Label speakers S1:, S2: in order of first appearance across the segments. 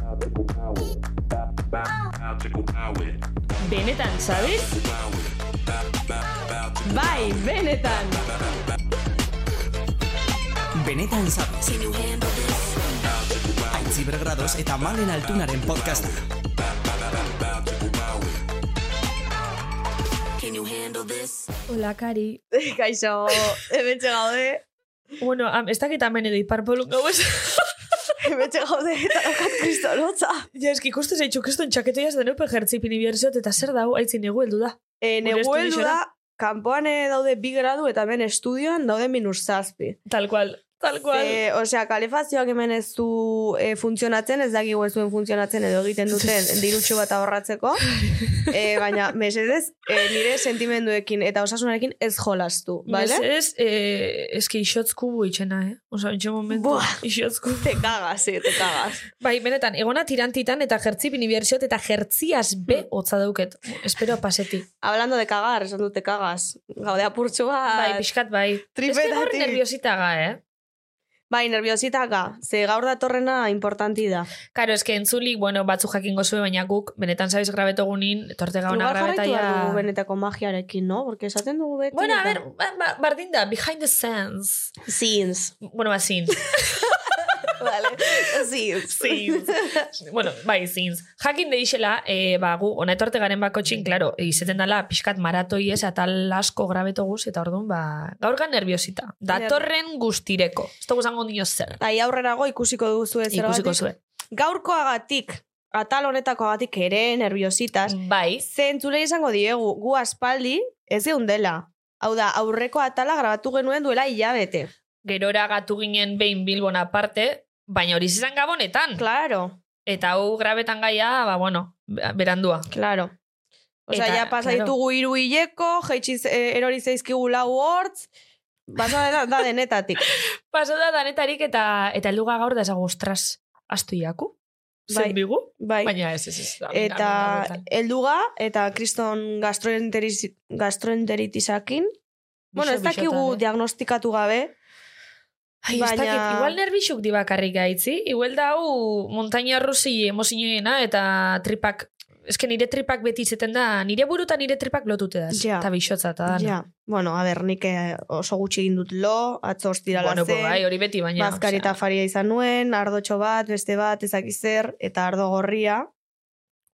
S1: Magical power. Ba- ba- Magical power.
S2: Benetan, ¿sabes?
S1: Power. Ba- ba- magical
S2: Bai, benetan!
S3: Benetan zabez. Aitzi bergradoz eta malen altunaren podcasta.
S4: Hola, Kari.
S5: Kaixo, hemen gaude,
S4: Bueno, am, ez dakit amen edo iparpolun gau ez.
S5: hemen gaude eta daukat kriston hotza.
S4: ja, eski ikustu zaitxu, kriston txaketoiaz da neupe jertzipin ibiarziot, eta zer dau, aitzin negu heldu da.
S5: E,
S4: Gure
S5: negu heldu da,
S4: estudiora.
S5: kanpoan eh, daude bi gradu eta hemen estudioan daude minus zazpi.
S4: Tal cual, tal cual.
S5: E, Osea, kalefazioak hemen ez du e, funtzionatzen, ez dakigu ez duen funtzionatzen edo egiten duten dirutxo bat ahorratzeko. E, baina, mesedez, e, nire sentimenduekin eta osasunarekin ez jolastu, bale?
S4: Ez, eh, eski ixotz kubu itxena, eh? Osa, itxe momentu,
S5: Buah.
S4: ixotz kubu.
S5: Te kagas, eh, te kagas.
S4: Bai, benetan, egona tirantitan eta jertzipin ibiarziot, eta jertziaz be hotza dauket. Espero paseti.
S5: Hablando de kagar, esan dut te kagas. Gaude apurtxo bat.
S4: Bai, pixkat bai. Ez que gaur
S5: tripetatik.
S4: nerviosita ga, eh?
S5: Bai, nerviositaka, ze gaur datorrena importanti da.
S4: Karo, eske entzulik, bueno, batzu jakingo zuen, baina guk, benetan zabiz grabetogunin, torte gauna
S5: Igual
S4: grabeta
S5: jarraitu behar
S4: ja-
S5: dugu benetako magiarekin, no? Porque esaten dugu beti.
S4: Bueno, a
S5: eta-
S4: ver, ba, ba, bardin da, behind the scenes.
S5: Scenes.
S4: Bueno, ba, zin.
S5: vale. Scenes.
S4: Zin. bueno, bai, zin. Jakin deixela, eh, ba, gu, ona etorte garen bako txin, klaro, izeten dala, pixkat maratoi ez, atal asko grabeto guz, eta orduan, ba, gaur gan nerviosita. Datorren guztireko. Ez dugu zango dio zer.
S5: Ai aurrerago ikusiko duzu ez
S4: Ikusiko zuen.
S5: Gaurkoagatik, atal honetakoagatik ere nerviositas.
S4: Bai,
S5: Zentzule izango diegu, gu aspaldi ez geundela. Hau da, aurreko atala grabatu genuen duela hilabete.
S4: gerora gatu ginen behin Bilbon aparte, baina hori izan gabonetan.
S5: Claro,
S4: Eta hau grabetan gaia, ba, bueno, berandua.
S5: claro. Osa,
S4: Eta,
S5: ja pasa
S4: claro.
S5: ditugu hiru hileko, jeitsi eh, erori zaizkigu lau hortz, basa da, da denetatik.
S4: Paso da danetarik eta eta helduga gaur da esago, ostras, astu iaku?
S5: Bai.
S4: Zen bigu?
S5: Bai.
S4: Baina ez, ez, ez. amin, amin,
S5: eta
S4: amin, amin.
S5: helduga eta kriston gastroenteriz, gastroenteritisakin. Bueno, ez
S4: Bixo,
S5: dakigu
S4: bixotan, eh?
S5: diagnostikatu gabe.
S4: Ai, ez dakit,
S5: baina-
S4: igual nerbixuk di bakarrik gaitzi, igual da hau montaña rusi emozinoena eta tripak, eske nire tripak beti izeten da, nire buruta nire tripak lotute da,
S5: Ja.
S4: eta bixotza, eta dana.
S5: Ja. Bueno, a ber, nik eh, oso gutxi egin dut lo, atzo ostirala
S4: Bueno, pues,
S5: zen.
S4: bai, hori beti, baina...
S5: Bazkari
S4: osea,
S5: eta faria izan nuen, ardotxo bat, beste bat, ezakizer, eta ardo gorria.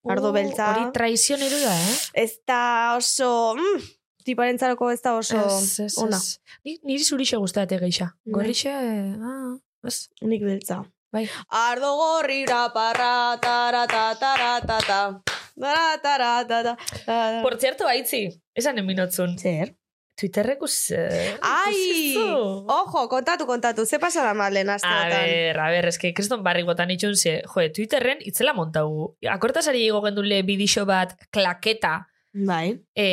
S5: ardo
S4: uh,
S5: beltza.
S4: Hori traizioneru da, eh?
S5: Ez da oso... Mm, tiparen ez da oso
S4: Ez, ez,
S5: ona.
S4: ez. Ni, niri zurixe guztate geixa.
S5: Bai.
S4: Gorrixe, ah, ez.
S5: Nik beltza.
S4: Bai.
S5: Ardo gorrira parra, tara, ta, tara, ta, ta. Tara, tara, ta, ta, ta.
S4: Por cierto, aitzi, esan eminotzun.
S5: Zer?
S4: Twitterreko zer?
S5: Ai!
S4: ikusi zu?
S5: Ojo, kontatu, kontatu, ze pasa da malen
S4: A
S5: asteotan?
S4: ber, a ber, eske kriston barrik botan itxun ze, joe, Twitterren itzela montagu. Akortasari igo gendule bidixo bat klaketa,
S5: Bai.
S4: e,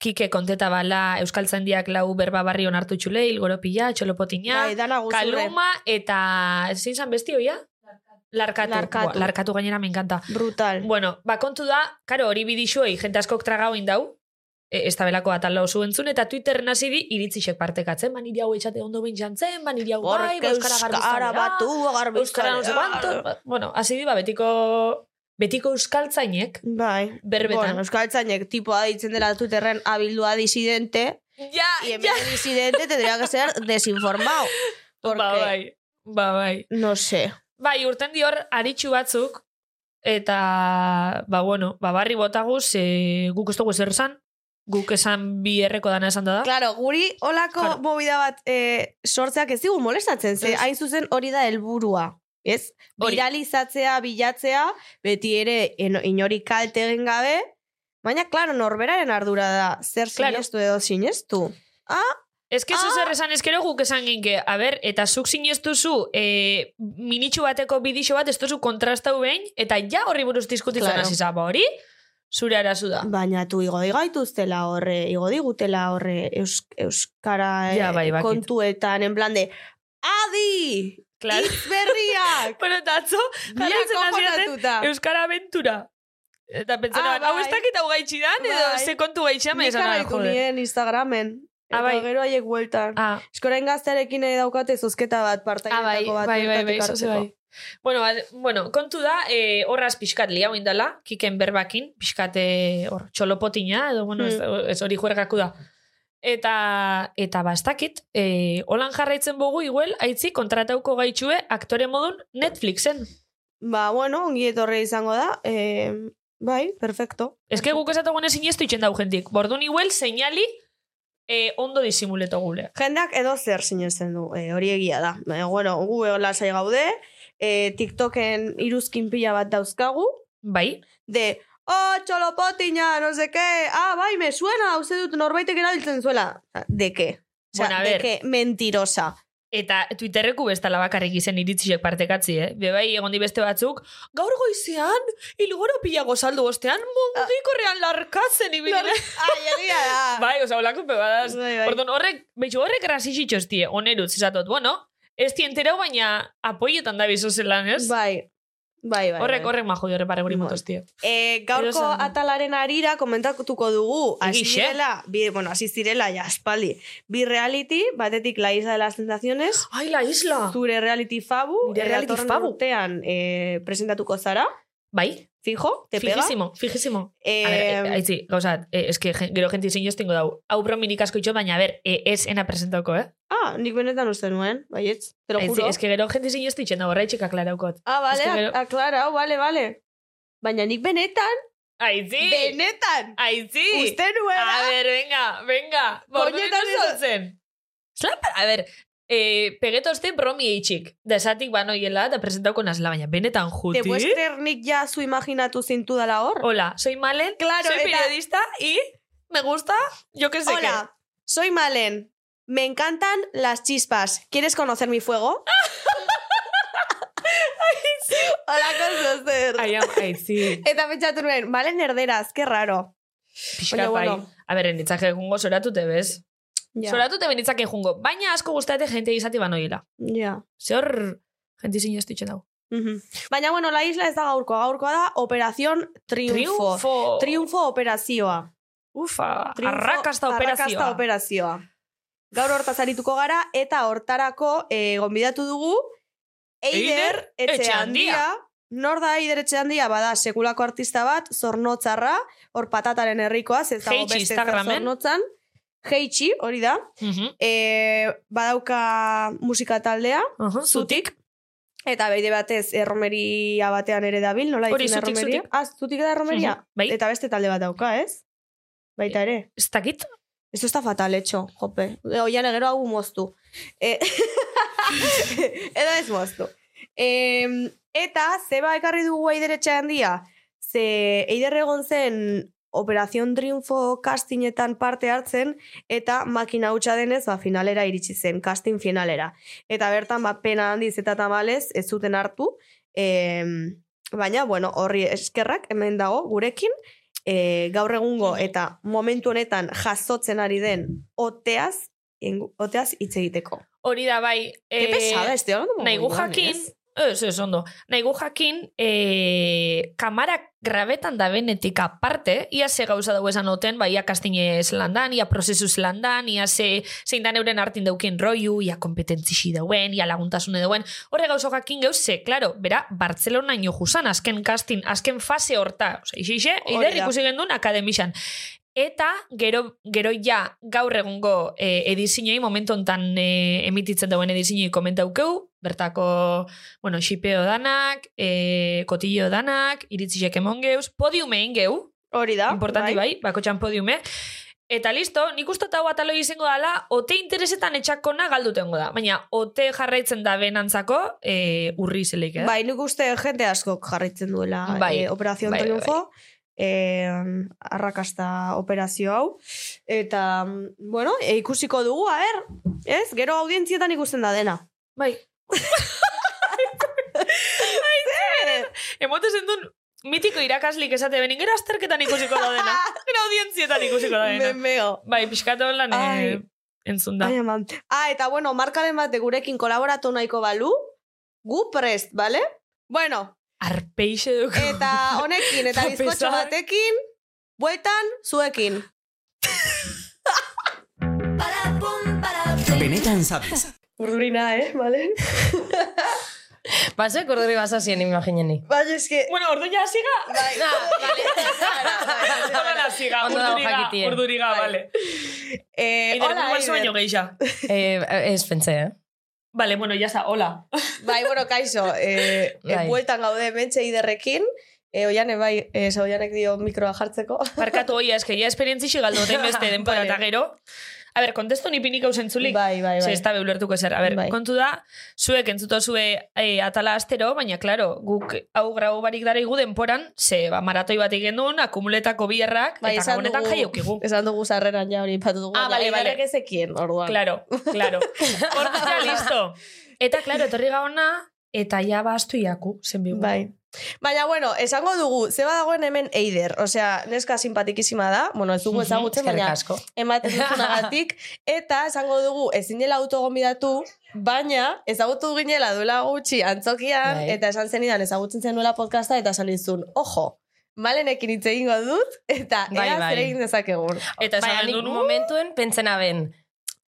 S4: kike konteta bala, Euskal Zandiak lau berba barri onartu txule, hilgoro pila, txolopotina,
S5: Bai, dana guzurre.
S4: kaluma eta, ezin zan besti hoia? Larkatu.
S5: Larkatu.
S4: Larkatu. larkatu gainera, me encanta.
S5: Brutal.
S4: Bueno, ba, kontu da, karo, hori bidixuei, jente askok tragau indau, e, ez da belako atal lau entzun, eta Twitterren hasi di, iritzisek partekatzen, ba, nire hau etxate ondo behin jantzen, ba, nire hau bai,
S5: Gorka
S4: ba, euskara
S5: euskara
S4: garbizalera,
S5: batu, garbizalera.
S4: euskara no sé cuánto, ba, bueno, hasi di, ba, betiko, betiko euskaltzainek,
S5: Bai.
S4: berbetan.
S5: Bueno, euskal tzainek tipoa ditzen dela tuterren abildua disidente,
S4: ja,
S5: y en vez de disidente tendría que ser desinformado. Porque,
S4: ba, bai, ba, bai.
S5: no sé.
S4: Bai, urten dior, aritxu batzuk, eta, ba, bueno, ba, barri botaguz, e, guk ez dugu zer esan, guk esan bi erreko dana esan da da.
S5: Claro, guri olako
S4: Claro.
S5: movida bat eh, sortzeak ez digu molestatzen, ze
S4: Ez.
S5: hain zuzen hori da helburua. Ez?
S4: Hori.
S5: Viralizatzea, bilatzea, beti ere eno- inori kalte egin gabe, baina, klaro, norberaren ardura da, zer
S4: Claro.
S5: sinestu edo sinestu.
S4: Ez que
S5: Ah!
S4: zuzer esan ezkero guk esan ginke, a ber, eta zuk sinestuzu e, minitxu bateko bidixo bat ez duzu kontrastau behin, eta ja horri buruz diskutitzen
S5: Claro.
S4: hasi claro. hori, zure arazu da.
S5: Baina tu igo digaituztela horre, igo digutela horre eus, euskara eh,
S4: Ja, bai, bakit.
S5: kontuetan, en plan de, adi!
S4: Claro.
S5: Hitz berriak!
S4: Bueno, eta atzo, jarraitzen
S5: Ia
S4: hasi daten,
S5: kojonatuta.
S4: Euskara Aventura. Eta pentsen,
S5: Ah,
S4: ah, hau
S5: bai.
S4: ez dakit hau gaitxidan, edo
S5: Bai.
S4: ze kontu gaitxean,
S5: Nik
S4: esan, ah,
S5: jarraitu
S4: jode.
S5: nien Instagramen. Eta
S4: Ah, bai.
S5: gero haiek bueltan.
S4: Ah,
S5: Eskorain gaztearekin nahi daukate zozketa bat
S4: ah, bai,
S5: partaidetako bat.
S4: bai, bai,
S5: bertatik
S4: bai, zoze
S5: hartzeko.
S4: bai. Bueno, al- bueno, kontu da, eh, horraz pixkat liau indala, kiken berbakin, pixkat eh, hor, txolopotina, edo, bueno,
S5: Hmm.
S4: ez, ez hori juergaku da. Eta, eta bastakit, eh, holan jarraitzen bogu iguel, aitzi kontratauko gaitxue aktore modun Netflixen.
S5: Ba, bueno, ongi etorri izango da. Eh, bai, perfecto.
S4: Ez que guk esatagoen ezin ez itxen dau jendik. Bordun iguel, seinali, eh, ondo disimuleto gule.
S5: Jendeak edo zer sinesten du, eh, hori egia da. Eh, bueno, gu lasai gaude, eh, TikToken iruzkin pila bat dauzkagu,
S4: Bai,
S5: de, oh, txolopotina, no se que, ah, bai, me suena, uste dut norbaitek erabiltzen zuela. De que? Osea,
S4: Bueno, a
S5: de
S4: ver.
S5: que mentirosa.
S4: Eta Twitterreku bestala bakarrik izen iritziek partekatzi, eh? Bebai, egon di beste batzuk, gaur goizean, ilgoro pila gozaldu ostean, mugikorrean larkatzen ibili. naiz."
S5: Ai, egia da.
S4: bai, oza, olako pebadas.
S5: Bai, bai.
S4: Orduan, horrek, betxo, horrek rasixitxo ez die, onerutz, esatot, bueno, ez dienterau, baina apoietan da bizo zelan, ez?
S5: Bai, bai, bai.
S4: horrek,
S5: bai.
S4: horrek majo diore pare guri
S5: Bai.
S4: motoz, tie.
S5: Eh, gaurko
S4: Erosan.
S5: atalaren arira komentatuko dugu. Hasi
S4: Egixe.
S5: direla, bi, bueno, hasi zirela, ja, espaldi. Bi reality, batetik la isla de las tentaciones,
S4: Ai, la isla!
S5: zure reality fabu,
S4: Nire
S5: eh,
S4: Ah. reality
S5: datorren
S4: fabu.
S5: urtean eh, presentatuko zara,
S4: Bai,
S5: fijo, te pega.
S4: fijísimo, fijísimo.
S5: Eh,
S4: A ver, eh, aitzi, gauzat, eh, es que gen- gero jenti zin joztingo dau. Hau prominik asko itxo, baina, a ber, eh, ez ena presentoko, eh?
S5: ah, nik benetan uste nuen, baietz, te lo
S4: Aitzi,
S5: juro.
S4: Es que gero jente zin jozti itxen dago, raitxik aklaraukot.
S5: ah, vale,
S4: es que gero-
S5: aclara, oh, vale, vale. Baina nik benetan,
S4: Aitzi!
S5: benetan,
S4: Aitzi!
S5: uste nuela.
S4: A ver, venga, venga.
S5: Koñetan
S4: Bordunetan
S5: ez-
S4: sortzen. Zela, a ver, eh, pegetozte bromi eitxik. Da esatik bano hiela, da presentauko nazla, baina benetan
S5: Te
S4: juti.
S5: puedes nik ja zu imaginatu zintu dala hor.
S4: Hola, soy Malen,
S5: Claro,
S4: soy
S5: eta-
S4: periodista y me gusta, yo qué sé
S5: Hola, soy Malen. Me encantan las chispas. ¿Quieres conocer mi fuego? Hola,
S4: qué.
S5: kozozer.
S4: Ai, am, aitzi.
S5: Eta pentsatu nuen, Malen erderaz, qué raro.
S4: Pixka
S5: Baina,
S4: bai.
S5: bueno.
S4: A ver, nitzak egungo soratute bez.
S5: Ja,
S4: Soratute benitzak egungo. Baina asko gustate jente izati bano hiela.
S5: ja.
S4: Zer, jente zin jozti dago.
S5: Mhm. Baina, bueno, la isla ez da gaurkoa. Gaurkoa da Operación Triunfo.
S4: Triunfo.
S5: Triunfo operazioa.
S4: Ufa,
S5: Triunfo
S4: arrakasta
S5: Arrakasta
S4: operazioa.
S5: operazioa. Gaur hortaz arituko gara, eta hortarako eh, gonbidatu dugu Eider
S4: Eider Etxeandia.
S5: Etxeandia. Nor da Eider Etxeandia? Bada, sekulako artista bat, zornotzarra, hor patataren herrikoa, ez dago
S4: Jeitsi
S5: beste zer
S4: Instagramen.
S5: zornotzan. Jeitsi, hori da.
S4: Mhm,
S5: E, badauka musika taldea,
S4: aha, Zutik.
S5: eta beide batez erromeria batean ere dabil, nola
S4: Hori,
S5: ditzen da
S4: zutik,
S5: erromeria?
S4: zutik.
S5: Ah, zutik da erromeria?
S4: Mhm, bai. Eh,
S5: Eta beste talde bat dauka, ez? Baita ere.
S4: Ez dakit?
S5: Esto está fatal hecho, jope. E, Oian egero hau moztu. E, edo ez moztu. E, eta, zeba ekarri dugu aideretxe handia? Ze, eider egon zen Operación Triunfo castingetan parte hartzen, eta makina hutsa denez, ba, finalera iritsi zen, casting finalera. Eta bertan, ba, pena handiz eta tamalez, ez zuten hartu, e, baina, bueno, horri eskerrak, hemen dago, gurekin, e, gaur egungo
S4: Mm.
S5: eta momentu honetan jasotzen ari den oteaz, ingu- oteaz hitz egiteko.
S4: Hori da, bai.
S5: Ke pesada, este hor, como
S4: nahi gu
S5: moduan,
S4: jakin,
S5: ez?
S4: ez, ez, ondo. Nahi gu jakin, e, kamara grabetan da benetik aparte, ia ze gauza dugu esan oten, bai, ia kastine zelandan, ia prozesu zelandan, ia ze, zein da neuren hartin daukien roiu, ia kompetentzixi dauen, ia laguntasune dauen. Horre gauza jakin geuz, ze, klaro, bera, Bartzelona ino jusan, azken kastin, azken fase horta, oza, ixe, ixe,
S5: Hori
S4: eider
S5: da.
S4: ikusi gendun akademixan. Eta gero, gero ja gaur egungo e, edizinoi, momentu hontan e, emititzen dauen edizinoi komentaukeu, bertako, bueno, xipeo danak, e, kotillo danak, iritzisek emon geuz, podiume egin geu,
S5: Hori da.
S4: importante bai, bakotxan podiume, eta listo, nik uste eta hau atalo izango dela, ote interesetan etxakona galdutengo da, baina ote jarraitzen da benantzako e, urri zelik, eh?
S5: Bai, nik uste jende askok jarraitzen duela
S4: Bai,
S5: eh, Operación
S4: bai, bai,
S5: Triunfo. eh, arrakasta operazio hau. Eta, bueno, e, ikusiko dugu, aher, ez? Gero audientzietan ikusten da dena.
S4: Bai. Emote zendun mitiko irakaslik esate benin, gero azterketan ikusiko da dena. Gero audientzietan ikusiko da dena.
S5: Memeo.
S4: Bai, pixkatu lan
S5: Ai.
S4: eh, entzun da.
S5: Ai, eman. Ah, eta bueno, markaren bat gurekin kolaboratu nahiko balu, gu prest, bale? Bueno,
S4: Arpeixe duk.
S5: eta honekin, eta
S4: Eta
S5: bizkotxo
S4: pesar.
S5: batekin, bueltan, zuekin.
S3: Benetan sabes.
S5: Urrurina, eh, bale?
S6: Pasek ordori bazazien imagineni.
S5: Baina eske...
S4: Bueno, ordu ja siga.
S5: Bai,
S4: Hola la siga,
S6: Ondo dago
S4: urduriga,
S6: jakitien.
S4: urduriga, vale.
S5: Eh,
S4: Hola,
S5: Eider.
S4: Bai. baino geixa.
S6: Eh, ez pentsa, eh?
S4: Vale, bueno, ya está, hola.
S5: Bai, bueno, kaixo, eh,
S6: Bai.
S5: eh, bueltan gaude mentxe iderrekin, eh, oiane bai, eh, oianek dio mikroa jartzeko.
S4: Barkatu oia, eske ya esperientzi galdu oten beste denpora
S5: Vale.
S4: eta gero. A ber, kontestu nipinik hau zentzulik.
S5: Bai, bai,
S4: Ze
S5: bai.
S4: ez da beulertuko zer. A ber,
S5: Bai.
S4: kontu da, zuek entzuto zue eh, atala astero, baina, klaro, guk hau grau barik dara igu denporan, ze, ba, maratoi bat egin duen, akumuletako biherrak,
S5: Bai,
S4: eta gabonetan jai eukigu.
S5: Esan dugu sarreran ja hori ipatu dugu.
S4: Ah,
S5: baina
S4: bale, bale.
S5: Eiderrek ez ekien, orduan.
S4: Claro, claro. Hortu ja, listo. Eta, claro, etorri gaona, eta ja bastu iaku, zenbigu.
S5: Bai. Baina, bueno, esango dugu, zeba dagoen hemen Eider. Osea, neska simpatikizima da, bueno,
S4: Mhm,
S5: ez dugu ezagutzen,
S6: Eskerrik
S5: baina
S6: asko.
S5: ematen duzunagatik. Eta esango dugu, ezin dela autogonbidatu, baina ezagutu ginela duela gutxi antzokian,
S6: Bai.
S5: eta esan zenidan ezagutzen zenuela podcasta, eta esan izun, ojo, malenekin hitz egingo dut, eta
S6: Bai,
S5: ea
S6: bai.
S5: zer egin dezakegun.
S4: Eta
S6: Baina,
S4: esan
S6: nik
S4: genuen,
S6: momentuen pentsena ben,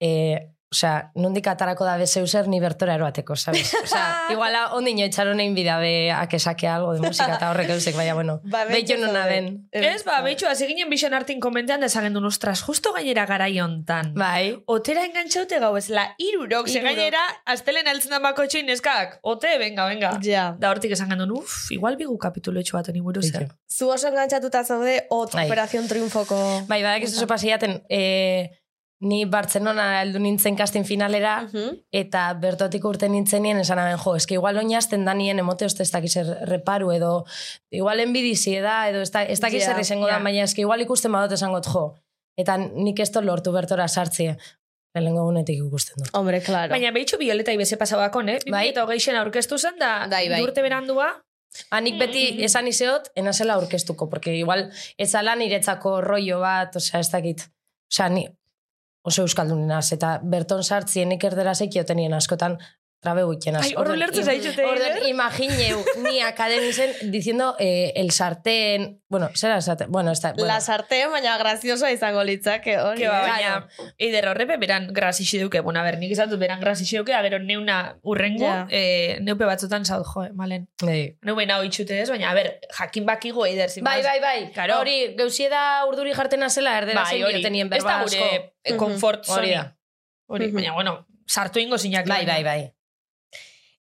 S6: eh, osea, nondik atarako da bezeu zer ni bertora eroateko, sabes? Osea, iguala ondino etxaron egin bida be, akesake algo de musika eta horrek eusek, baina, bueno,
S5: Ba,
S6: behitxo nona
S5: zaude.
S6: ben.
S4: Ez,
S5: bai.
S4: ba, betxu, hasi ginen bixen hartin komentean da esan gendun, ostras, justo gainera garai hontan.
S5: Ba.
S6: Bai.
S4: Otera engantxaute gau ez, la irurok, ze
S6: Hirurok.
S4: gainera, astelen altzen dan bako txoin neskak. Ote, venga, venga.
S5: Ja.
S4: Da hortik esan gendun, uff, igual bigu kapitulotxo bat honi buruz. eh.
S5: Zu oso engantzatuta zaude, ot,
S6: Bai.
S5: Operación Triunfoko...
S6: Bai, badak ez oso pasiaten, eh, ni Bartzenona heldu nintzen kastin finalera,
S5: Mhm.
S6: eta bertotik urte nintzenien esan aben, jo, eske igual oinazten danien emote oste ez dakiz reparu edo igual enbidizi da, edo ez da- ez dakiz
S5: Ja,
S6: yeah, izango
S4: ja.
S6: da, baina eske igual ikusten badot esangot jo. Eta nik ez dut lortu bertora sartzea. Lehenengo gunetik ikusten dut.
S5: Hombre, claro.
S4: Baina behitxu bioleta ibeze pasabakon, eh? Bai.
S6: Bai.
S4: Eta hogeixen aurkeztu zen, da
S5: Bai, bai.
S4: urte berandua.
S6: Ha, Ba, nik beti esan izeot, enazela aurkeztuko, porque igual ezala niretzako rollo bat, osea, ez dakit. Osea, ni oso euskaldunenaz, eta berton sartzien nik erdera zekiotenien askotan trabe guikenaz.
S4: Ai, ordu lertu zaitxute,
S6: Orduan, imagineu, ni akademizen diciendo eh, el sartén... Bueno, zera sartén... Bueno, ez da... Bueno.
S5: La sartén, baina graziosa izango litzake hori.
S4: Que ba,
S5: eh?
S4: baina, eider horrepe beran grasixi duke. Bueno, a ber, nik izan dut beran grasixi duke, a gero neuna urrengo,
S5: Ja.
S4: eh, neupe batzutan zaut, jo, eh, malen.
S6: Bai,
S4: Neu bena hau itxute ez, baina, a ber, jakin bakigo eider, zin
S6: bai, bai. bai.
S4: Claro.
S6: Hori, geusie da urduri jartena zela, erdera bai,
S4: hori.
S6: diotenien
S4: Ez da
S6: berba asko.
S4: gure eh, comfort
S6: Hori
S4: zone.
S6: da.
S4: Hori,
S5: Mhm.
S4: baina, bueno, sartu ingo zinak.
S6: Bai, bai, bai.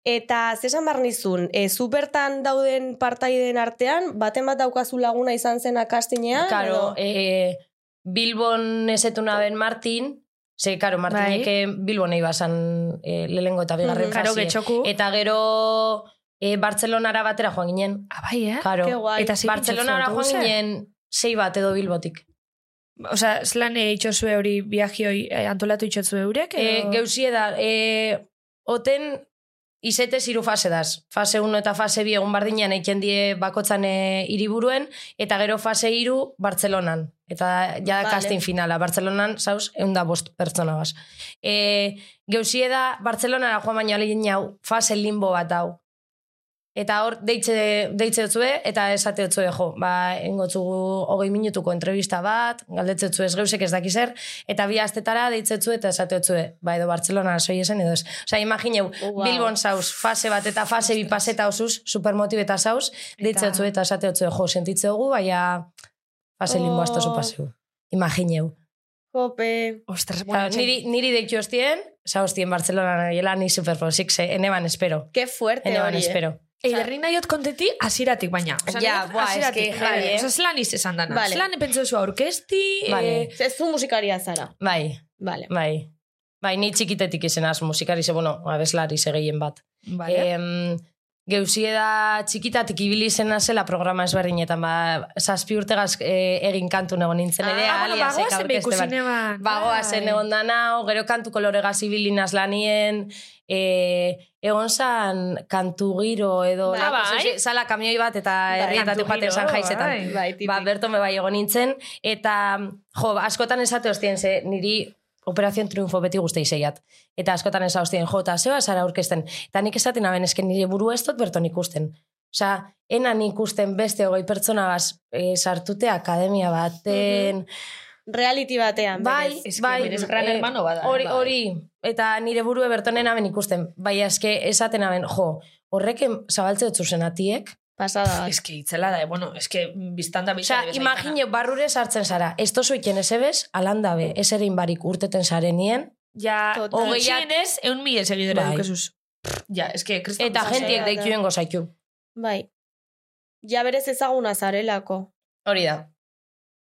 S5: Eta zesan behar nizun, e, zu bertan dauden partaideen artean, baten bat daukazu laguna izan zen akastinean?
S6: Karo,
S5: edo-
S6: eh, Bilbon esetu naben Martin, ze, karo, Martinek eh, Bilbon nahi bazan eh, lehengo eta bigarren
S5: Mhm.
S4: Karo
S6: fazie.
S4: getxoku.
S6: Eta gero eh, Bartzelonara batera joan ginen.
S4: Ah, bai, eh?
S6: Karo,
S5: Ke guai.
S4: Eta zein
S6: Bartzelonara
S4: pintxo
S6: joan
S4: zuen autobuse?
S6: ginen sei bat edo Bilbotik.
S4: Osa, zelan eh, itxosue hori viajioi eh, antolatu itxosue eurek?
S6: Eh,
S4: edo-
S6: geuzie da, eh, oten izete ziru fase daz. Fase 1 eta fase 2 egun bardinean eiken die bakotzan eh, hiriburuen eta gero fase 3 Bartzelonan. Eta ja da
S5: Vale.
S6: casting finala. Bartzelonan, zauz, egun da bost pertsona bas. E, geuzie da, Bartzelonara joan baino alegin hau, fase limbo bat hau. Eta hor, deitze, deitze otzue, eta esate otzue, jo, ba, engotzugu hogei minutuko entrevista bat, galdetze otzue ez geusek ez dakizer, eta bi astetara deitze otzue eta esate otzue, ba, edo Bartzelona soi esen edo ez. Osa, imagineu,
S5: Wow.
S6: Bilbon zauz, fase bat eta fase bi paseta osuz, supermotibeta zauz, deitze
S4: Eta-
S6: otzue eta esate otzue, jo, sentitzegu, baina fase oh. limbo astoso
S5: Oh.
S6: paseu. Imagineu.
S5: Jope.
S4: Ostras, bueno,
S6: Bueno,
S4: etxe-
S6: niri, niri deitu hostien, zauztien Bartzelona nariela, ni superposik, ze, eneban espero.
S5: Ke fuerte
S6: Eneban
S5: hori, eh?
S6: espero.
S4: Eiderri nahiot konteti hasieratik baina. Osea,
S6: Ja,
S4: nahiot
S6: buah,
S4: hasieratik,
S6: eske javi,
S4: bai.
S6: eh?
S4: Osea, zelan izan esan dana.
S5: Vale.
S4: Zelan epentzu zu aurkesti,
S6: Vale.
S4: eh,
S5: Ez zu musikaria zara.
S6: Bai.
S5: Vale.
S6: Bai. Bai, ni txikitetik izenaz musikari ze, bueno, abeslari ze gehien bat.
S4: vale.
S6: Vale. Em, geuzie da txikitatik ibili izena zela programa ezberdinetan, ba, zazpi urte gaz e, egin kantu egon nintzen ere,
S4: ah, bueno,
S6: aliasek
S4: bagoazen
S6: aurkezte
S4: behiku
S6: ban.
S4: zineban.
S6: Bagoazen
S4: Bai.
S6: egon dana, gero kantu koloregaz ibilinaz lanien, e, egon zan kantu giro edo...
S5: Bai.
S6: lako
S4: Ah, bai?
S6: zuze- Zala kamioi bat eta herrietatik
S4: Kantu
S6: joaten
S4: giro,
S6: zan jaizetan.
S4: bai.
S5: Bai, tipik.
S6: Ba, berton bebai egon nintzen, eta jo, ba, askotan esate hostien, ze niri Operación Triunfo beti guzti izeiat. Eta askotan esa hostien, jo, eta zeba zara aurkezten. Eta nik esaten aben, esken nire buru ez dut berton ikusten. Osa, enan ikusten beste hogei pertsona baz, eh, sartute akademia baten,
S4: Mhm.
S5: Reality batean.
S6: Bai,
S5: berez.
S4: Es que
S6: bai.
S4: berez gran
S6: eh,
S4: hermano bada, eh,
S6: Hori,
S4: bai.
S6: hori. Eta nire burue bertonen aben ikusten. Bai, eske esaten aben, jo, horrek em- zabaltze dut zuzenatiek.
S5: Pasada bat.
S4: Eske itzela da, eh, bueno, eske biztanda
S6: Osa,
S4: biztanda.
S6: imagine barrure sartzen zara, ez tozu iken ez ebes, alandabe, ez ere inbarik urteten zarenien,
S4: Ja,
S5: Total.
S4: hogeian ez, eun mila segidore
S6: Bai.
S4: dukesuz. Ja, eske, kriston
S6: eta
S4: bizan
S6: jentiek
S5: da.
S6: deikioen gozaitu.
S5: Bai. Ja berez ezaguna zarelako.
S6: Hori da.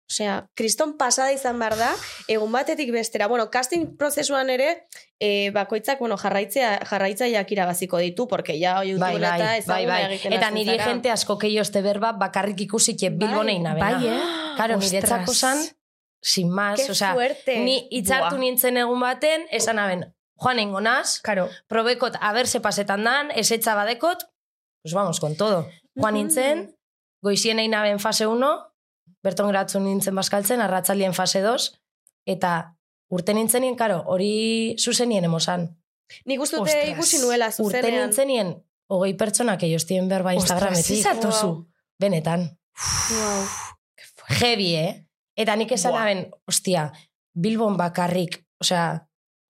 S5: Osea, kriston pasada izan behar da, egun batetik bestera. Bueno, casting prozesuan ere, eh, bakoitzak, bueno, jarraitzea, jarraitzaileak irabaziko ditu, porque ja, oi,
S6: Bai,
S5: youtubera
S6: bai,
S5: eta
S6: bai, bai.
S5: ezaguna
S6: Eta niri
S5: zara.
S6: jente asko keioste berba bakarrik ikusike bilbonei nabena.
S4: Bai, eh?
S6: Karo,
S4: Ostras.
S6: niretzako zan, sin más,
S5: Qué
S6: osea,
S5: fuerte.
S6: ni itzartu
S4: Buah.
S6: nintzen egun baten, esan aben, joan nengo naz,
S4: Karo,
S6: probekot aberse pasetan dan, esetza badekot, pues vamos, con todo. Joan
S5: Mhm.
S6: nintzen, goizien egin aben fase 1, berton geratzen nintzen baskaltzen, arratzaldien fase 2, eta urte nintzen, karo, hori zuzenien emozan.
S5: Nik uste dute
S4: Ostras.
S5: ikusi nuela
S6: Urte
S5: zuzenean.
S6: nintzen hogei pertsonak eiostien berba
S4: ostras,
S6: Instagrametik.
S4: izatozu.
S5: Wow.
S6: Benetan.
S5: Wow.
S6: Heavy, eh? Eta nik esan
S4: Buah.
S6: aben, ostia, Bilbon bakarrik, osea,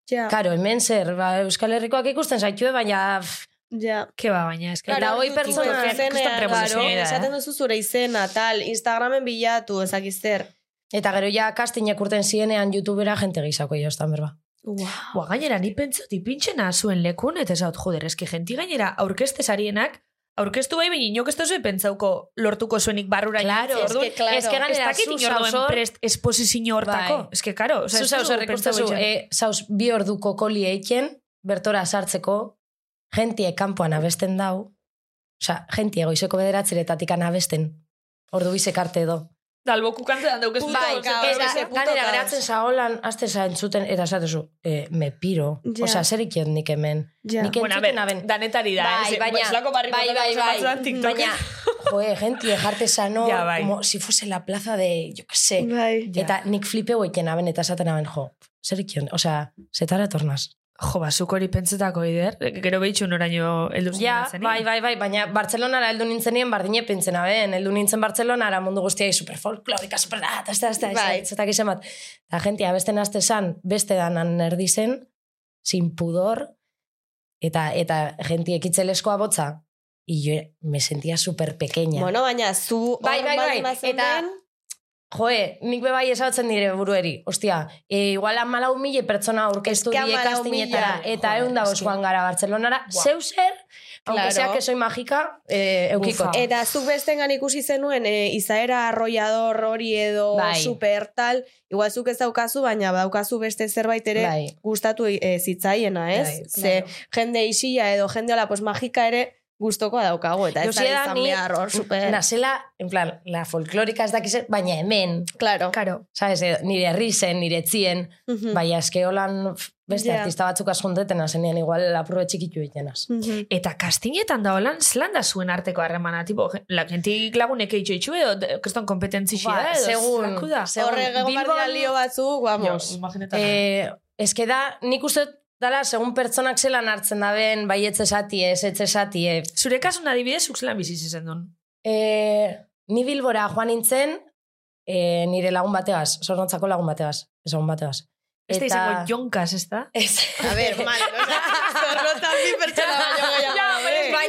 S5: Ja,
S6: karo, hemen zer, ba, Euskal Herrikoak ikusten zaitue, baina pff,
S5: ja.
S4: Ke ba, baina, eske.
S6: Claro,
S4: Eta
S6: hoi
S5: ez dut
S6: pertsona-
S5: ikusten
S4: kriston
S5: zuzenean,
S4: preposizioa
S5: claro,
S4: da, eh?
S5: Esaten duzu zure izena, tal, Instagramen bilatu, ezakiz zer.
S6: Eta gero ja kastinek urten zienean youtubera jente gehiago jostan berba.
S5: Wow.
S4: Ba, gainera, ni pentsat ipintxena zuen lekun, eta esaut, joder, eski jenti gainera aurkeste sarienak, aurkeztu bai, baina inok ez duzue pentsauko lortuko zuenik barrura
S6: Claro,
S4: jotzen. Orduan,
S5: eske, claro.
S4: eske
S6: Ez
S4: gainera,
S6: dakit
S4: zu
S6: inor
S4: zauzor,
S6: dagoen
S4: prest esposizio hortako.
S6: Bai.
S4: Eske, karo, oza,
S6: Zu zauz errekustezu, e, zauz bi orduko koli eiken, bertora sartzeko, jentie kanpoan abesten dau, osea, jentie goizeko bederatzeretatik abesten, ordu bizek arte edo.
S4: Dalboku kantzetan daukezu.
S5: Bai,
S4: eta-
S5: gaur,
S6: Eta,
S5: ze puto
S6: ganera,
S5: kaos.
S6: geratzen zaolan, azte za entzuten, eta esatezu, e, me piro,
S5: Ja.
S6: osea, zer ikiot nik hemen.
S5: Ja.
S6: Nik
S4: Bueno, a
S6: entzuten
S4: ber,
S6: aben.
S4: danetari da.
S6: Bai,
S4: eh, ze-
S6: baina-
S4: zelako barri
S6: bai,
S4: botatzen
S6: bai,
S4: gauza
S6: bai.
S4: batzuetan TikToken.
S6: Baina, joe, jentie jarte sano,
S4: Ja, bai.
S6: como si fuese la plaza de, yo que sé,
S5: Bai.
S4: Ja.
S6: Eta nik flipe gueiten aben, eta esaten aben, jo, zer ikion, osea, zetara tornaz.
S4: Jo, ba, zuk hori pentsetako ider. Gero behitxun oraino elduz.
S6: Ja, bai, bai, bai, baina Bartzelonara heldu nintzenien bardine pentsena ben, heldu nintzen Bartzelonara mundu guztiai superfolklorika, superdat, azta, azta,
S5: Bai.
S6: zetak izan bat. Eta jentia, beste nazte zan, beste danan erdi zen, sin pudor, eta, eta jentiek itzeleskoa botza, y yo me sentía super pequeña.
S5: Bueno, baina zu
S6: Bai,
S5: hor
S6: bai, bai.
S5: baldin bazeunden,
S6: Joe, nik bebai esatzen dire burueri. Ostia, e, igual amalau mila pertsona aurkeztu
S5: Eske
S6: die
S5: hamalau
S6: kastinetara.
S5: mila.
S6: Eta
S4: Joder,
S6: egun da
S4: eske.
S6: oskoan gara Bartzelonara.
S4: Buah.
S6: Zeu zer, aunque
S5: Claro.
S6: sea que soy magika, e, eukiko.
S4: Bufa.
S5: Eta zuk bestengan ikusi zenuen e, izaera arrollador hori edo
S6: Bai.
S5: super tal, igual zuk ez daukazu, baina daukazu beste zerbait ere
S6: Bai.
S5: gustatu e, zitzaiena, ez?
S6: Bai,
S5: Ze jende isila edo jende hola, pues magika ere gustokoa daukagu, eta ez da
S6: Josie da,
S5: izan
S6: ni-
S5: behar hor super...
S6: Nazela, en plan, la folklorika ez dakize, baina hemen,
S5: Claro.
S4: Karo.
S6: sabes, edo, nire herri zen, nire etzien,
S5: Mhm.
S6: baina eske holan f- beste
S5: Ja.
S6: artista batzuk askonteten azenian, igual apurbe txikitu egiten az.
S5: Mhm.
S4: Eta kastinetan da holan, zelan da zuen arteko harremana, tipo, je- la, gentik lagunek eitxo itxu edo, de- keston kompetentzi
S6: Ba,
S4: xea, edo,
S6: segun,
S4: zelako da.
S6: segun.
S5: Horre egon
S6: Bilbon-
S5: barrian lio batzuk, vamos.
S4: Jo, imaginetan.
S6: Eh, ez que da, nik uste dut dala, segun pertsonak zelan hartzen daben, bai etxe satie, ez etxe satie.
S4: Zure kasun adibidez, zuk zelan bizi izen duen.
S6: Eh, ni bilbora joan nintzen, eh, nire lagun bateaz, zorrontzako lagun bateaz, ezagun bateaz.
S4: Ez da izango jonkaz, ez da?
S6: Ez.
S5: A ver, mal, zorrotan bi pertsona baino gehiago.
S4: Ja, baina ez
S5: daude.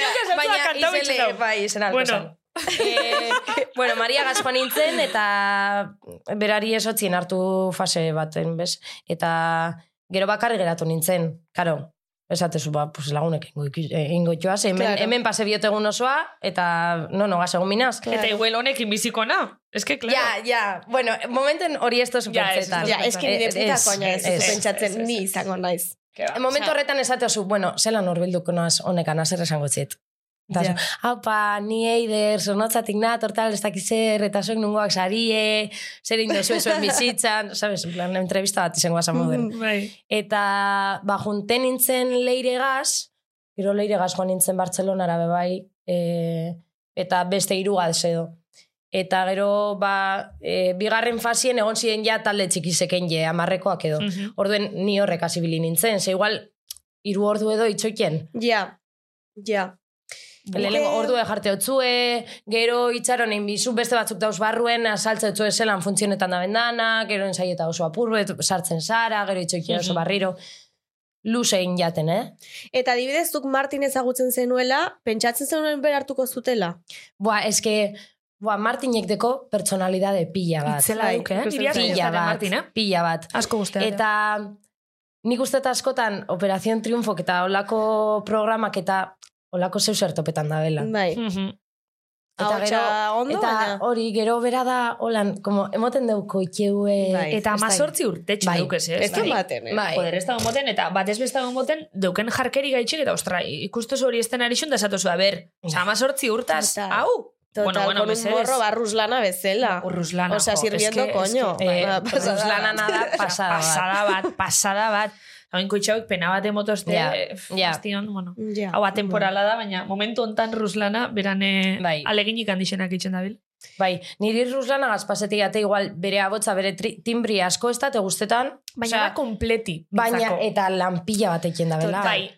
S4: Zorrotzak
S6: Baina, baina,
S4: jonkaz, ez da
S6: baina,
S4: kantau
S6: izele,
S4: itxetau.
S6: bai, izen alko
S4: Bueno.
S6: zen. Eh, bueno, Maria Gazpa nintzen, eta berari esotzien hartu fase baten, bez? Eta gero bakarri geratu nintzen, karo, esatezu, ba, pues lagunek ingo, eh, ingo joaz, hemen,
S5: Claro.
S6: hemen pase biotegun osoa, eta no, no, gaz egun minaz.
S5: Claro.
S4: Eta igual honekin biziko na. Ez que, claro.
S6: Ja, ja, bueno, momenten hori ez da superzetan.
S5: Ja, eski nire
S6: Ez,
S5: putako aina ez,
S6: ez,
S5: ez,
S4: ez,
S5: pentsatzen
S4: ez,
S5: ni
S4: ez.
S5: izango naiz.
S6: En momentu
S5: Osea-
S6: horretan esatezu, bueno, zelan horbilduko naz honekan, azer esango txit. Eta
S4: Ja.
S6: zu, haupa, ni eider, sonotzatik nat, hortal, ez dakizer, eta zuek nungoak sarie, zer indozu ezuen bizitzan, sabes, en plan, entrevista bat izango asa moden.
S4: Bai.
S6: Eta, ba, junten nintzen leiregaz, gero leiregaz joan nintzen Bartzelonara bebai, e, eta beste irugaz edo. Eta gero, ba, e, bigarren fasien egon ziren ja talde txikiseken je, amarrekoak edo.
S4: Mhm.
S6: Orduen ni horrek hasibili nintzen, ze igual hiru ordu edo itxoiten.
S5: Ja, ja.
S6: Lehenengo ordu jarte otzue, gero itxaron egin bizu, beste batzuk dauz barruen, azaltze otzue zelan funtzionetan da bendana, gero ensaieta oso apurbe, sartzen zara, gero itxoikien oso
S4: Mhm.
S6: barriro. luzein jaten, eh?
S5: Eta adibidez, zuk Martin ezagutzen zenuela, pentsatzen zenuen ber hartuko zutela.
S6: Boa, eske, boa, Martinek deko pertsonalidade pila bat.
S4: Itzela duk, eh?
S5: ikusten
S4: Iriak
S5: zaio.
S6: pila
S4: izaten,
S6: bat,
S4: Martin, eh?
S6: pila bat.
S4: Asko guztia.
S6: Eta nik uste eta askotan Operación Triunfok eta olako programak eta olako zeu zertopetan da bela.
S5: Bai.
S4: Mhm.
S6: Eta
S5: Ahotsa ondo,
S6: eta
S5: baina-
S6: hori, gero bera da, holan, como, emoten deuko itxeue...
S5: Bai.
S4: Eta
S6: ez da-
S4: amazortzi urtetxo
S6: Bai.
S4: duk ez, ez?
S5: Ez da
S4: Bai.
S5: baten, eh?
S6: Bai.
S4: Joder, ez da moten, eta batez beste egon moten, deuken jarkeri gaitxik, eta ostra, ikustozu hori esten ari xun, da esatozu, a ber, oza, amazortzi urtaz,
S5: Total.
S4: hau!
S5: Total,
S4: bueno, bueno,
S5: con un
S4: mesedez.
S5: morro barruz lana bezala.
S4: Urruslana.
S5: Osea,
S4: jo,
S5: sirviendo
S4: eske-
S5: coño.
S4: eske-
S6: Eh,
S5: Ba,
S6: ba,
S5: pasada.
S6: pasada. da, pasada bat.
S4: pasada bat, pasada bat. Hauen kutxauk pena bat emotozte,
S6: Ja,
S4: yeah.
S6: ja.
S4: bueno.
S5: Ja.
S4: Hau atemporala da, baina momentu hontan Ruslana berane
S6: Bai.
S4: aleginik handixenak itxen dabil.
S6: Bai, niri Ruslana gazpazetik ate igual bere abotza, bere tri, timbri asko ez da, te gustetan.
S4: Baina
S6: osea,
S4: da kompleti.
S6: baina
S4: nintzako.
S6: eta lanpila bat ekin da bela.
S4: Bai.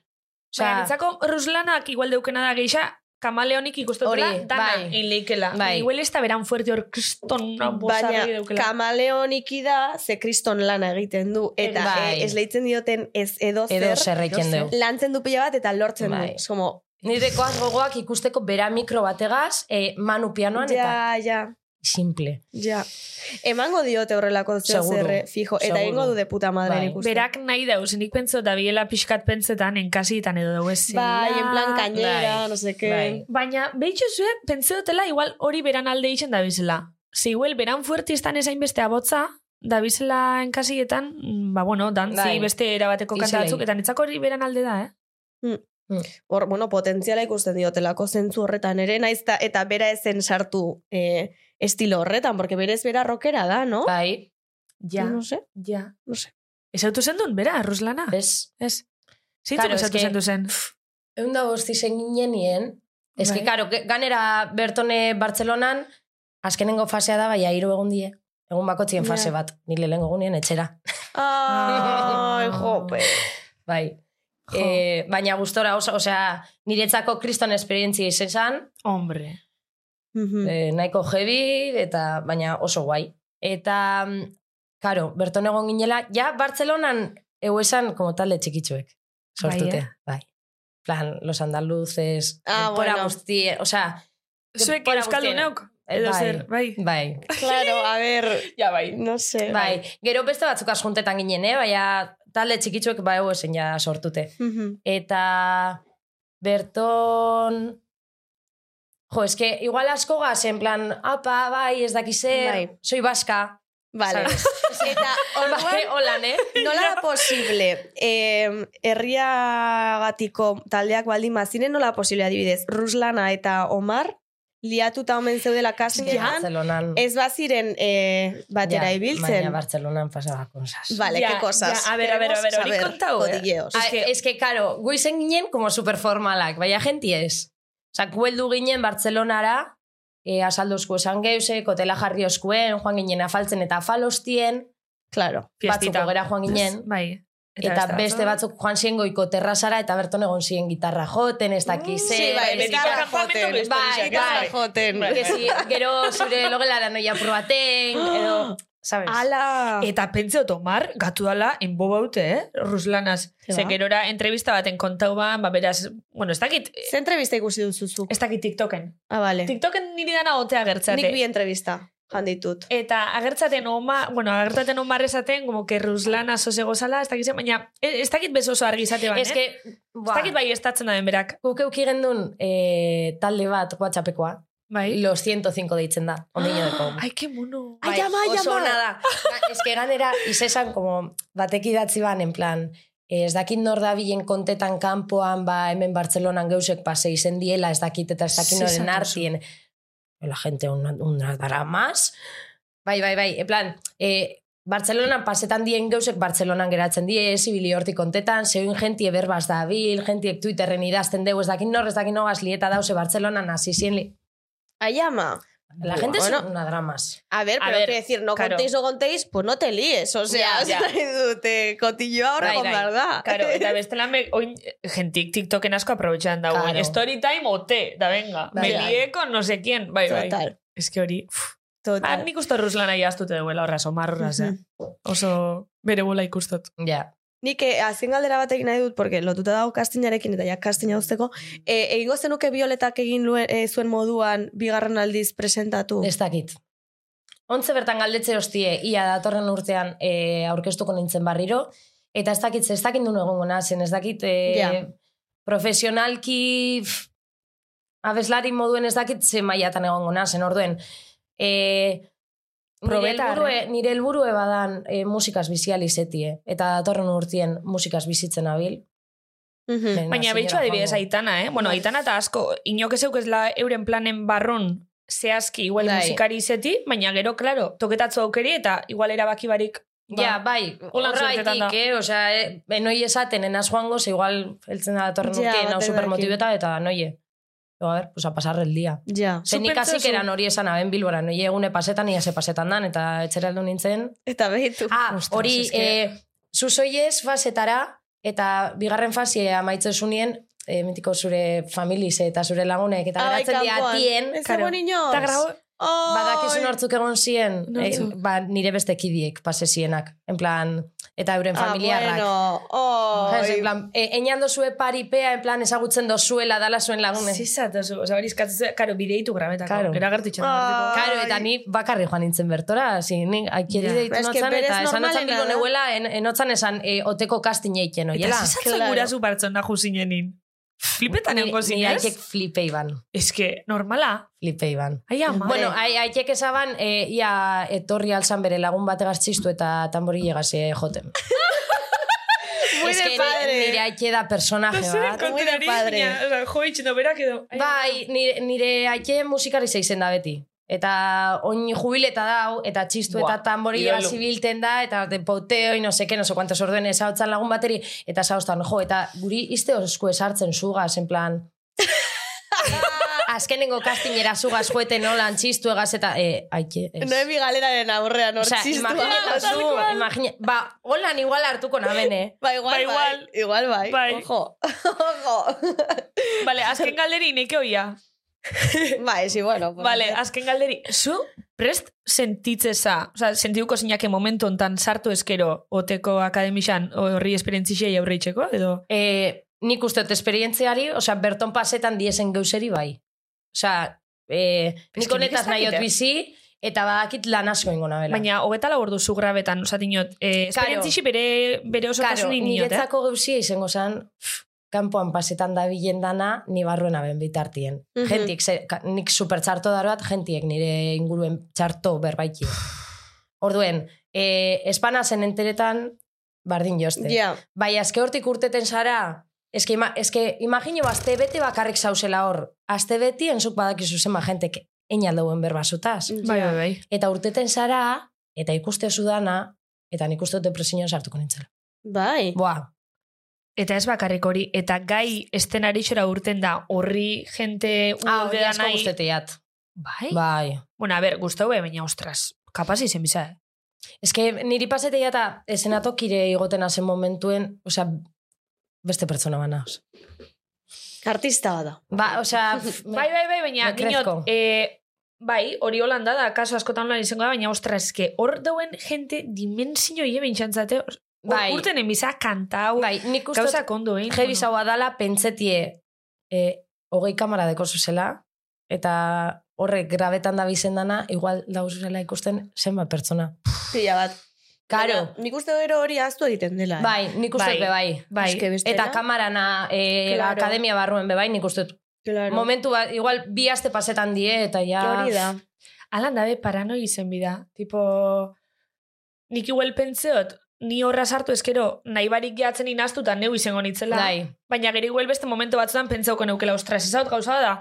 S6: Osea-
S4: baina nintzako Ruslanak igual deukena da geisha, kamaleonik ikustotela
S6: Hori,
S4: dana
S6: bai.
S4: egin leikela.
S6: Bai.
S4: Igual ez da beran fuerte hor kriston una
S5: Baina
S4: bozarri deukela.
S5: kamaleoniki da, ze kriston lana egiten du. Eta
S6: Bai.
S5: e, esleitzen dioten ez edo zer,
S6: Edo zer ekin dugu.
S5: lantzen du pila bat eta lortzen
S6: Bai.
S5: du. Es como,
S6: Nireko gogoak ikusteko bera mikro bategaz, eh, manu pianoan eta
S5: ja, ja,
S6: simple.
S5: ja. Emango diote horrelako zeo
S6: Seguru.
S5: zerre, fijo. Eta
S6: Seguru.
S5: egingo du de puta madre
S6: Bai.
S5: nik uste.
S4: Berak nahi dauz, nik pentso da biela pixkat pentsetan enkasietan edo dugu ez.
S5: Bai, en plan cañera,
S6: Bai.
S5: no sé qué.
S6: Bai.
S4: Baina, behitxo zuen, pentsa dutela, igual hori beran alde itxen da bizela. Ze igual, beran fuerti estan ezain beste abotza, da bizela enkasietan, mm, ba, bueno, dantzi
S6: Bai.
S4: beste erabateko kanta
S6: Izelei.
S4: batzuk, eta nitzako hori beran alde da, eh?
S5: Hor, bueno, potentziala ikusten diotelako zentzu horretan ere, naizta eta bera ezen sartu eh, estilo horretan, porque berez bera rockera da, no?
S6: Bai,
S4: Ja,
S5: No sé,
S4: ja.
S5: no sé.
S4: Ez autu zen bera, Ruslana?
S6: ez.
S4: Ez. Zitzu
S6: Claro,
S4: claro,
S6: eske-
S4: zendu zen.
S6: Egun da bosti zen ginen nien. Ez
S4: Bai.
S6: que, karo, ge- ganera Bertone Bartzelonan, azkenengo fasea da, baina hiru egun die. Egun bakotzien
S5: Ja.
S6: fase bat, nire lehen egunien etxera. Ah.
S5: Ai, jope.
S6: Bai.
S4: Jo.
S6: E, baina gustora oso, osea, niretzako kriston esperientzia izen zan,
S4: Hombre. Mm.
S5: Mhm.
S6: e, nahiko heavy, eta baina oso guai. Eta, mm, karo, berton egon ginela, ja, Bartzelonan eu esan como talde txikitzuek. Sortute,
S4: Bai,
S6: bai. Plan, los andaluces,
S5: Ah,
S6: denbora
S5: bueno.
S6: guztie, osea,
S4: Zuek
S6: denbora
S4: euskalduneok? Edo
S6: Bai.
S4: zer, bai.
S6: guztien. Bai,
S5: Claro, a ver,
S4: Ja, bai.
S5: no sé.
S6: bai. Gero beste batzuk askuntetan ginen, eh? baina talde txikitzuek ba eu esen ja sortute.
S5: Mhm.
S6: Eh, Eta berton... Jo, eske igual asko gaz, en plan, apa, bai, ez dakizer,
S5: Bai.
S6: soy vasca.
S5: Vale.
S6: ¿sabes?
S5: Eta,
S6: Bai,
S5: orduan,
S6: holan, eh?
S5: nola da posible eh, herriagatiko taldeak baldin baziren nola posible adibidez Ruslana eta Omar liatuta omen zeudela kasinean
S6: Bartzelonan.
S5: ez baziren eh, batera
S6: Ja,
S5: ibiltzen Bai.
S6: Baina Bartzelonan pasaba cosas.
S5: Vale,
S4: Ja,
S5: qué cosas.
S4: ja, a ver, a ver, a ver,
S5: Queremos
S4: hori
S5: saber
S4: kontau, eh?
S5: Codilleos.
S6: Ah, es que, claro, guizen ginen como superformalak, baina jenti ez. Osa, kueldu ginen Bartzelonara, e, asalduzku esan geuse, kotela jarri oskuen, joan ginen afaltzen eta afalostien,
S5: Claro.
S6: batzuk
S4: Fiestita.
S6: ogera joan ginen.
S4: Bai.
S6: Eta, beste batzuk joan zien goiko terrazara eta berton egon zien gitarra joten, ez
S4: mm,
S6: dakiz.
S5: Sí,
S6: zer,
S5: bai,
S6: ez
S5: beti
S6: dakiz-
S5: kanpamentu
S4: Bai,
S6: historiak, ez?
S5: Eta
S6: Bai.
S5: joten.
S6: Que si, gero zure logelara noia probaten, edo, sabes?
S4: Ah.
S5: Ala.
S4: Eta pentsa tomar, gatu dala, enbo baute, eh? Ruslanaz.
S5: Ze
S4: Ze
S5: ba.
S4: gerora, entrevista baten kontau ban, ba, beraz, bueno, ez dakit,
S5: Ze entrevista ikusi duzu zu?
S4: ez dakit TikToken.
S5: Ah, vale.
S4: TikToken niri dana ote agertzate.
S5: Nik bi entrevista jan ditut.
S4: Eta agertzaten oma, bueno, agertzaten omar esaten, como que Ruslana soze gozala, ez dakit, ze- baina e- ez dakit beso oso argi izate ban,
S6: Ez
S4: eh?
S6: que,
S4: Ez
S6: ba,
S4: dakit bai estatzen da berak.
S6: guk euki gendun eh, talde bat whatsappekoa,
S4: Bai.
S6: los 105 deitzen da, ondino deko.
S4: Ai, que mono.
S5: Ai, ama, ai,
S6: oso
S5: ama.
S6: ona da. Ga- Ez Ah, que ganera, izesan, como, batek idatzi ban, en plan, eh, ez dakit nor da bilen kontetan kanpoan, ba, hemen Bartzelonan geusek pase izen diela, ez dakit eta ez dakit noren
S4: Zezatozu.
S6: artien. La gente una, una dará más. Bai, bai, bai, en plan, eh, Bartzelonan pasetan dien geusek Bartzelonan geratzen die, zibili hortik kontetan, zeuen jentie berbaz da bil, jentiek Twitterren idazten deu, ez dakit nor, ez dakit nogaz lieta dause Bartzelonan hasi zien li...
S5: Aiama.
S6: La gente es
S5: Bueno.
S6: una dramas.
S5: A ver,
S4: A
S5: pero
S4: ver,
S5: quiero decir, no
S4: claro.
S5: contéis, no contéis, pues no te líes. O sea,
S4: Ya, ya.
S5: te cotillo ahora
S6: Bai,
S5: con
S6: bai.
S5: verdad.
S4: Karo, eta bestela me, oin, gentik TikToken asko aprobetxan dago.
S6: Claro.
S4: Story time ote, da venga.
S6: Bai,
S4: Me
S6: bai.
S4: lié con no sé quién. Bai, bai.
S5: Total,
S4: Ez que hori, pff. Ba,
S5: total.
S4: nik uste Ruslana jaztute duela horraz, omar horraz, eh? Oso bere bola ikustot.
S6: Ja.
S5: Nik eh, azken galdera batekin nahi dut, porque lotuta dago kastinarekin eta ja kastina uzteko, eh, egingo zenuke bioletak egin luen, eh, zuen moduan bigarren aldiz presentatu.
S6: Ez dakit. Ontze bertan galdetze hostie, ia datorren urtean e, aurkeztuko nintzen barriro, eta ez dakit, ez dakit nun egongo nazen, ez dakit e,
S5: Ja.
S6: profesionalki pf, abeslari moduen ez dakit ze mailatan egongo nazen, orduen. E, nire
S4: Probetar,
S6: helburue, nire helburue badan e, musikaz bizializetie, eta datorren urtien musikaz bizitzen abil.
S5: Mhm.
S4: Baina
S6: Hasiera
S4: behitxo adibidez
S6: joango. Bai.
S4: aitana, eh? Bueno, aitana eta asko, inok ez eukezla euren planen barrun zehazki igual
S6: Bai.
S4: musikari izeti, baina gero, klaro, toketatzu aukeri eta igual erabaki barik ba,
S6: Ja, bai,
S4: hola suertetan da.
S6: horraitik, eh? Osea, eh, benoi esaten enaz joango, ze igual eltzen da datorren
S5: Ja,
S6: urtean, hau
S5: batek
S6: supermotibeta, eta noie. Jo, a ber, pues a pasar el día.
S5: Ja.
S6: Ze nik
S4: Supertzozu.
S6: hasik eran hori esan aben bilbora, noie egune pasetan, ia ze pasetan dan, eta etxera heldu nintzen.
S5: Eta behitu.
S6: Ah,
S4: Ostras,
S6: hori,
S4: es que-
S6: eh, zuzoiez fasetara, eta bigarren fasie amaitzesunien, eh, mitiko zure familiz eta zure lagunek, eta geratzen dira tien,
S5: Ez
S6: karo,
S5: dago inoz.
S4: Eta grabo,
S5: Oi.
S6: Badakizun hortzuk egon ziren, eh,
S4: Nortzuk?
S6: ba, nire beste kidiek pasesienak, en plan, eta euren familiarrak.
S5: Ah,
S6: Osa, en
S5: bueno.
S6: plan, e, eñan dozue paripea, en plan, ezagutzen dozuela dala zuen lagune.
S4: zizatozu, oza, hori eskatzu, karo, bideitu grabetako,
S6: Claro.
S4: karo. eragertu itxan.
S5: Ah.
S6: Claro, eta
S5: Ai.
S6: ni bakarri joan nintzen bertora, hasi, ni aikeri
S4: Ja.
S6: deitu
S5: Ba, eske
S6: notzan,
S5: berez
S6: eta esan notzan
S5: normalena
S6: bilo
S5: da.
S6: neuela, en, enotzan esan e, oteko kastin eiken, oiela.
S4: Eta zizatzu
S5: Claro.
S4: gura zu partzen da juzinenin. Flipetan
S6: Ni-
S4: egon
S6: Ni
S4: zinez?
S6: aitek flipe iban,
S4: Ez que, normala.
S6: flipe iban.
S4: Ai, ama. eh?
S6: Bueno, ai- aitek esaban, e, ia etorri alzan bere lagun bategaz txistu eta tambori llegaz eh, joten.
S5: Muy
S6: Es
S5: de
S6: que ni-
S5: padre.
S6: Nire aike da personaje bat.
S5: muy de padre.
S4: Oza, jo, itxendo berak edo. Ai,
S6: Bai, nire, nire aike musikari zeizen da beti. Eta oin jubileta dau, eta txistu
S4: Buah,
S6: eta tamborila
S4: idolo.
S6: zibilten da, eta de poteo, no seken, no sé cuantos orduen ezagutzen lagun bateri, eta ezagutzen, jo, eta guri izte osku esartzen zugaz, en plan... Azkenengo kastinera zugaz joeten nolan txistu egaz, eta... E, aike, ez.
S5: Noemi galeraren aurrean hor txistua.
S6: imagina, zu, imagina, ba, holan igual hartuko naben, eh?
S5: Ba, igual,
S4: Ba, igual.
S5: bai. Igual, bai.
S4: Bai.
S5: Ojo. Ojo.
S4: Vale, azken galderi neke oia.
S5: bai, sí, bueno. pues,
S4: Vale, azken galderi. Zu, prest sentitzeza, oza, sentiduko zinake momentu ontan sartu eskero, oteko akademixan horri esperientzisei aurre itxeko, edo?
S6: e, nik uste dut esperientziari, osea, berton pasetan diesen geuzeri bai. Osea, e,
S4: Ez que nik
S6: nik
S4: ez
S6: honetaz nahi
S4: dakit,
S6: dut
S4: eh.
S6: bizi, eta badakit lan asko ingo nabela.
S4: Baina, hogeta lau ordu zu grabetan, oza, dinot, eh, esperientzixi bere, bere oso
S6: Karo,
S4: kasunin dinot, eh?
S6: niretzako geuzia izango zen, pff, kanpoan pasetan da bilen dana, ni barruen aben bitartien.
S5: Mhm.
S6: Gentik, ze, ka, nik super txarto daroat, gentiek nire inguruen txarto berbaiki. Orduen, e, espana zen enteretan, bardin joste.
S5: Ja.
S6: Bai, azke hortik urteten zara, eske, ima, eske imagino azte bete bakarrik zauzela hor. Azte beti enzuk badakizu zema jentek einaldauen berbazutaz.
S4: Bai, bai, bai.
S6: Eta urteten zara, eta ikuste dana, eta nik uste dut depresioan sartuko nintzela.
S5: Bai.
S6: Boa,
S4: Eta ez bakarrik hori, eta gai estenarixora urten da, horri jente
S6: ah,
S4: ude
S6: hori
S4: da
S6: asko
S4: nahi...
S6: guztetiat.
S4: Bai?
S6: Bai.
S4: Bueno, a ber, guztau, baina, ostras, kapaz izen biza, eh?
S6: Eske niri paseteia eta esenatokire igoten zen momentuen, osea, beste pertsona bana. osea.
S5: Artista bada.
S6: Ba, osea...
S4: Bai, bai, bai, baina,
S6: Me crezco.
S4: dinot, e, bai, hori holanda da, kaso askotan lan izango da, baina, ostras, eske, hor dauen jente dimensio hie bintxantzate,
S6: Bai.
S4: bai. urten enbiza kantau, bai.
S6: Bai, nik uste dut
S4: gauza kondo, eh?
S6: Heavy zaua dala, pentsetie e, hogei kamara deko zuzela, eta horrek grabetan da bizen dana, igual dauzela ikusten zenbat pertsona.
S5: Pila bat.
S6: Karo,
S5: Baina, Nik uste gero hori aztu egiten dela. eh?
S6: bai, nik uste
S4: Bai,
S6: dut bai.
S4: bai.
S5: Eske bestela.
S6: Eta kamarana, e,
S5: Claro.
S6: akademia barruen bebai, nik uste dut.
S5: Claro.
S6: Momentu bat, igual bi aste pasetan die, eta ja...
S5: Hori da.
S4: Alan dabe paranoi izen bida, tipo, nik igual pentseot, ni horra sartu eskero, nahi barik jatzen inaztuta neu izango nitzela.
S6: Bai.
S4: Baina gero igual beste momentu batzutan pentsauko neukela, ostras, ezaut gauza bat da,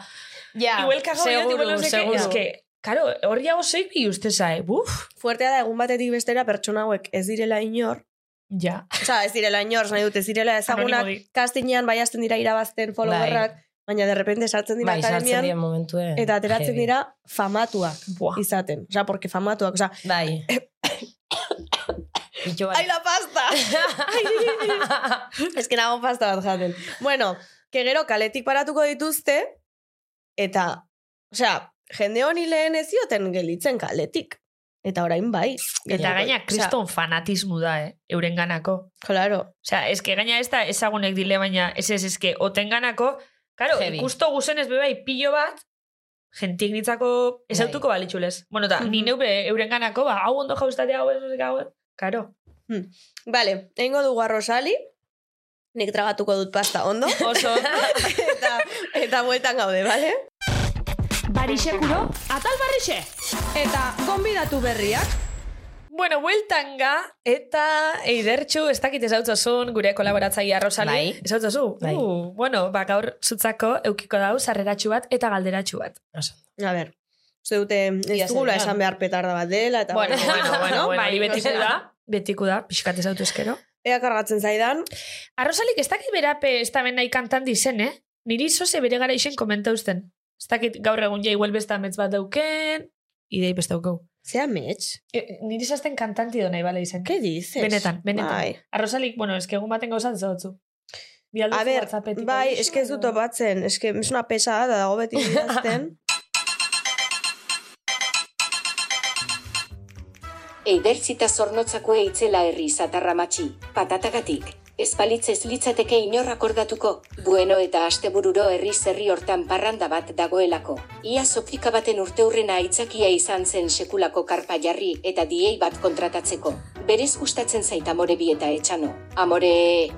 S6: Ja,
S4: igual kago
S6: seguru,
S4: igual no sé qué.
S6: seguru.
S4: Es que, claro, hor jago zeik bi uste zae, buf,
S5: Fuertea da egun batetik bestera pertsona hauek ez direla inor.
S4: ja.
S5: Osa, ez direla inor, esan nahi dut, ez direla ezagunak.
S4: Anonimo di.
S5: Kastinean bai hasten dira irabazten followerrak, baina de repente sartzen dira
S6: Bai, sartzen
S5: akademian
S6: dira momentuen.
S5: eta ateratzen
S6: Heavy.
S5: dira famatuak
S4: Buah.
S5: izaten. Osa, porque famatuak, osa,
S6: Bai. Bitxo bat.
S5: ¡Ay, la pasta! es que nago pasta bat jaten. Bueno, que gero kaletik paratuko dituzte, eta, osea, jende honi lehen ez zioten gelitzen kaletik. Eta orain bai.
S4: Eta gaina,
S5: Osea,
S4: kriston fanatismu da, eh? Euren ganako.
S5: Claro.
S4: Osea, eske gaina ez da ezagunek dile, baina ez ez eske oten ganako, karo,
S6: Heavy.
S4: ikusto guzenez bebai pilo bat, jentik nitzako
S6: Bai.
S4: ezautuko balitxulez. Bueno, eta ni
S5: Mhm.
S4: neure euren ganako, ba, hau ondo jauztate hau, ez hau, ez- karo.
S5: Vale, egingo dugu arrosali. Nik tragatuko dut pasta ondo.
S4: Oso,
S5: eta, eta bueltan gaude, vale?
S2: Barixe kuro, atal barixe.
S5: Eta konbidatu berriak.
S4: bueno, bueltan ga, eta eidertxu, ez dakit ezautzozun, gure kolaboratzaia Rosali,
S6: Bai.
S4: ezautzozun.
S6: Bai.
S4: Uh, bueno, ba, gaur zutzako eukiko dau, sarreratxu bat eta galderatxu bat.
S6: Oso.
S5: A ber, uste dute ez
S6: Ia
S5: dugula
S6: zenean.
S5: esan behar petarda bat dela. Eta
S4: Bueno, bueno, bueno, bueno,
S6: Bai,
S4: bai, betiko
S6: osea.
S4: da, betiko da, pixkat ezautu eskero.
S5: Ea kargatzen zaidan.
S4: Arrozalik ez dakit berape ez da nahi kantan dizen, eh? Niri zoze bere gara isen komenta usten. Ez dakit gaur egun ja igual besta ametz bat dauken, idei besta daukau.
S5: Zea mets?
S4: E, niri zazten kantanti do nahi bale izen.
S5: ¿Qué dices?
S4: Benetan, benetan.
S5: Bai.
S4: Arrozalik, bueno, eske egun baten gauzat zautzu. Bialdu
S5: A ber, bai, eske ez dut topatzen, eske es una pesada da dago beti idazten.
S7: Eidertzita zornotzako eitzela herri zatarramatxi, patatagatik. Espalitz ez litzateke inor akordatuko, bueno eta astebururo herri zerri hortan parranda bat dagoelako. Ia zoplika baten urteurrena aitzakia izan zen sekulako karpa jarri eta diei bat kontratatzeko. Berez gustatzen zait amorebi eta etxano. Amore...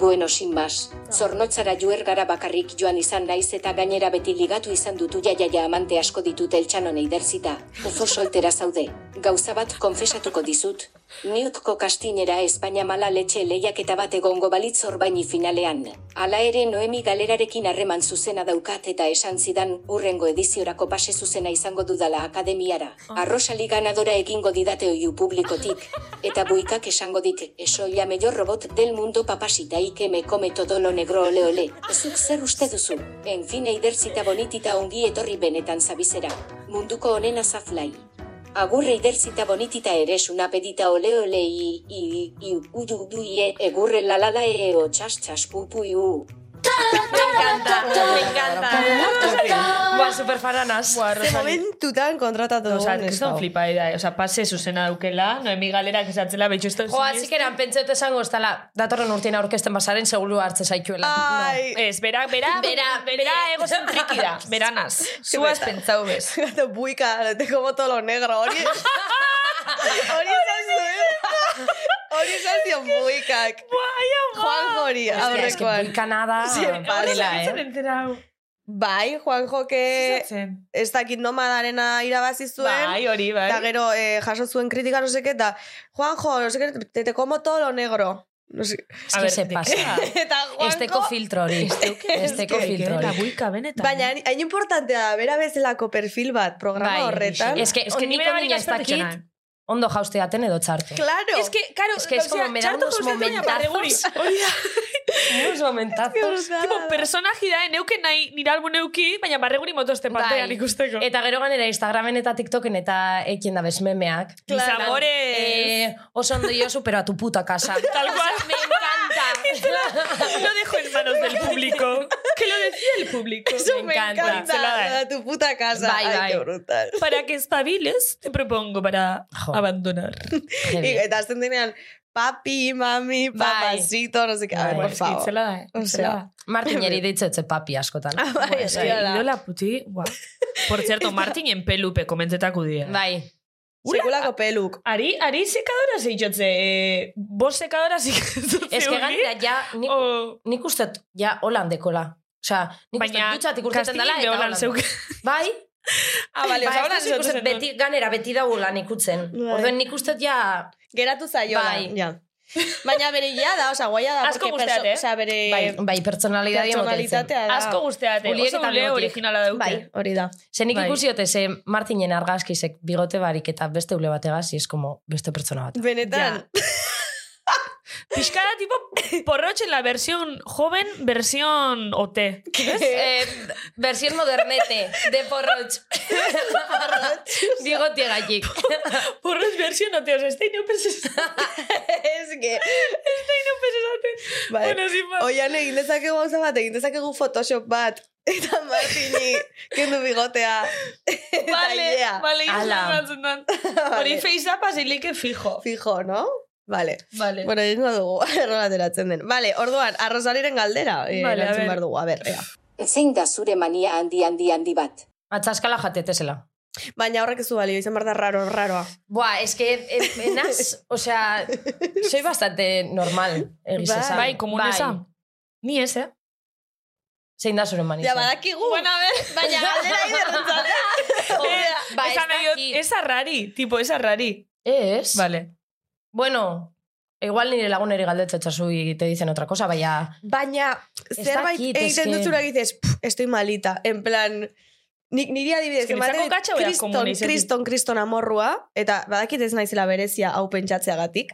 S7: Bueno, sin más. Zornotzara juergara bakarrik joan izan naiz eta gainera beti ligatu izan dutu jaia ja amante asko ditut eltsanon eiderzita. Oso soltera zaude. Gauza bat konfesatuko dizut. Niutko kastinera Espainia mala letxe lehiaketa bat egongo balitz orbaini finalean. Hala ere Noemi galerarekin harreman zuzena daukat eta esan zidan urrengo ediziorako pase zuzena izango dudala akademiara. Arrosali ganadora egingo didate oiu publikotik. Eta buikak esango dit, eso ya mellor robot del mundo papasita y que me come todo lo negro ole ole. Zuk zer uste duzu? En fin eiderzita bonitita ongi etorri benetan zabizera. Munduko onena zaflai. Agurre eiderzita bonitita eres una pedita ole ole i, i, i, u, du, du, ie, egurre lalala e, o, txas, txas, pu, pu, iu.
S6: Me encanta. Buah, superfana naz. Buah,
S5: Ze momentutan kontratatu
S4: Osa,
S5: dugun
S4: kriston
S5: eskau.
S4: flipa da, osa, eh. pase zuzena daukela, noemi galerak esatzela, betxu esto
S6: Jo, así que eran pentsatu Ba, esango estala, datorren urtein aurkezten bazaren seguru hartze zaituela.
S5: Ai,
S4: Ez, bera, bera, bera, bera egozentriki da, beranaz. Zuaz pentsau bez.
S5: gato buika, te como todo lo negro, hori... Hori esan zuen. Hori esan zion buikak. Juanjo hori,
S6: Es que
S5: aurrekoan.
S6: Kanada...
S5: Badela, eh?
S4: enterau.
S5: Bai, Juanjo, que ez dakit nomadarena irabazi zuen.
S4: Bai, hori, bai.
S5: Eta gero eh, jaso zuen kritika, no seke, eta Juanjo, no seke, te, te como todo lo negro. No sé.
S6: Es que se pasa.
S5: Eta
S6: Esteko
S5: Juanjo...
S6: filtro hori. Esteko filtro
S4: Eta
S6: hori.
S4: buika, benetan.
S5: Baina, hain- hain importantea da, bera bezalako perfil bat, programa horretan.
S6: Es que,
S4: Es
S6: es
S4: que
S6: que
S4: ni
S6: nik
S4: bera
S6: onin
S4: barik
S6: ez dakit
S4: aspertutxenan.
S6: ondo jausteaten edo txarte.
S5: Claro.
S4: Es que, claro,
S6: Es que es como me da unos momentazos. Unos momentazos.
S4: Tipo, personaji da, eh, neuken nahi nire albu neuki, baina barreguri motoste partean
S6: Bai.
S5: Eh,
S4: ikusteko.
S6: Eta gero ganera Instagramen eta TikToken eta ekien da bezmemeak.
S4: Claro.
S6: Claro. Eh, oso ondo jozu, pero a tu puta casa.
S4: Tal cual.
S6: Me encanta.
S4: Lo dejo en manos del público. Que lo decía el público.
S5: Eso me encanta.
S4: Zela da, eh.
S5: da tu puta casa.
S6: Bai,
S5: Ay,
S6: bai.
S5: qué brutal.
S4: Para que estabiles, te propongo para
S6: Jo.
S4: abandonar.
S5: Y, eta azten denean, papi, mami,
S6: Bai.
S5: papacito, no sé qué. A ver,
S6: Bai.
S5: por favor.
S4: Itzela da, eh.
S5: O
S4: Itzela da.
S5: sea,
S6: Martineri deitzotze papi askotan.
S5: bai,
S4: Bai,
S5: egia da.
S4: Idola puti, guau. Por cierto, Martinen pelupe komentetaku dira.
S6: Bai.
S5: Sekulako peluk.
S4: Ari, ari sekadora zeitzotze, eh, bos sekadora zeitzotze.
S6: Ez que ganera, ja,
S4: Oh.
S6: nik,
S4: O...
S6: nik uste, dut, ja, holan dekola. Osea, nik uste,
S4: Baina,
S6: dut dutxatik urteten dela,
S4: kastilin
S6: eta
S4: beholan
S6: holan.
S4: zeuk.
S6: Bai,
S5: Ah, vale,
S6: bai,
S5: oza, hola
S6: ez dut nik uste, dut beti, ganera beti da holan ikutzen.
S5: Bai.
S6: Orduen nik uste, dut, ja,
S5: Geratu zaio.
S6: Bai.
S5: Ja. Baina bere ja da, oza, guaia da.
S4: Asko
S5: porque
S4: gusteat,
S5: perso-
S4: eh?
S5: Osea, bere
S6: bai, bai pertsonalidadea
S5: pertsonalitatea da.
S4: Asko guzteate,
S6: Uliek
S4: oso
S6: eta
S4: ule
S6: bigotiek.
S4: originala dauke.
S5: Bai, hori da.
S6: Ze nik
S4: Bai.
S6: ikusi ote, ze Martinen argazkizek bigote barik eta beste ule bategaz, es como beste pertsona bat.
S5: Benetan.
S4: Pixka da, tipo, porrotxen la versión joven, versión OT.
S6: Eh, versión modernete, de porrotx. bigote gaitik.
S4: Porrotx versión OT, oza, ez da inopes ez
S5: Ez que...
S4: inopes esate.
S5: Bai.
S4: Bueno, sin más.
S5: Oian egin dezakegu gauza bat, egin dezakegu Photoshop bat. Eta Martini, kendu bigotea.
S4: Bale,
S5: yeah.
S4: bale,
S6: Ala.
S4: izan dan. Hori feizapa zileike fijo.
S5: Fijo, no? Vale.
S4: Bale.
S5: Bueno, egingo dugu, errola ateratzen den. Vale, orduan, arrozaliren galdera, eh,
S4: Vale, a
S5: erantzun
S4: ver.
S5: behar dugu, a ber, ea.
S7: Zein da zure mania handi handi handi bat?
S6: Atzaskala jatetezela.
S5: Baina horrek ez du balio, izan behar da raro, raroa.
S6: Buah, es que ez- ez naz, o sea, soy bastante normal, egiz
S5: Bai.
S6: esan.
S4: Bai, komunesa. Ni ez, eh?
S6: Zein da zure manisa.
S5: Ja, badakigu.
S4: Bueno, a ver,
S5: Baina galdera iberrentzale.
S4: eh,
S6: ba, ez
S4: esan nahi dut,
S6: daki.
S4: ez arrari, tipo, ez arrari.
S6: Ez?
S4: Vale.
S6: Bueno, igual nire lagun ere galdetza etxasu y te dicen otra cosa, baina...
S5: Baina,
S6: Ez
S5: zerbait
S6: dakit,
S5: egiten
S6: eske.
S5: duzura egitez, "Pff, estoy malita, en plan... Nik niri adibidez,
S4: Es que
S5: ematen
S4: niretzako
S5: dit
S4: katxa bera komuna
S5: kriston,
S4: izaten.
S5: kriston, kriston amorrua, eta badakit ez naizela berezia hau pentsatzeagatik,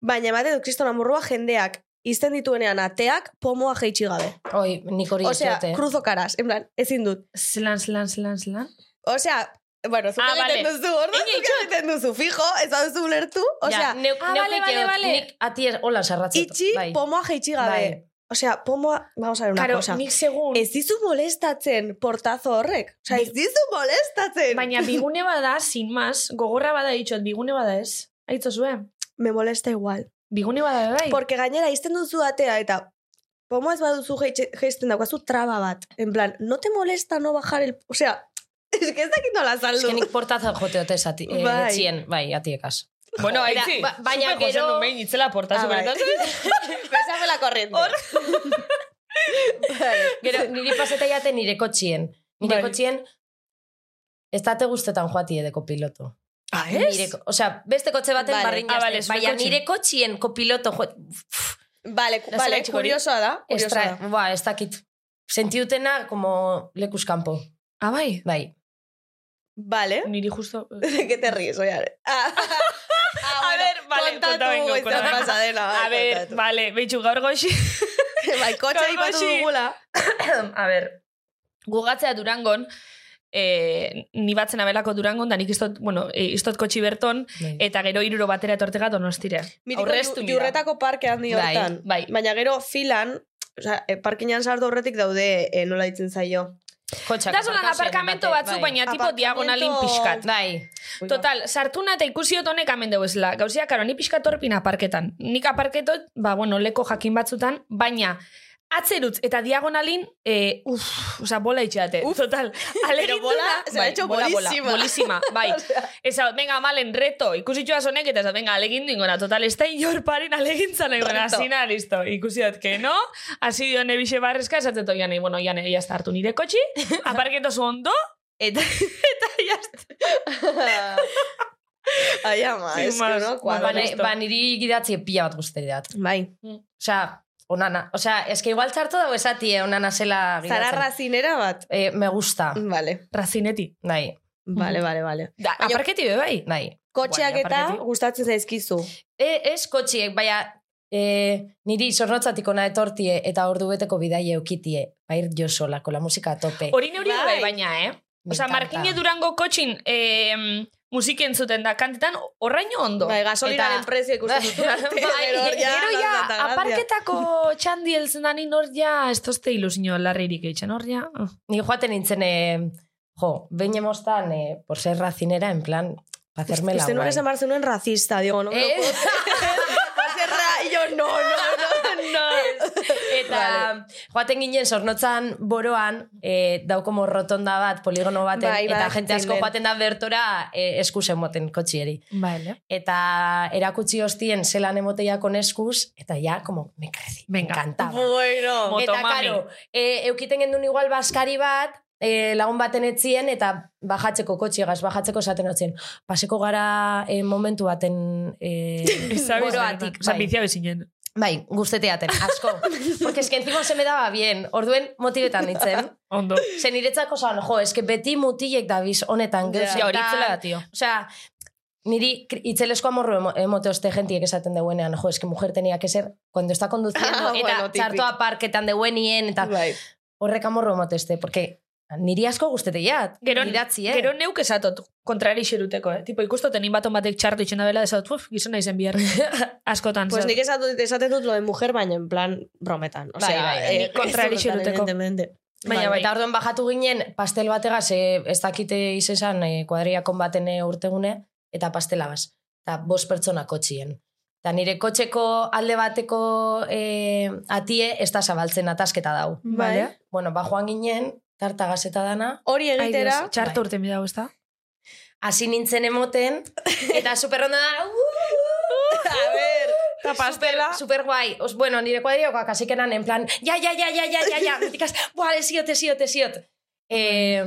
S5: baina ematen dut kriston amorrua jendeak izten dituenean ateak pomoa jeitsi gabe.
S6: Oi, nik hori ez
S5: Osea,
S6: diote.
S5: cruzo caras, en plan, ezin dut.
S4: Zelan, zelan, zelan, zelan.
S5: Osea, bueno, zuk
S4: Ah,
S5: egiten
S4: vale.
S5: duzu, orduan
S4: Ni
S5: zuk egiten duzu, fijo, ez da duzu ulertu. Osea,
S6: Ja, neuk,
S4: ah,
S6: neuk
S4: vale,
S6: nik
S4: vale,
S6: eot,
S4: vale.
S6: Nik ati er, hola sarratzet.
S5: itxi, pomoa jeitsi gabe.
S6: Bai.
S5: Osea, pomoa, vamos a ver una
S4: Karo,
S5: cosa.
S4: nik segun,
S5: Ez dizu molestatzen portazo horrek. Osea, ez dizu molestatzen.
S4: baina bigune bada, sin más, gogorra bada ditxot, bigune bada ez. Aitzo zuen,
S5: Me molesta igual.
S4: bigune bada bai.
S5: Porque gainera, izten duzu atea eta pomoa ez baduzu jeitxe- jaisten daukazu traba bat. En plan, no te molesta no bajar el... Osea, es que ez dakit nola
S6: Ez
S5: saldu.
S6: que nik portaza joteote zati, eh,
S5: Bai.
S6: etxien, bai, atiekas.
S4: bueno,
S6: Era,
S4: aitzi,
S6: ba- baina
S4: super gozen
S6: gero-
S4: du behin itzela portazu
S5: Ah, bai.
S4: beretan.
S5: Esa fue la corriente.
S6: Gero, niri paseta jaten nire kotxien. Nire
S4: Bai.
S6: kotxien, ez date guztetan joati edeko piloto.
S4: Ah,
S6: Nire, ko- osea, beste kotxe baten
S5: Vale.
S6: vale.
S4: Ah, vale, zure
S6: baina
S4: kotxien.
S6: nire kotxien kopiloto jo... Pff,
S5: Vale,
S6: No
S5: vale,
S6: zela txikori.
S5: kuriosoa da. Kuriosoa
S6: Estra,
S4: eh.
S5: da.
S6: ba, ez dakit. Sentiutena, como lekuz kanpo.
S4: Ah, bai.
S6: Bai.
S5: Vale.
S4: Niri justo...
S5: ¿De qué te ríes, oiare? Ah, ah,
S4: A
S5: bueno,
S4: ver, vale,
S5: kontatu
S4: konta bengo,
S5: goizan
S4: konta bengo.
S5: pasadena, bai,
S4: A ver,
S5: kontatu.
S4: vale, behitxu gaur goxi.
S5: Bai, kotxe
S4: Gaur
S5: aipatu
S4: goxi.
S5: dugula.
S4: a ber, gugatzea Durangon, eh, ni batzen abelako Durangon, da nik istot, bueno, eh, istot kotxi berton,
S6: bai.
S4: eta gero hiruro batera etortega donostire.
S5: Miriko
S4: Aurreztu
S5: ju-
S4: mira.
S5: jurretako parke handi
S6: Bai,
S5: hortan.
S4: bai.
S5: Baina gero filan, oza, parkinan sartu horretik daude eh, nola ditzen zaio.
S6: Kotxak
S4: Da zolan
S6: aparkazioan
S4: aparkamento
S6: bate,
S4: batzuk,
S6: bai.
S4: baina tipo
S5: Aparkamento-
S4: diagonalin pixkat.
S6: Bai,
S5: Ui, ba.
S4: Total, sartuna eta ikusi dut honek hemen dugu ezela. Gauzia, karo, ni pixka torpin aparketan. Nik aparketot, ba, bueno, leko jakin batzutan, baina atzerutz eta diagonalin, e, uf, oza, bola itxeate. Uf, total, Bai,
S5: Pero bola, se ha hecho bolísima.
S4: bolísima, bai. Eza, venga, malen, reto, ikusi txua honek, eta eza, venga, alegin duingona, total, ez da inor parin alegintza nahi gona,
S5: Reto.
S4: asina, listo, ikusi dut, que no, hasi dio nebixe barrezka, esateto, jane, bueno, jane, jazta hartu nire kotxi, aparketo zu ondo, eta, eta jazta.
S5: Ai, ama,
S4: Sin
S5: es que
S4: más.
S5: no,
S4: Ba,
S5: kuadro.
S6: ba, ne-
S4: listo.
S6: ba, niri gidatzi pila bat guzti dat.
S5: Bai,
S6: Osea, onana. Osea, eske igual txarto dago esatie onana zela gidatzen.
S5: zara razinera bat.
S6: Eh, me gusta.
S5: Vale,
S4: Razineti.
S6: Bai, Ah,
S5: vale, vale, vale.
S4: Mm. Da, aparketi be bai.
S6: bai.
S5: Kotxeak
S4: Guai,
S5: eta
S4: aparketi.
S5: gustatzen zaizkizu.
S6: E, ez kotxiek, baina e, niri zornotzatik ona etortie eta ordu beteko bidaie eh. eukitie. Bair jo sola, con la musika a tope.
S4: Hori neuri
S5: Bai.
S4: bai. bai baina, eh?
S6: Me
S4: Osa,
S6: encanta.
S4: Markine Durango kotxin eh, musiken zuten da kantetan horraino ondo.
S5: Bai, gasolinaren
S4: Eta-
S5: prezio ikusten duzu arte.
S4: Bai,
S5: gero hor
S4: gero ja,
S5: danta grazia.
S4: aparketako txandi elzen da nor ja, ez tozte ilusio larririk eitzen hor ja. ah.
S6: Ni joaten nintzen, eh, jo, behin emoztan, eh, por ser racinera, en plan, pa hacerme la
S5: Usted no
S6: guai.
S5: eres amarse uno en racista, digo, no me lo
S6: Eh.
S5: puedo hacer ra- y yo, no, no, no.
S6: Eta joaten ginen sornotzan boroan, eh, daukomo rotonda bat, poligono baten,
S5: Bai,
S6: eta
S5: badakit
S6: jente asko
S5: zein den.
S6: joaten da bertora eh, eskusen moten kotxieri.
S4: Vale.
S6: Eta erakutsi hostien zelan emoteia kon eskuz, eta ja, como, me crezi, me
S4: Venga.
S6: encantaba.
S5: Bueno.
S4: Motomami.
S6: Eta, karo, e, eukiten gendun igual baskari bat, e, lagun baten etzien, eta bajatzeko kotxigaz, bajatzeko esaten otzien. Paseko gara e, momentu baten e, boroatik.
S4: Osa,
S6: Bai,
S4: bizia bezinen.
S6: bai guzteteaten, asko. Porque eske encima se me daba bien, orduen motibetan ditzen.
S4: Ondo.
S6: Ze niretzako zan, jo, eske beti mutilek dabiz
S5: Ja.
S6: honetan, geuzetan.
S4: Ja, hori itzela da, tio.
S6: Osea, niri kri- itzelesko amorru emo- emote oste gentiek esaten deuenean, jo, eske mujer tenía que ser, cuando está conduciendo,
S5: Ah,
S6: eta
S5: bueno, típico.
S6: txartoa parketan deuenien, eta
S5: Bai.
S6: horrek amorru emote este, porque niri asko guztete jat,
S4: Gero,
S6: idatzi, eh?
S4: gero neuk esatot kontrari xeruteko, eh? Tipo, ikustoten inbaton batek txarto itxena dela, esatot, uf, gizona izen bihar. Askotan.
S5: Pues
S4: zer.
S5: nik esaten dut, esaten dut lo de mujer, baina en plan brometan. O
S6: Bai,
S5: sea,
S6: bai,
S5: eh,
S4: nik kontrari
S5: ez dut,
S4: xeruteko.
S5: evidentemente.
S4: Baina bai.
S6: Eta orduan bajatu ginen pastel bategaz, e, ez dakite izan e, kuadriakon baten e, urtegune, eta pastelagaz. Eta bost pertsona kotxien. Eta nire kotxeko alde bateko e, atie ez da zabaltzen atasketa dau.
S5: Bai.
S4: Vale.
S6: Bueno, ba joan ginen, tarta gazeta dana,
S5: Hori
S4: Ai,
S5: egitera,
S4: Dios, txarto
S6: Bai.
S4: urten bidago, ez da?
S6: hasi nintzen emoten, eta superronda da,
S5: a ber, eta pastela.
S4: Ah.
S6: Super guai. Os, bueno, nire kuadriokoak hasi kenan, en plan, ja, ja, ja, ja, ja, ja, ja, mitikaz, buah, esiot, esiot, esiot. E,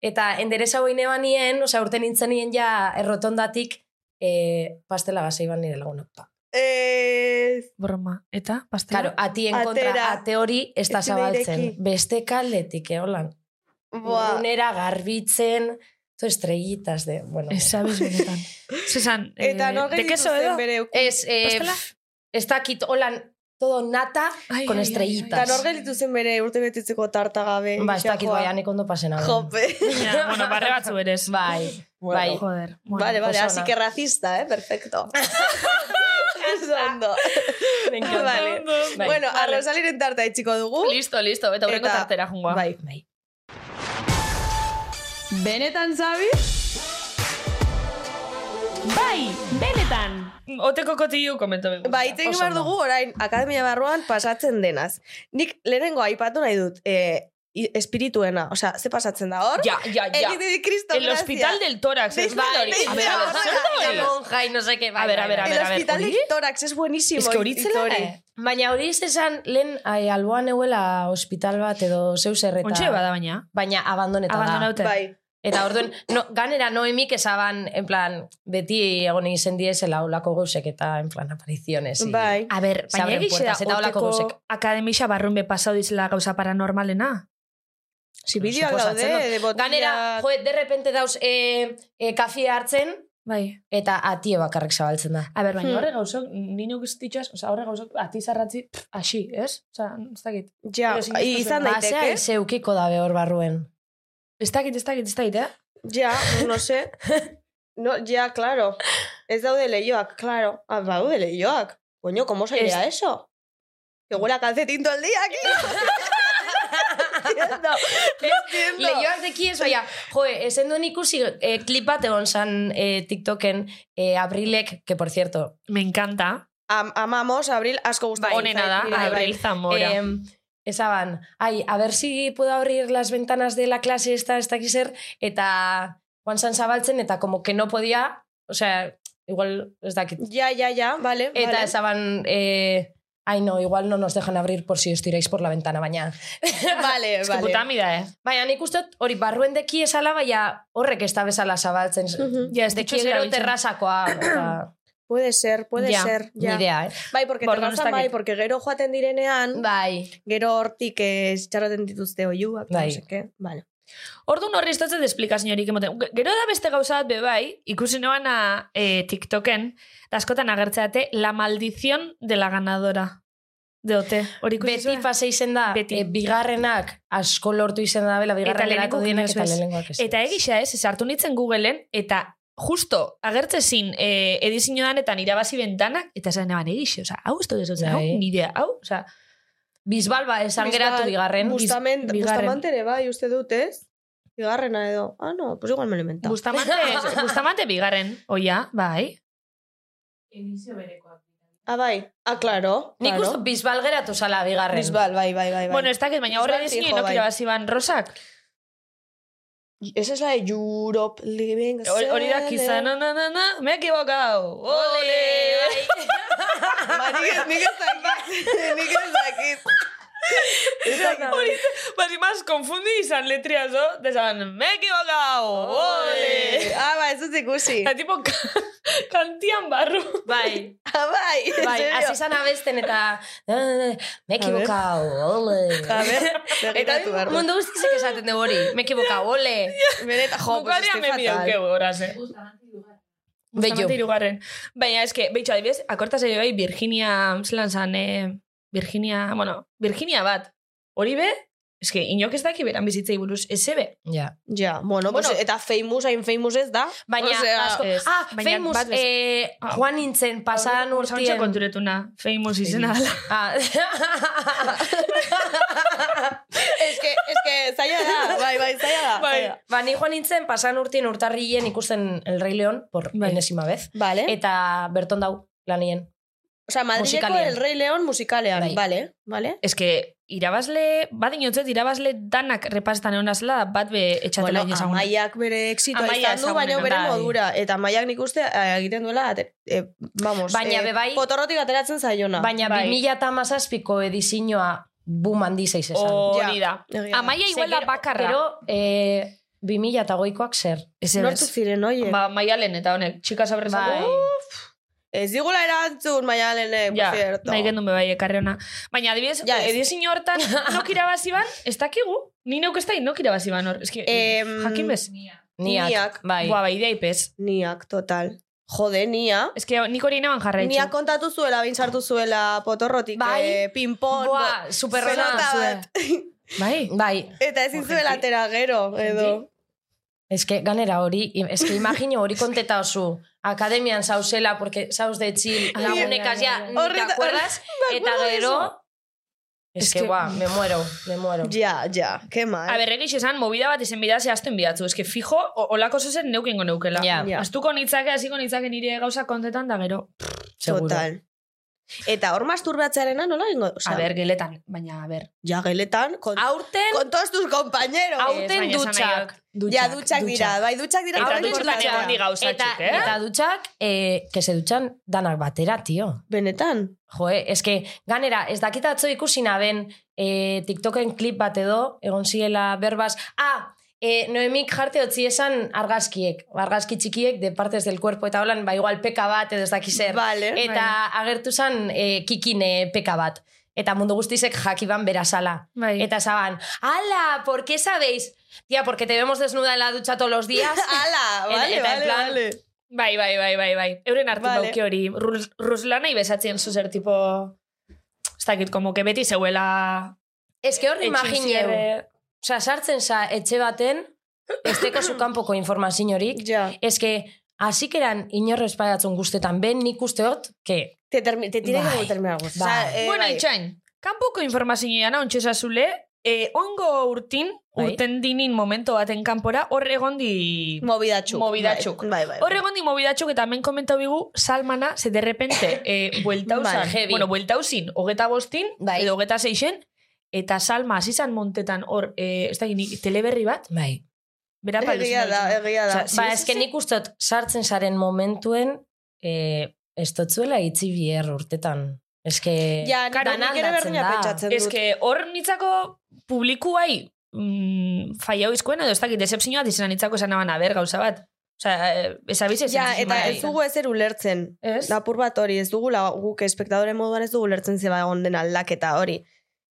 S6: eta endereza hoi neba nien, osea, urte nintzen nien ja errotondatik, e, pastela gaza iban nire lagunok. Pa.
S5: Ez,
S4: Broma. Eta, pastela?
S6: Claro, atien kontra,
S5: Atera.
S6: ate hori ez da
S5: Ez nireki.
S6: zabaltzen. Beste kaldetik, eolan.
S5: Buah.
S6: Unera garbitzen, to estrellitas de, bueno.
S4: Ez sabes benetan. Zesan, eh,
S5: Eta nor
S4: de queso
S5: gerituzen
S4: edo?
S5: bere
S6: Ez, eh,
S4: Pastela?
S6: ez dakit, holan, todo nata,
S4: Ai,
S6: con
S4: ai, ai, ai.
S5: Eta
S6: estrellitas.
S5: nor gelditu zen bere urte betetzeko tarta gabe.
S6: Ba, ez dakit
S5: joa.
S6: baianik ondo pasena.
S5: Jope.
S4: Ja, bueno, barre batzu berez.
S6: Bai, bai.
S4: Joder. Bueno,
S5: Vale, vale,
S6: oso
S5: así
S6: ona.
S5: que racista, eh? Perfecto. Oso ondo.
S6: Me encanta.
S5: vale.
S6: Bai.
S5: Bueno, a Rosaliren tarta itxiko dugu.
S4: Listo, listo. Eta horrengo
S5: Eta-
S4: tartera jungoa.
S5: Bai.
S6: Bai.
S5: Benetan, Zabi?
S2: Bai, benetan.
S4: Oteko kotillu komento begu.
S5: Ba, iten behar dugu orain akademia barruan pasatzen denaz. Nik lehenengo aipatu nahi dut, eh, i- espirituena, osea, ze pasatzen da hor?
S4: Ja, ja, ja.
S5: Egite di Cristo,
S4: El
S5: gracia.
S4: hospital del tórax.
S5: Deitzen
S4: ez da
S5: da
S4: hori.
S5: hori.
S4: A ver, a ver,
S5: Deitzen
S4: zer da hori?
S6: La monja y no sé qué. Bai,
S4: A ver,
S6: bai,
S4: a ver, a
S6: bai.
S4: ver.
S5: El hospital
S4: hori?
S5: del tórax, es buenísimo.
S4: Ez que hori zela, eh?
S6: Baina hori ez esan, lehen ai, alboan euela hospital bat edo zeus erreta.
S4: Ontxe bada baina.
S6: Baina abandoneta da.
S4: Abandonauta.
S5: Bai.
S6: Eta orduan, no, ganera noemik esaban, en plan, beti egon izen diesela olako gauzek eta, en plan, apariciones. y-
S5: Bai.
S4: A ber,
S6: Se
S4: baina
S6: abren
S4: egixe da
S6: puertas, eta holako
S4: oteko
S6: gauzek.
S4: akademisa barrun be pasau dizela gauza paranormalena.
S5: Bideoak
S6: Suposatzen
S4: ¿eh?
S5: daude,
S6: dut.
S5: de botillak.
S6: Ganera, jo, de repente dauz e, e, kafia hartzen,
S4: Bai.
S6: eta atie bakarrik zabaltzen da.
S4: A ber, baina
S5: Hmm.
S4: horre gauzok, nino giztitxoaz, oza, horre gauzok atizarratzi, hasi, ez? Oza, ez dakit.
S5: Ja,
S4: Pero sin
S5: izan
S4: Ba,
S6: Basea
S5: daiteke.
S6: izeukiko da behor barruen.
S4: Ez dakit, ez dakit, ez dakit, eh?
S5: Ja, no sé. No, ja, claro. Ez daude lehioak, claro. Ah, daude lehioak. Coño, ¿cómo se idea eso? Que huele a calcetín todo el día aquí. Entiendo. Entiendo.
S6: Leioak deki ez, baina, joe, esen duen ikusi eh, klip bat egon zan eh, TikToken eh, abrilek, que por cierto,
S4: Me encanta.
S5: Am, amamos, Abril, asko gustatzen.
S4: Honena da,
S5: zait, nire bai.
S4: Abril Zamora.
S6: eh, esaban, ai, a ver si puedo abrir las ventanas de la clase esta, ez dakiz zer, eta Juan San zabaltzen, eta como que no podía, o sea, igual, ez dakit.
S5: Ja, ja, ja, vale.
S6: Eta
S5: vale.
S6: esaban, eh, ai, no, igual no nos dejan abrir por si os tiráis por la ventana, baina.
S5: Vale,
S4: Ez que
S5: vale.
S4: putamida, eh?
S6: Baina nik uste dut hori barruen deki esala, baina horrek ez da bezala zabaltzen.
S5: Mm.
S4: Ja, ez
S6: deki
S4: ditxo
S6: gero
S4: erabiltzen.
S6: terrazakoa. Eta...
S5: Puede ser, puede
S4: Ja,
S5: ser.
S6: Ni
S5: Ja.
S6: idea, eh?
S5: Bai, porque
S4: Ba, orduan ez
S5: terrazan bai,
S4: dakit.
S5: porque gero joaten direnean,
S6: Bai.
S5: gero hortik eh, txarroten dituzte oiuak,
S6: Bai.
S5: no sé qué. Vale.
S4: Orduan horri estatzen desplikaziorik emoten. Ge- Gero da beste gauza bat bebai, ikusi noana eh, TikToken, da askotan agertzeate, la maldición de la ganadora. De ote, hori ikusi
S6: Beti
S4: zuen?
S6: pase izen da,
S4: Beti.
S6: eh, bigarrenak asko lortu izen da, bela, bigarren
S4: lehenengoak
S6: geratu dienak
S4: inoiz
S6: eta
S4: ez.
S6: lehenengoak ez.
S4: Eta egisa ez, ez hartu nintzen Googleen, eta justo agertzezin e, edizinoan eta irabazi bentanak, eta esan eban egixe, oza, hau ez dut ez dut, hau
S6: Bai.
S4: nire, hau, oza,
S6: Bizbalba, esan geratu bigarren.
S5: Bustamen,
S4: Biz- bigarren.
S5: Bustamante ere bai, uste dut, ez? Bigarrena edo. Ah, no, pues igual me lo he inventado.
S4: Bustamante, Bustamante bigarren, oia, bai.
S5: ah, bai. Ah, claro.
S6: Nik
S5: claro.
S6: uste bizbal geratu zala bigarren.
S5: Bisbal, bai, bai, bai. bai.
S4: Bueno, ez dakit, baina horre
S5: Bisbal
S4: edizino,
S5: fijo,
S4: inoki
S5: bai.
S4: irabazi ban rosak.
S5: Esa es la de Europe Living
S4: Hor- Hori da, kiza, na, na, na, na, me he equivocado. Ole!
S5: Ba, nik nik ez dakit. Nik ez dakit. Ez dakit.
S4: Basi pues, más confundi izan letrias, do? Desan, me he equivocado. Ole!
S5: Ah, bai, ez dut ikusi.
S4: Eta tipo, ka- kantian barru.
S6: Bai,
S5: Ah, bai, en
S6: bai,
S5: serio.
S6: hasi zan abesten eta eh, me he equivocado, ole.
S5: A ber,
S6: Eta
S5: begiratu behar dut.
S6: mundu guztizek esaten du hori, me he equivocado, ole.
S5: Benetan, jo, pues
S4: Bukaria
S5: este
S4: me mide
S5: fatal.
S4: ukeu, horaz, eh?
S6: Bello.
S4: Bustamante hirugarren. Baina, eske, behitxo, adibidez, akorta zaio bai, Virginia, zelan zan, eh, Virginia, bueno, Virginia bat. Hori be, eske, inok ez daki beran bizitzei buruz, ez ebe.
S6: Ja.
S5: Ja, bueno, pues,
S4: Bueno.
S5: eta famous, hain famous ez da.
S6: Baina,
S5: Osea,
S6: asko,
S4: ez.
S6: ah,
S4: Baina
S6: famous,
S4: bat bez-
S6: eh, joan nintzen, pasadan
S4: Hauntxe
S6: urtien.
S4: konturetuna, famous izena. dela.
S6: Ah.
S5: eske, eske, zaila da, bai, bai, zaila da.
S4: Bai.
S5: zaila da.
S6: Ba, ni joan nintzen, pasan urtien urtarrilen ikusten El Rey León, por
S4: Bai.
S6: enésima vez.
S5: Vale.
S6: Eta berton dau, lanien.
S5: Osa, Madrileko
S6: musikalean.
S5: El Rey León musikalean,
S6: Bai.
S5: vale, vale.
S4: Ez que irabazle, badinotzet irabazle danak repastan egon azla, bat be etxatela
S5: Bueno,
S4: bueno, ezagun.
S5: amaiak bere exitoa
S4: Amaia
S5: izan du, baina
S4: ezagunena,
S5: bere
S4: bai.
S5: modura. Eta amaiak nik uste eh, egiten duela, ate- eh, vamos,
S6: Baina
S5: eh,
S6: be bai-
S5: potorrotik ateratzen zaiona.
S6: Baina
S4: Bai.
S6: 2008ko edizioa bum handi zaiz esan.
S4: Hori da.
S5: Ja, egia da.
S4: Ba, Amaia
S6: Ze
S4: igual da
S6: gero-
S4: bakarra.
S6: Gero, eh, 2008koak zer.
S4: Ez
S5: Nortu
S4: ez.
S5: ziren, oie.
S4: Ba, maialen eta honek, txikas abrezatu.
S6: Bai.
S5: Ez digula erantzun, baina lehenek,
S4: Ja,
S5: por cierto.
S4: Uh, nahi gendun bebai ekarri ona. Baina, adibidez,
S5: Ja,
S4: ja,
S5: ez.
S4: edizin hortan nok irabazi ban, ez dakigu. Ni neuk ez da nok irabazi ban hor. Ez que,
S5: Em,
S4: jakin bez. Nia.
S6: Niak.
S5: Niak.
S6: Bai.
S4: Boa, bai, idea ipez.
S5: Niak, total. Jode, nia.
S4: Ez que nik hori neban jarraitzu.
S5: Nia kontatu zuela, bain sartu zuela potorrotik,
S6: Bai.
S5: eh, pinpon,
S6: Boa,
S5: bo-
S6: superrona
S5: pelota
S6: zue.
S5: bat.
S4: Bai.
S6: Bai,
S5: Eta ezin zuela atera gero, edo.
S6: eske ganera hori, eske imagino hori konteta osu. Akademian zauzela, porque zauz de chill,
S4: Ai,
S6: lagunekas
S4: ai,
S6: ya,
S4: ai,
S6: ni
S5: Horre-
S6: te acuerdas, eta gero... Eske,
S4: Eske-
S6: guau, me muero, me muero.
S5: Ja, ja, que mal.
S4: A ber, egiz esan, movida bat izen bidaz zehazten bidatzu. Ez que fijo, o- olako zozen neukengo neukela.
S6: Ja.
S5: Ja.
S4: Aztuko nitzake, hasiko nitzake nire gauza kontetan da gero.
S6: Seguro.
S5: Total. Eta hor masturbatzearena nola ingo? Osa,
S4: A ber, geletan, baina, a ber.
S5: ja geletan, con,
S6: Aurten,
S5: con todos tus compañeros.
S4: Au- Ez,
S6: aurten
S4: baina esan nahi
S6: dutxak.
S4: dut.
S5: ja, dutxak dira, bai, dutxak dira.
S4: Eta
S5: hor
S4: dutxak
S5: gertatzen
S4: dira,
S5: da.
S4: handi gauzatxuk,
S6: Eta,
S4: eh?
S6: eta dutxak, eh, que se dutxan danak batera, tío.
S5: Benetan.
S6: Joe, eske, ganera, ez dakita atzo ikusi naben eh, TikToken klip bat edo, egon ziela berbaz, ah, eh, Noemik jarte otzi esan argazkiek, argazki txikiek de partes del cuerpo, eta holan, ba, igual peka bat edo ez dakizer.
S5: Vale.
S6: eta agertu zan eh, kikine peka bat. Eta mundu guztizek jakiban berazala.
S4: Bai.
S6: Eta saban, ala, ¿por qué sabéis? Tía, porque te vemos desnuda en la ducha todos los días.
S5: Ala,
S6: Eta-
S5: vale,
S6: eta en
S5: vale,
S6: plan-
S5: vale.
S4: Bai, bai, bai, bai, bai. Euren hartu
S5: Vale.
S4: vale. dauke hori. Rus, Ruslanei besatzen zuzer, tipo... Ez dakit, como que beti zeuela...
S6: es que hor imagineu. Osa, sartzen za etxe baten, esteko zu kanpoko informaziorik.
S5: Ja.
S6: Es que, hasikeran inorrez pagatzen guztetan, ben nik usteot, que...
S5: Te, termi, te tiene
S6: Bai.
S5: que terminar guzti.
S6: Bai.
S5: Osea, eh,
S4: bueno,
S5: bai.
S4: itxain, kanpoko informazioa na ontsa zazule, eh, ongo urtin,
S6: Bai.
S4: urten dinin momento baten kanpora, hor egon di...
S5: Mobidatxuk.
S4: Mobidatxuk.
S5: Bai, bai.
S4: Hor egon di mobidatxuk eta hemen komentau bigu salmana, ze de repente eh, bueltauzan,
S6: Bai, heavy.
S4: bueno, bueltauzin, hogeta bostin,
S6: Bai.
S4: edo hogeta seixen, eta salma, azizan montetan hor, eh, ez da, teleberri bat,
S6: Bai.
S4: bera paluzina.
S5: Egia da,
S4: izan.
S5: egia da.
S4: Osea,
S6: Ba,
S4: Sí,
S6: es
S4: sí,
S6: que
S4: sí.
S6: nik usteot sartzen zaren momentuen, eh, ez dotzuela itzi bier urtetan. Es que...
S5: Ja,
S4: eh,
S5: nik-
S6: dana
S5: nik ere
S6: aldatzen
S5: berdina
S6: da.
S5: pentsatzen
S4: Ez
S5: dut.
S4: que hor nitzako publikuai mm, faia izkoen edo ez dakit decepzioa dizena nitzako esan abana ber gauza bat. Osea, eh, ez abiz ez. bai.
S5: Ja, eta ez dugu ezer ulertzen.
S4: Ez?
S5: Napur bat hori, ez dugula guk espektadoren moduan ez dugu ulertzen zeba egon den aldaketa hori.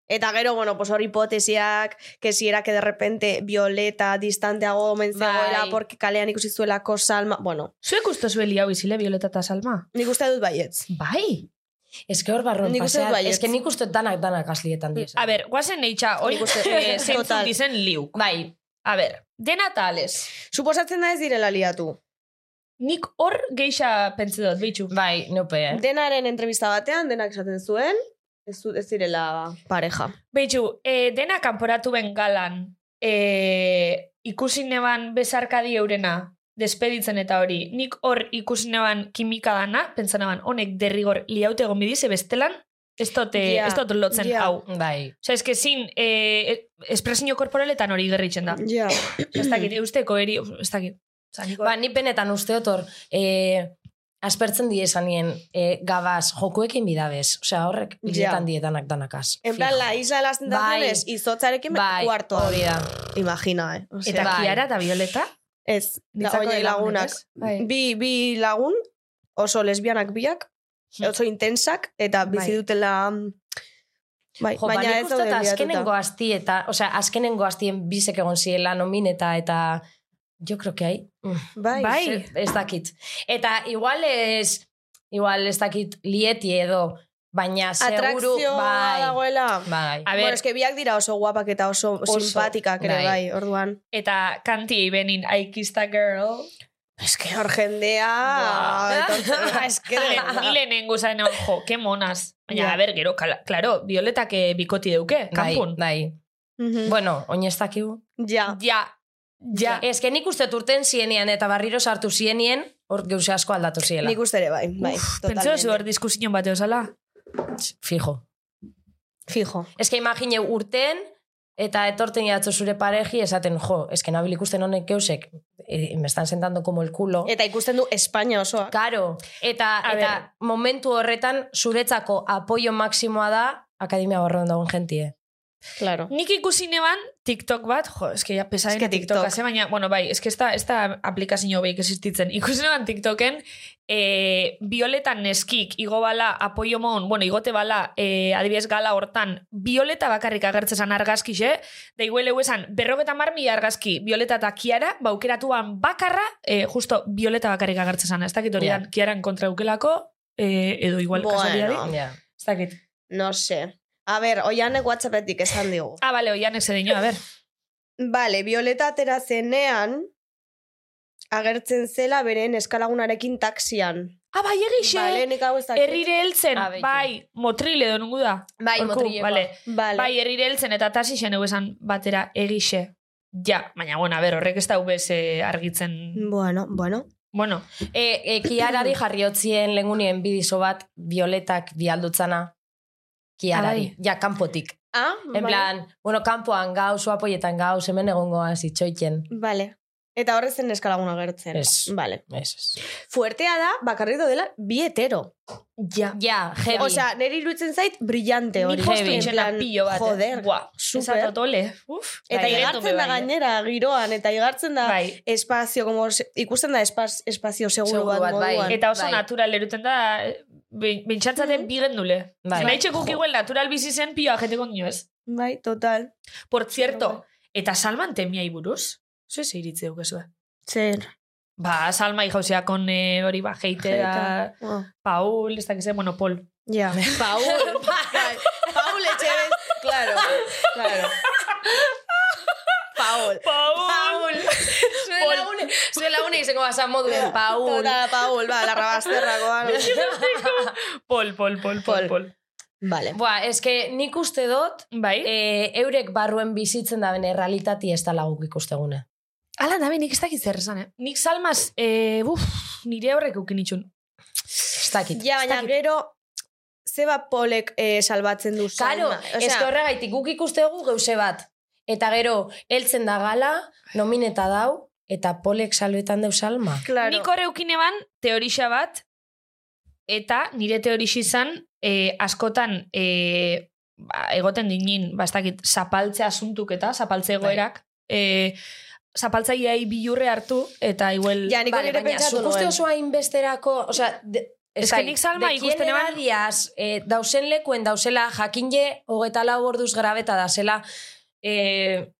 S5: Eta gero, bueno, pues hor hipotesiak, que si era que de repente Violeta distanteago omen zegoela,
S6: Bai.
S5: porque kalean ikusi zuelako salma... Bueno,
S4: Zuek uste zueli hau izile, Violeta eta Salma?
S5: nik uste dut baietz.
S4: Bai.
S6: Es que hor barruan
S5: Nik uste dut bai, Mm,
S6: paseat,
S5: baietz.
S6: es que nik usteot danak danak aslietan dies.
S4: A ber, guazen neitxa, hori
S5: Nik uste-
S4: eh,
S5: Total.
S4: zeintzun dizen liuk.
S6: Bai,
S4: A ber, dena eta ales.
S5: Suposatzen da ez direla liatu.
S4: Nik hor geixa pentsi dut, bitxu.
S6: bai, nope, eh.
S5: Denaren entrevista batean, denak esaten zuen, ez, zu- ez direla pareja.
S4: Beitxu, e, dena kanporatu ben galan, e, ikusi neban bezarkadi eurena, despeditzen eta hori, nik hor ikusi neban kimika dana, pentsa neban, honek derrigor liaute egon bidize bestelan, ez dut eh,
S5: Ja,
S4: ez dut lotzen
S5: ja.
S4: hau.
S6: Bai.
S4: Osa, eske zin, e, espresio korporaletan hori gerritzen da.
S5: Ja.
S4: Osea, Ez dakit, eusteko eri, ez dakit. Osea, nik hor-
S6: Ba, ni benetan usteot hor, eh, aspertzen diesanien eh, gabaz, jokuekin bidabez. Osea, horrek biletan dietanak danakaz.
S5: En plan, la isla de las tentaciones,
S6: Bai.
S5: izotzarekin
S6: Bai,
S5: kuartoa.
S6: hori da.
S5: Imagina, eh? O sea,
S4: Eta
S6: bai.
S4: Kiara eta Violeta?
S5: Ez, da,
S4: nitzako
S5: oie,
S4: de lagunek,
S5: lagunak.
S4: ez? Bai.
S5: Bi, bi lagun, oso lesbianak biak,
S6: Hmm.
S5: oso intensak, eta bizi
S4: Bai.
S5: dutela... mm, Bai,
S6: Jo,
S5: baina ez daude
S6: ba, dut azkenengo
S5: bilatuta.
S6: azti eta, osea, azkenengo aztien bizek egon ziela nomin eta, eta, jo creo que hai,
S5: Bai,
S4: Bai.
S6: Ez- Ez dakit. Eta igual ez, igual ez dakit lieti edo, baina seguru,
S5: atrakzioa
S6: bai,
S5: dagoela.
S6: bai.
S4: A
S5: Bueno,
S4: ber,
S5: eske biak dira oso guapak eta oso,
S6: Oso,
S5: simpatikak ere,
S6: bai.
S5: bai, orduan.
S4: eta kanti benin, I kissed a girl.
S5: Eske hor jendea...
S6: Buah.
S5: etortzen- eske...
S4: Ni lehenengo zain egon, jo, ke monas. Baina,
S5: Ja.
S4: a ber, gero, kala, claro, violetak eh, bikoti deuke,
S6: Bai,
S4: kanpun.
S6: bai.
S5: Mhm.
S6: Bueno, oinestakigu.
S5: ja.
S4: Ja, ja.
S6: Ez que nik uste turten zienian eta barriro sartu zienien, hor geuze asko aldatu ziela.
S5: Nik uste ere bai, bai,
S4: Pentsa zu hor diskusiñon bate osala.
S6: Fijo.
S5: Fijo.
S6: Ez que imagineu urten, eta etorten jatzu zure pareji esaten, jo, ez que nabil ikusten honek geusek, e, me están sentando como el culo.
S5: Eta ikusten du Espainia osoa.
S6: Karo, eta,
S4: A
S6: eta momentu horretan zuretzako apoio maksimoa da akademia barroan dagoen jentie.
S5: Claro.
S4: Nik ikusi neban TikTok bat, jo, eske ja pesaren
S5: Eske
S4: que TikTok,
S5: TikTok.
S4: haze, baina, bueno, bai, eske ez da, ez da aplikazio behik existitzen. Ikusi neban TikToken, e, Violeta neskik, igo bala, apoio mon, bueno, igote bala, e, adibidez gala hortan, Violeta bakarrik agertzezan argazki, xe, da iguel hau esan, berrogeta marmi argazki, Violeta eta Kiara, baukeratuan bakarra, e, justo, Violeta bakarrik agertzezan, ez dakit hori
S6: Ja.
S4: dan, Kiaran kontra ukelako, e, edo igual
S5: Bueno.
S4: kasariari,
S6: Ja.
S4: ez dakit.
S5: No sé. A ber, oianek WhatsAppetik esan digu.
S4: Ah, bale, oianek zedino, a ber.
S5: Bale, Violeta atera zenean, agertzen zela beren eskalagunarekin taxian.
S4: Ah, bai, egixe!
S5: Bale, nik hau ez dakit.
S4: Herrire heltzen,
S6: Ah, beitu.
S4: bai, motril edo nungu da.
S6: Bai,
S4: Horku,
S6: motrilekoa.
S4: Bale.
S5: Bale.
S4: Bai, herrire heltzen eta tasixen egu esan batera egixe. Ja, baina, bueno, a ber, horrek ez da ubez eh, argitzen...
S5: Bueno, bueno.
S4: Bueno,
S6: E, e, kiarari jarriotzien lengunien bidizo bat, violetak bialdutzana, kiarari,
S4: Ah,
S6: ja, kanpotik.
S5: Ah,
S6: En
S4: Bai.
S6: plan, bueno, kanpoan gauz, apoietan gauz, hemen egongo azitxoiken.
S5: Bale. Eta horrez zen eskalaguna agertzen.
S6: Ez.
S5: Vale.
S6: Ez, ez.
S5: Fuertea da, bakarrik dela, bi hetero.
S4: ja.
S6: Ja, heavy.
S5: Osea, niri iruditzen zait, brillante hori.
S4: Ni
S6: heavy,
S4: postu
S5: En
S4: itxena
S5: plan,
S4: pillo bat. eh.
S5: Joder.
S4: Buah,
S5: super.
S4: Esa totole. Uf.
S5: Eta
S4: Bai,
S5: igartzen da
S4: bai,
S5: gainera giroan, eta igartzen da
S4: Bai.
S5: espazio, como, se- ikusten da espaz, espazio seguru
S6: Seguru
S5: bat,
S6: bat, bai.
S5: moduan.
S4: Eta oso
S6: Bai.
S4: natural eruten da, eh, ben- bentsatzaten
S5: Mm-hmm.
S4: bi gendule.
S6: Bai.
S4: Bai. Nahi guk igual natural bizi zen pioa jeteko nio ez.
S5: Bai, total.
S4: Por cierto, eta salman temiai buruz? Zue ze iritze dukezue?
S5: Zer.
S4: Ba, Salma jauzea kon eh, hori ba, jeitea,
S5: Jeita. Oh.
S4: Paul, ez dakize, bueno, Paul.
S5: Ja. Paul. bai. Paul Etxebez. Claro, claro. Paul.
S4: Paul!
S6: zue lagune, zue lagune izango bazan moduen, Paul.
S5: Total, Paul, ba, larrabasterrakoan.
S4: Paul, Paul, Paul, Paul,
S5: Paul.
S4: Paul.
S5: Vale.
S6: Boa, Ba, eske nik uste dut,
S4: Bai?
S6: e, eurek barruen bizitzen da bene errealitati ez da laguk ikusteguna.
S4: Ala, da, be, nik ez dakit zer esan, eh? Nik salmaz, eh, buf, nire horrek eukin itxun.
S6: Ez dakit.
S5: Ja, baina gero, zeba Polek eh, salbatzen du
S6: Karo,
S5: Salma.
S6: ez que horregaitik guk ikustegu geuze bat. Eta gero, heltzen da gala, nomineta dau, eta polek salbetan deu salma.
S5: claro.
S4: Nik hor eukin eban teorixa bat, eta nire teorixi izan eh, askotan eh, ba, egoten ginen, ba, ez dakit, zapaltze asuntuk eta
S5: Bai.
S4: zapaltze egoerak, eh, zapaltzaileai bilurre hartu, eta igual...
S5: Ja, nik hori ere
S6: Bai, baina
S5: pentsatu
S6: zuk uste
S5: nuen.
S6: oso hainbesterako, osea, de,
S4: Ez que nik Salma ikusten eban-
S6: Diaz, e, dausen lekuen dausela, jakinde, hogeta lau orduz grabeta da zela, e,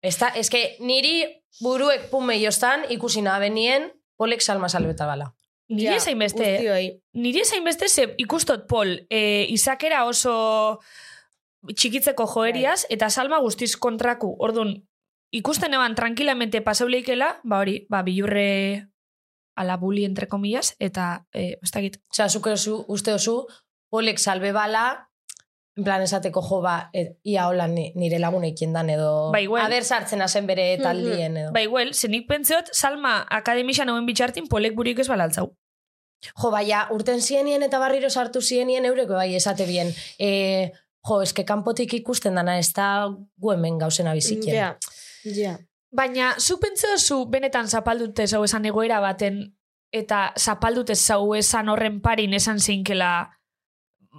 S6: ez da, ez que niri buruek pume jostan ikusi nabenien, polek salma salbeta bala.
S4: Nire zain beste,
S5: Guztioi.
S4: Niri zain beste ze ikustot Pol e, izakera oso txikitzeko joeriaz eta salma guztiz kontraku. Ordun ikusten eban tranquilamente pasauleikela, ba hori, ba bilurre ala buli entre comillas eta e, ez dakit.
S6: Osea, zuk oso, uste oso, polek salbe bala, en plan esateko jo ba, e, ia hola ni- nire lagunekien dan edo...
S4: Ba, igual.
S6: Aber sartzen azen
S5: Hmm,
S6: bere taldien edo.
S4: Ba igual, zenik pentseot salma akademisa nauen bitxartin Polek burik ez balaltzau.
S6: Jo, baina urten zienien eta barriro sartu zienien eureko bai esate bien. E, jo, eske kanpotik ikusten dana ez da guemen gauzena bizitzen.
S5: Ja, ja.
S4: Baina, zu pentseo zu benetan zapaldute zau esan egoera baten eta zapaldute zau esan horren parin esan zeinkela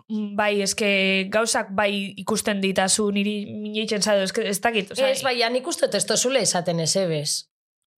S4: mm, bai, eske gauzak bai ikusten ditazu niri mineitzen zado, eske ez dakit, osea,
S5: bai.
S6: Ez, baina nik uste testo zule esaten ez ebes.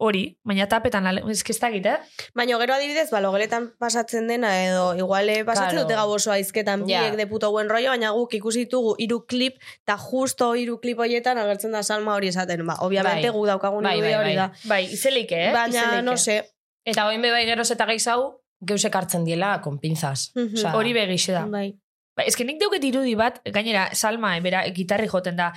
S4: hori, baina tapetan, ale- eske ez dakit, eh?
S5: Baina gero adibidez, ba, logeletan pasatzen dena edo iguale pasatzen
S6: Claro.
S5: dute gau oso aizketan
S6: Ja.
S5: biek de puto buen rollo, baina guk ikusi ditugu hiru klip eta justo hiru klip hoietan agertzen da salma hori esaten. Ba, obviamente
S6: Bai.
S5: guk daukagun
S6: Bai,
S5: irudia
S6: bai,
S5: hori
S6: bai.
S5: da.
S4: Bai, izeleike, eh?
S5: Baina,
S4: Izeleike.
S5: no se,
S6: Eta oin bebai geroz eta geizau, geusek hartzen diela konpintzaz.
S5: Mhm.
S6: Osea,
S4: Hori begixe da.
S5: bai.
S4: Ba, eske nik deuket irudi bat, gainera, Salma, eh, bera, gitarri joten da,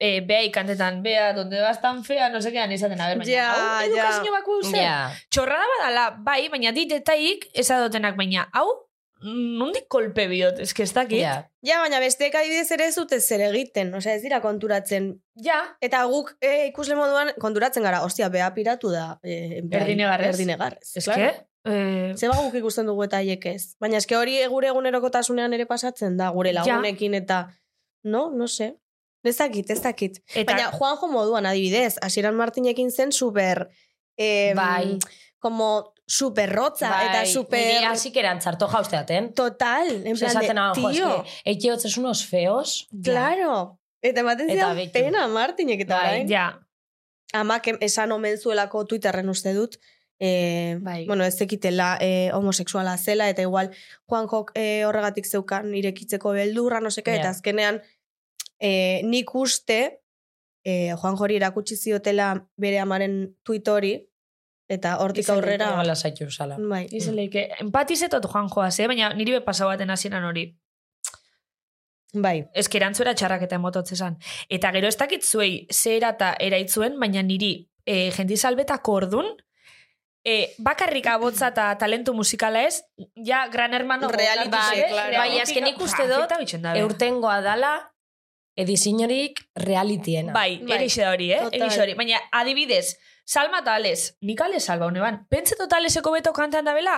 S4: e, bea ikantetan, bea, donde vas tan fea, no sekean izaten, a ber, baina,
S5: Ja,
S4: hau,
S5: ja.
S4: edukazio baku zen.
S6: Ja.
S4: Txorrada badala, bai, baina dit detaik ez adotenak, baina hau nondik kolpe bihot, eske ez dakit.
S6: Ja.
S5: Ja, baina besteek adibidez ere ez dute zer egiten, osea ez dira konturatzen.
S4: ja.
S5: Eta guk e, ikusle moduan konturatzen gara, ostia, bea piratu da. E,
S4: Erdinegarrez.
S5: Erdinegarrez.
S4: Eske,
S5: claro.
S4: eh,
S5: Zeba ba guk ikusten dugu eta haiek ez. Baina eske hori gure egunerokotasunean ere pasatzen da, gure
S4: Ja.
S5: lagunekin eta... No, no sé. Ez dakit, ez dakit.
S4: eta
S5: Baina Juanjo moduan adibidez, Hasieran Martinekin zen super... Eh,
S6: Bai.
S5: Como super rotza
S6: Bai,
S5: eta super...
S6: Niri hasik eran txarto jausteaten.
S5: Total, en
S6: Osea,
S5: plan de,
S6: esaten hau, jo,
S5: tío,
S6: eske, eike hotzes unos feos.
S5: claro. Eta ematen
S6: Eta
S5: zidan
S6: beti.
S5: pena Martinek eta
S6: Bai,
S5: orain.
S4: ja.
S5: amak em- esan omen zuelako Twitterren uste dut, eh,
S6: Bai.
S5: bueno, ez zekitela eh, homosexuala zela, eta igual Juanjok eh, horregatik zeukan irekitzeko beldurra, no seka,
S6: Ja.
S5: eta azkenean eh, nik uste eh, Juanjori erakutsi ziotela bere amaren tuit hori, eta hortik aurrera...
S6: Gala zaitu zala.
S5: Bai.
S4: Izan leike, empatizetot joan joaz, eh? baina niri be pasau baten hasieran hori.
S5: Bai.
S4: Ez que erantzuera txarrak eta emototz esan. Eta gero ez dakit zuei zer eta eraitzuen, baina niri e, jendizalbetako ordun, e, bakarrik abotza eta talentu musikala ez, ja, gran hermano...
S5: Reality
S4: Bai,
S5: check, claro.
S6: Bai, azken nik uste dut,
S4: Eta bitxen da, be.
S6: Eurtengoa dala, edizinorik realitiena.
S4: Bai,
S5: Bai.
S4: bai. erixe da hori, eh?
S5: Total.
S4: Erixe hori. Baina, adibidez, salma eta ales, nik ales salba hone ban. Pentsa tota aleseko beto kantean da bela,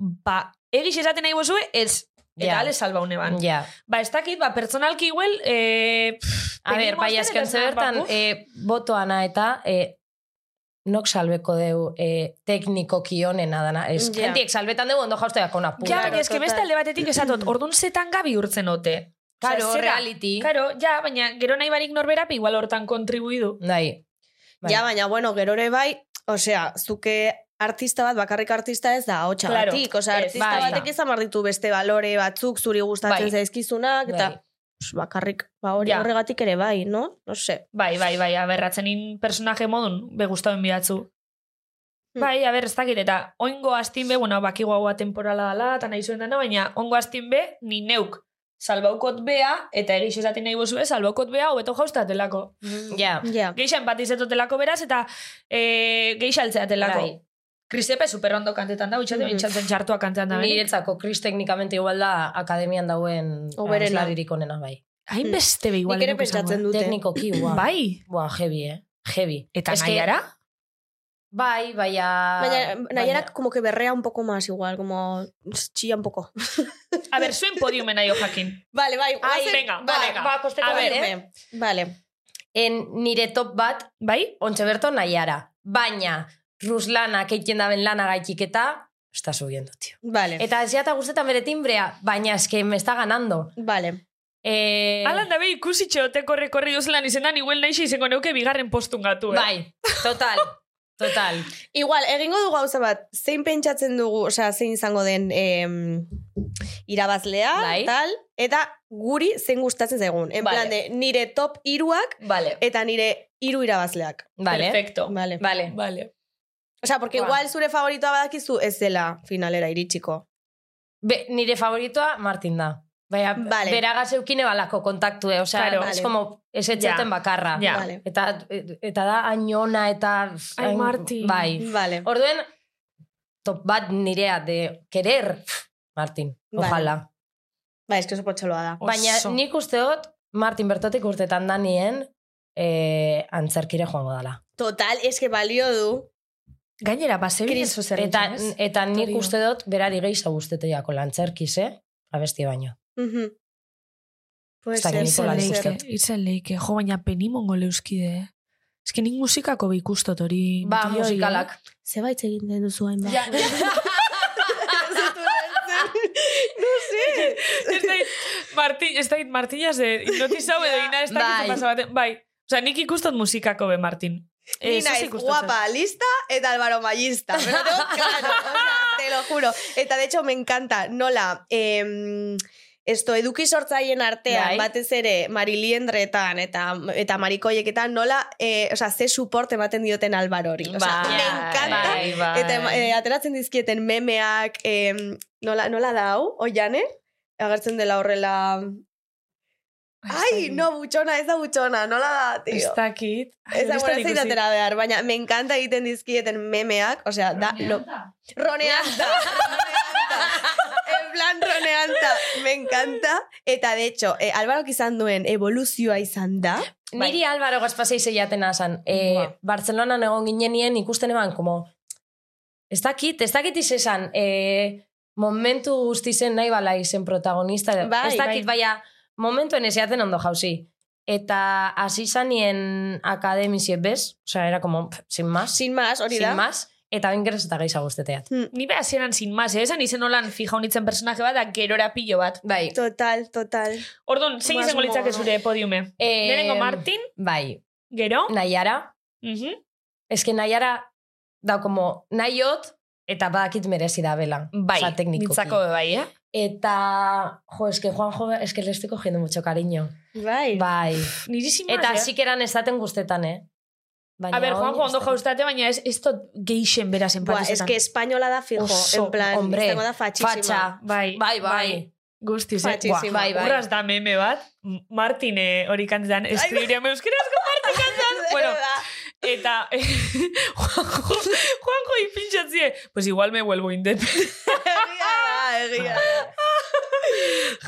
S4: ba, egiz esaten nahi bozue, ez. Eta
S6: Ja.
S4: ales salba hone
S5: bai.
S4: ban.
S6: Ja.
S4: Ba, ez dakit, ba, pertsonalki igual, eh, pff,
S6: A ber,
S4: pedimos
S6: bai,
S4: tele
S6: azken
S4: desnar,
S6: zebertan,
S4: ba, uf.
S6: e, botoana eta e, nok salbeko deu e, teknikoki honena dana. Ez,
S5: Ja.
S6: jentiek salbetan deu ondo jausteako una
S4: ja,
S6: pura.
S5: Claro,
S4: baina eske
S5: total.
S4: beste alde batetik esatot, ordun zetan gabi urtzen ote.
S6: Karo,
S4: Osea, zera-
S6: reality.
S4: Karo, ja, baina gero nahi barik norbera, pe igual hortan kontribuidu.
S6: Dai. Bai.
S5: Ja, baina, bueno, gerore bai, osea, zuke artista bat, bakarrik artista ez da ahotsa
S4: Claro.
S5: batik, osea,
S4: Ez,
S5: artista
S6: bai.
S5: batek izan behar ditu beste balore batzuk, zuri gustatzen
S6: Bai.
S5: zaizkizunak, eta
S6: Bai.
S5: pues, bakarrik, ba hori
S4: Ja.
S5: horregatik ere bai, no? No se.
S4: Bai, bai, bai, aberratzen in personaje modun, be gustauen bidatzu.
S6: Mm.
S5: Hmm.
S4: Bai, aber, ez dakit, eta oingo astin be, bueno, bakigo hau atemporala dala, eta nahi zuen dana, baina oingo astin be, ni neuk. Salbaukot bea, eta egiz esaten nahi bozue, salbaukot bea, hobeto jauztatelako.
S6: Ja.
S5: Ja.
S4: Geixa empatizetotelako beraz, eta e, geixa altzeatelako.
S6: Bai.
S4: Krisepe superondo kantetan da, utxate,
S5: Mhm.
S4: bintxatzen txartua kantean da. benik.
S6: Niretzako, Kris teknikamente igual da akademian dauen
S5: Hoberena.
S6: abeslaririk onena, bai.
S4: Hainbeste be, igual.
S5: Nik ere
S4: enuk esango,
S5: pentsatzen dute.
S6: Teknikoki,
S4: eh?
S6: guau.
S4: Bai,
S6: Buah, heavy, eh? Heavy.
S4: eta
S6: Eske-
S4: nahiara?
S6: Bai, baina...
S5: Baina,
S6: baina-
S5: nahierak como que berrea un poco más igual, como chilla un poco.
S4: A ber, zuen podiumen nahi jakin.
S5: Vale, bai,
S4: Ai,
S5: guazen-
S4: Ah, venga,
S5: vale,
S6: bai.
S4: venga.
S5: ba, kosteko
S4: A
S5: bat,
S4: ver,
S5: eh? Vale.
S6: En nire top bat,
S4: Bai?
S6: ontxe berto nahiara. Baina, Ruslana, keiten daben lana gaitik eta, está subiendo, tío.
S5: Vale.
S6: Eta ez jata guztetan bere timbrea, baina eske me está ganando.
S5: Vale.
S6: Eh,
S4: Alan dabe ikusi txeoteko rekorri duzlan izendan, igual nahi izango neuke bigarren postun gatu, eh?
S6: Bai, total, total.
S5: Igual, egingo dugu gauza bat, zein pentsatzen dugu, osea, zein izango den em, irabazlea,
S6: Bai.
S5: tal, eta guri zein gustatzen zaigun. En
S6: Vale.
S5: plan de, nire top iruak
S6: Vale,
S5: eta nire hiru irabazleak.
S6: vale.
S4: Perfecto.
S5: Vale.
S6: Vale.
S4: Vale.
S5: Osea, porque
S6: Ba.
S5: igual zure favoritoa badakizu ez dela finalera iritsiko.
S6: Be, nire favoritoa Martin da. Baina,
S5: Vale.
S6: beragaz eukine balako kontaktue, eh? osea,
S4: Claro.
S6: es
S5: Vale.
S6: como, ez etxeuten
S4: Ja.
S6: bakarra.
S4: Ja.
S5: Vale.
S6: Eta, eta da ainona, eta...
S4: Ai, Martin.
S6: Bai.
S5: Vale.
S6: Orduen, top bat nirea de querer, Martin,
S5: Vale.
S6: ojalá.
S5: Ba, eske oso potxoloa da.
S6: Baina
S4: Oso.
S6: nik uste dut, Martin bertotik urtetan danien, eh, antzerkire joango dala.
S5: Total, eske balio du.
S4: Gainera, base bien eso zer
S6: Eta,
S4: egiten, ez?
S6: eta nik
S4: Torio.
S6: uste dut, berari gehiago guzteteiako lantzerkiz, eh? Abesti baino.
S5: Mhm. Pues
S6: Ez dakit,
S5: zer,
S6: Nikola,
S4: Itzen
S5: zer,
S6: nik
S5: zer.
S6: uste
S4: leike, itzen leike. Jo, baina penimongo leuskide, eh? Ez que nik musikako be ikustot hori.
S6: Ba,
S4: mutil hori,
S6: musikalak.
S5: Zerbait egiten duzu hain ba.
S4: eh? Ez dait, Martin, ez dait, Martinaz de hipnotizau edo ina ez
S6: Bai.
S4: dakit pasa baten. Bai. Osa, nik ikustot musikako be, Martin.
S5: Ni
S4: Ez, ez
S5: naiz
S4: ikustot zait.
S5: guapa, lista eta Álvaro Mallista. Pero tengo claro, o sea, te lo juro. Eta de hecho me encanta nola... Eh, Esto, eduki sortzaileen artean,
S6: Bai.
S5: batez ere, mariliendretan eta, eta marikoieketan, nola, eh, o sea, ze suporte ematen dioten albarori. O sea,
S6: Bai,
S5: me encanta.
S6: bai, bai.
S5: Eta em- eh, ateratzen dizkieten memeak, eh, nola, nola da hau, oiane? Agertzen dela horrela... Ai, no, butxona, ez da butxona, nola da, tio.
S4: Ez dakit. Ai,
S5: Ez da,
S4: hori
S5: bueno,
S4: dut
S5: ez zait
S4: ikusi.
S5: atera behar, baina me encanta egiten dizkieten memeak, osea, da... Lo... Roneanta. Roneanta. en plan, Andronean ta, me encanta. Eta, de hecho, eh, Albarok izan duen evoluzioa izan da. Bai.
S6: Niri Álvaro Gaspasei zeiatena zan. E,
S4: Buah.
S6: Bartzelonan egon ginenien ikusten eban, como... Ez dakit, ez dakit izesan, e, momentu guzti zen nahi bala izen protagonista.
S5: Bai,
S6: ez dakit, baina momentuen esiaten ondo jauzi. Eta hasi zanien akademizie bez, osea, era como, pff, sin más,
S5: Sin más, hori
S6: sin
S5: da. Mm,
S6: más, eta ben geroz eta gehiago gusteteat.
S4: Ni behar ziren sin más, eh? Esan izen holan fija honitzen personaje bat, da gerora pilo bat.
S6: Bai,
S5: Total, total.
S4: Orduan, zein
S5: Mas
S4: izango litzake
S5: mono.
S4: zure podiume?
S6: Eh,
S4: Lehenengo Martin,
S6: bai,
S4: gero,
S6: nahiara,
S4: mhm,
S6: Ez que nahiara, da, como, nahiot, eta badakit merezi da bela.
S4: bai,
S6: Osa, teknikoki.
S4: nintzako be bai, eh?
S6: Eta, jo, es que Juanjo, es que le estoy cogiendo mucho cariño.
S5: Bai.
S6: Bai.
S4: Niri sin más,
S6: Eta
S4: eh?
S6: sikeran ezaten gustetan, eh? Baina
S4: A ber,
S6: hori
S4: Juanjo ondo
S6: ez dakit.
S4: jaustate, baina ez, ez tot geixen beraz
S5: Buah,
S4: enpatezetan.
S5: es que española da fijo,
S6: Oso,
S5: en plan,
S6: hombre,
S5: izango da fatxísima.
S6: Fatxa.
S4: Bai,
S6: Bai, bai.
S4: Guztiz, eh?
S5: Fatxísima.
S4: Buah,
S6: Bai, bai.
S4: Urraz da meme bat, M- Martin eh, hori kantzetan, eskribiriam euskarazko Martin kantzetan.
S5: De
S4: bueno,
S5: verdad.
S4: eta eh, Juanjo, Juanjo ipintxatzie, pues igual me vuelvo independiente.
S5: Egia da, egia da.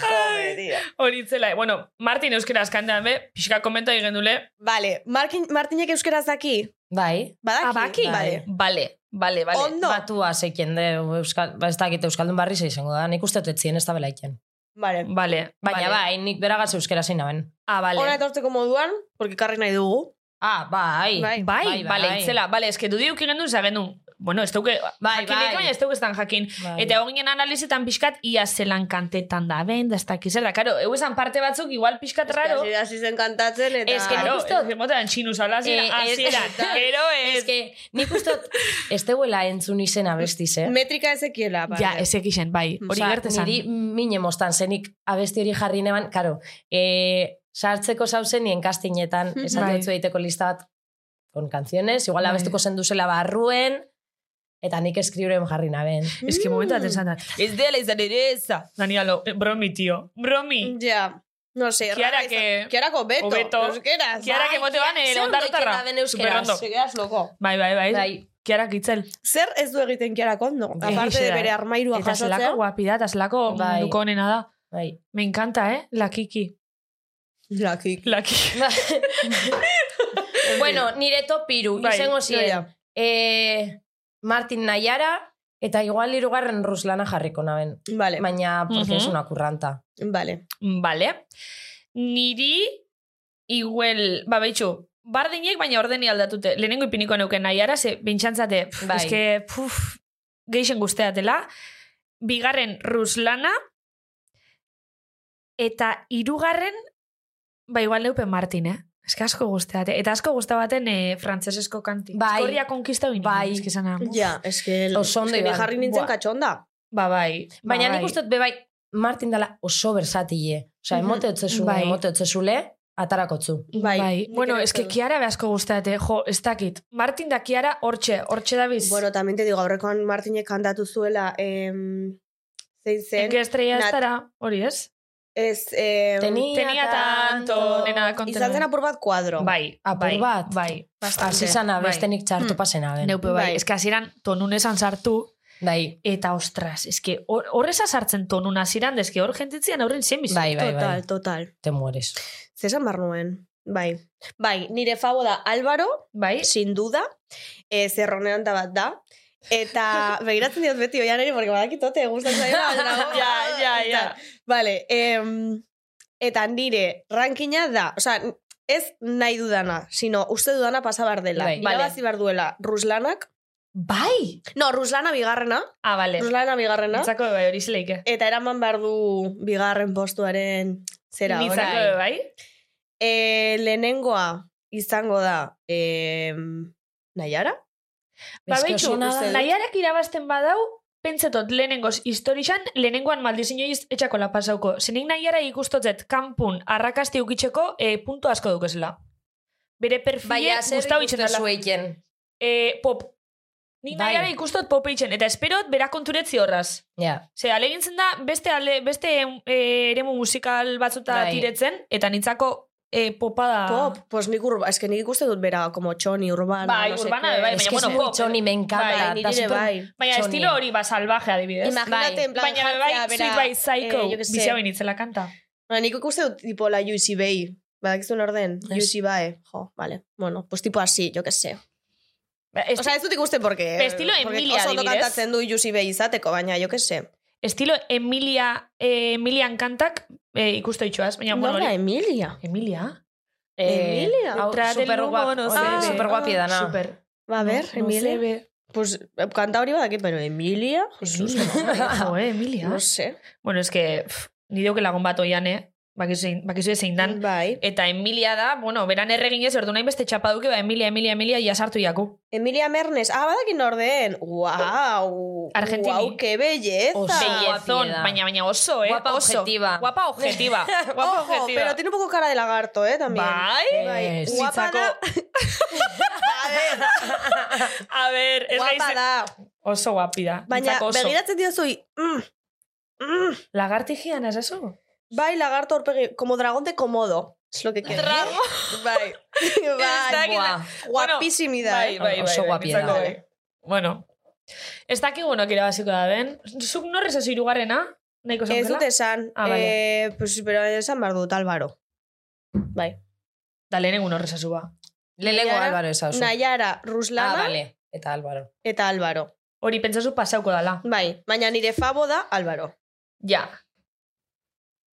S5: Joder, tío.
S4: Hori itzela, bueno, Martin euskaraz kantean be, pixka komenta egin dule,
S5: Vale, Markin, Martinek euskaraz daki?
S6: Bai.
S5: Badaki?
S4: abaki.
S5: Vale.
S4: Ah, Vale, vale, vale.
S5: Ondo.
S6: Batua zeikien de, Euskal, ba, ez dakit Euskaldun barri izango da, nik uste dut etzien ez da belaiken.
S5: Vale.
S4: Vale,
S6: Baina
S4: vale.
S6: bai, nik beragaz euskera zein naben.
S4: Ah, vale.
S5: Hona etortzeko moduan, porque karri nahi dugu.
S6: Ah, bai.
S5: Bai.
S4: Bai,
S6: Bai,
S4: bale,
S6: bai.
S4: itzela, bale, eske du diuk igendun, zagendun, bueno, ez duke,
S6: Bai,
S4: jakin
S6: bai.
S4: bai. baina ez duke estan jakin.
S6: Bai.
S4: Eta egon ginen analizetan pixkat, ia zelan kantetan da, ben, da ez dakiz, da, karo, egu esan parte batzuk, igual pixkat raro,
S5: Hasi- Hasi zen kantatzen, eta...
S6: Es que
S4: Claro,
S6: nik uste dut-
S4: ez motan txinuz alazera,
S6: Eh, ez-
S4: azera, gero ez.
S6: Ez que, nik uste dut, ez teuela entzun izena bestiz, eh?
S5: Metrika ezekiela, vale.
S4: Ja, ezek isen, bai, hori
S6: Osea,
S4: gertesan.
S6: Niri mine mostan zenik abesti hori jarri neban, karo, e, sartzeko zauzenien kastinetan, esan
S4: Bai.
S6: dutzu egiteko lista bat con canciones, igual
S4: Bai.
S6: abestuko zenduzela barruen, eta nik eskriuren jarri naben.
S4: Ez que momentu bat esan da.
S5: Mm.
S4: Ez dela izan ere eza. Danielo, eh, bromi, tio. Bromi.
S5: Ja. No sé,
S4: Kiara
S5: rara izan-
S4: que-
S5: Kiarako beto,
S4: Hobeto.
S5: euskeraz.
S4: Kiara que mote ban, eh,
S6: ze ondo
S4: ondarrotarra.
S6: ikera den euskeraz.
S4: Superondo.
S5: Se quedas loko.
S4: Bai, bai, bai.
S6: Bai.
S4: Kiara kitzel.
S5: Zer ez du egiten kiarako, no? Aparte de bere armairua
S4: eh? Eta zelako
S5: jasotzen.
S4: guapida, eta zelako
S6: Bai.
S4: munduko honena da.
S6: Bai.
S4: Me encanta, eh? La Kiki.
S5: Laki.
S4: La Kiki.
S6: bueno, nire topiru,
S4: Bai,
S6: izango ziren.
S5: ja, ja.
S6: Eh, Martin Nayara, eta igual irugarren ruslana jarriko naben.
S5: Vale,
S6: Baina, porque
S4: Mhm.
S6: es una curranta.
S5: vale.
S4: Mm, Vale. Niri, igual, ba, behitxu, bardinek baina ordeni aldatute. Lehenengo ipiniko neuken nahi ara, ze bintxantzate, pff,
S6: Bai.
S4: eske, puf, geixen guzteatela. Bigarren Ruslana, eta hirugarren, ba, igual neupen Martin, eh? Eske asko guzteate. Eta asko guztabaten eh, frantzesesko kanti.
S6: Bai.
S4: Eskorria konkista bine.
S6: Bai.
S4: Eske zana.
S5: Ja, eske...
S6: Oso ondo
S5: eske ni
S6: iban.
S5: jarri nintzen
S6: Buah.
S5: katxonda.
S4: Ba, bai.
S6: Baina
S4: ba,
S6: nik uste dut be bai, Martin dela oso bersatile. Osa,
S5: Mhm.
S6: emote otzezu,
S4: Bai.
S6: emote otzezule, atarakotzu.
S5: Bai.
S4: Bai.
S5: Nik
S4: Bueno,
S5: ere
S4: eske
S5: uste dut.
S4: Kiara be asko gustate, jo, ez dakit. Martin da Kiara hortxe, hortxe da biz.
S5: Bueno, también te digo, aurrekoan Martinek kantatu zuela, em, zein
S4: En que
S5: zen,
S4: estrella
S5: Nat-
S4: estará, hori ez?
S5: ez... em,
S6: Tenía,
S4: Tenía tanto, nena, kontena.
S5: Izan zen apur bat kuadro.
S4: Bai,
S6: Apur
S4: bai,
S6: bat.
S4: Bai,
S6: Hasi zana, bestenik txartu
S5: Mm.
S6: pasena. ben.
S4: Neupe bai.
S5: Bai.
S4: Ez que hasieran tonunesan sartu,
S6: Bai,
S4: eta ostras, ez que hor- horreza sartzen tonun hasieran, ez que hor jentitzian horren zemiz.
S6: bai, bai, bai.
S5: Total, total.
S6: Te mueres.
S4: Ba,
S5: Zesan bar nuen. Bai. Bai, nire fabo da Álvaro,
S4: Bai,
S5: sin duda, e, zerronean da bat da. Eta begiratzen diot beti oian ere, porque badakitote, gustatzen zaio.
S4: Ja, ja, ja.
S5: Vale, em, eta nire rankina da, osea, ez nahi dudana, sino uste dudana pasa behar dela.
S6: Bai.
S5: Irabazi behar duela Ruslanak.
S4: bai.
S5: No, Ruslana bigarrena.
S4: Ah, vale.
S5: Ruslana bigarrena.
S4: Nitzako bai, hori zileike.
S5: Eta eraman behar du bigarren postuaren zera.
S4: Nitzako
S5: orain.
S4: be bai.
S5: E, lehenengoa izango da e, Naiara?
S4: Ba,
S6: Bai, Eske
S4: behitxu,
S6: oso ona da.
S4: nahiarak irabazten badau, pentsetot lehenengoz historizan, lehenengoan maldizinioiz etxako lapasauko. Zenik nahiara ikustotzet kanpun arrakasti ukitzeko eh, punto asko dukezela. Bere perfile
S6: Baina, zer
S4: guztau itxen
S6: Bai, ikusten
S4: dela.
S6: zueiten.
S4: Eh, pop. Nik
S6: Bai.
S4: nahiara ikustot pop eitzen, eta esperot bera konturetzi horraz.
S6: Ja,
S4: Ze, alegintzen da, beste, ale, beste eh, eremu musikal batzuta
S6: Bai.
S4: tiretzen, eta nintzako eh, popa da...
S5: Pop, pues nik urba, eske nik ikusten dut bera, como txoni, urbana,
S4: Bai,
S5: no sé
S4: urbana,
S5: qué.
S4: bai, baina,
S6: Es que es
S4: bueno,
S6: muy
S4: pop.
S6: choni, me encanta.
S5: Bai,
S6: da
S5: nire
S6: super
S5: bai.
S4: Baina
S6: txoni.
S4: estilo hori, ba, salvaje adibidez.
S5: Imagínate,
S6: Bai,
S5: en plan,
S4: Baina bai,
S5: jartzea, bera,
S4: Sweet by Psycho,
S5: eh, jo que sé.
S4: bizia benitzela kanta.
S5: Ba, nik ikusten dut, tipo, la Yusi Bay. Badakizun orden,
S6: Ez.
S5: Yusi Bae. eh. Jo, vale. Bueno, pues tipo así, yo que sé.
S4: Ba, esti-
S5: Osa, ez dut ikusten porque...
S4: Estilo
S5: porque
S4: Emilia,
S5: Oso ondo
S4: adibidez.
S5: kantatzen du Yusi Bay izateko, baina jo que sé.
S4: estilo Emilia, eh, Emilian kantak eh, ikusto itxuaz, baina bueno,
S5: Nola,
S4: hori-
S5: Emilia.
S4: Emilia?
S6: Eh,
S5: Emilia.
S6: hau
S4: Detrás del
S6: super
S4: humo
S6: guap-
S4: no
S6: hori,
S5: se ve.
S6: super guapi dana.
S4: Bai, Super.
S5: Ba, a ver, Emilia.
S4: ve.
S5: pues, eh, kanta hori badakit, pero Emilia?
S4: Jesus, no, jo, eh, Emilia.
S5: No sé.
S4: Bueno, es que, pff, ni duke lagun bat oian, eh? Bakizu bakizu zein dan.
S5: Bai.
S4: Eta Emilia da, bueno, beran erreginez, ordu nahi beste txapa duke, ba, Emilia, Emilia, Emilia, jasartu jaku.
S5: Emilia Mernes. Ah, badakin orden. Wow.
S4: Argentini.
S5: Wow, qué belleza.
S6: Oso. Belleza.
S4: Bellezón,
S6: guapieda.
S4: baina, baina oso, eh?
S6: Guapa
S4: oso.
S6: objetiva.
S4: Guapa objetiva. Guapa
S5: Ojo,
S4: objetiva.
S5: pero tiene un poco cara de lagarto, eh, también.
S4: Bai.
S5: Bai.
S6: Ez.
S5: Guapa da. A ver,
S4: A ver, ez
S5: guapa
S4: gaiz...
S5: da.
S4: Oso guapi da.
S5: Baina,
S4: Nitzako oso.
S5: begiratzen diozu, i- mm, mm,
S4: Lagartigian, ez eso?
S5: bai lagarto horpegi, como dragón de komodo. Es lo que quería.
S4: Drago.
S5: Bai. bai.
S6: Buah.
S5: Guapisimida,
S4: Bai,
S5: eh.
S6: Oso guapia
S4: nitzako
S6: da.
S4: bai. Bueno. Ez dakigu bueno, kira basiko da, ben? Zuk norrez ez irugarrena? Nahiko
S5: Ez dut
S4: zaukela?
S5: esan.
S4: Ah, vale.
S5: eh, pues, pero esan behar dut, Álvaro. Bai.
S4: Da lehen egun horrez ezu ba.
S6: Lehenengo
S5: Nayara-
S6: Álvaro esauzu.
S5: Nayara,
S6: Ah,
S5: Ruslana
S6: vale. Eta Álvaro.
S5: eta Álvaro.
S4: Hori pentsazu pasauko dala.
S5: Bai, baina nire fabo da Álvaro.
S4: Ja.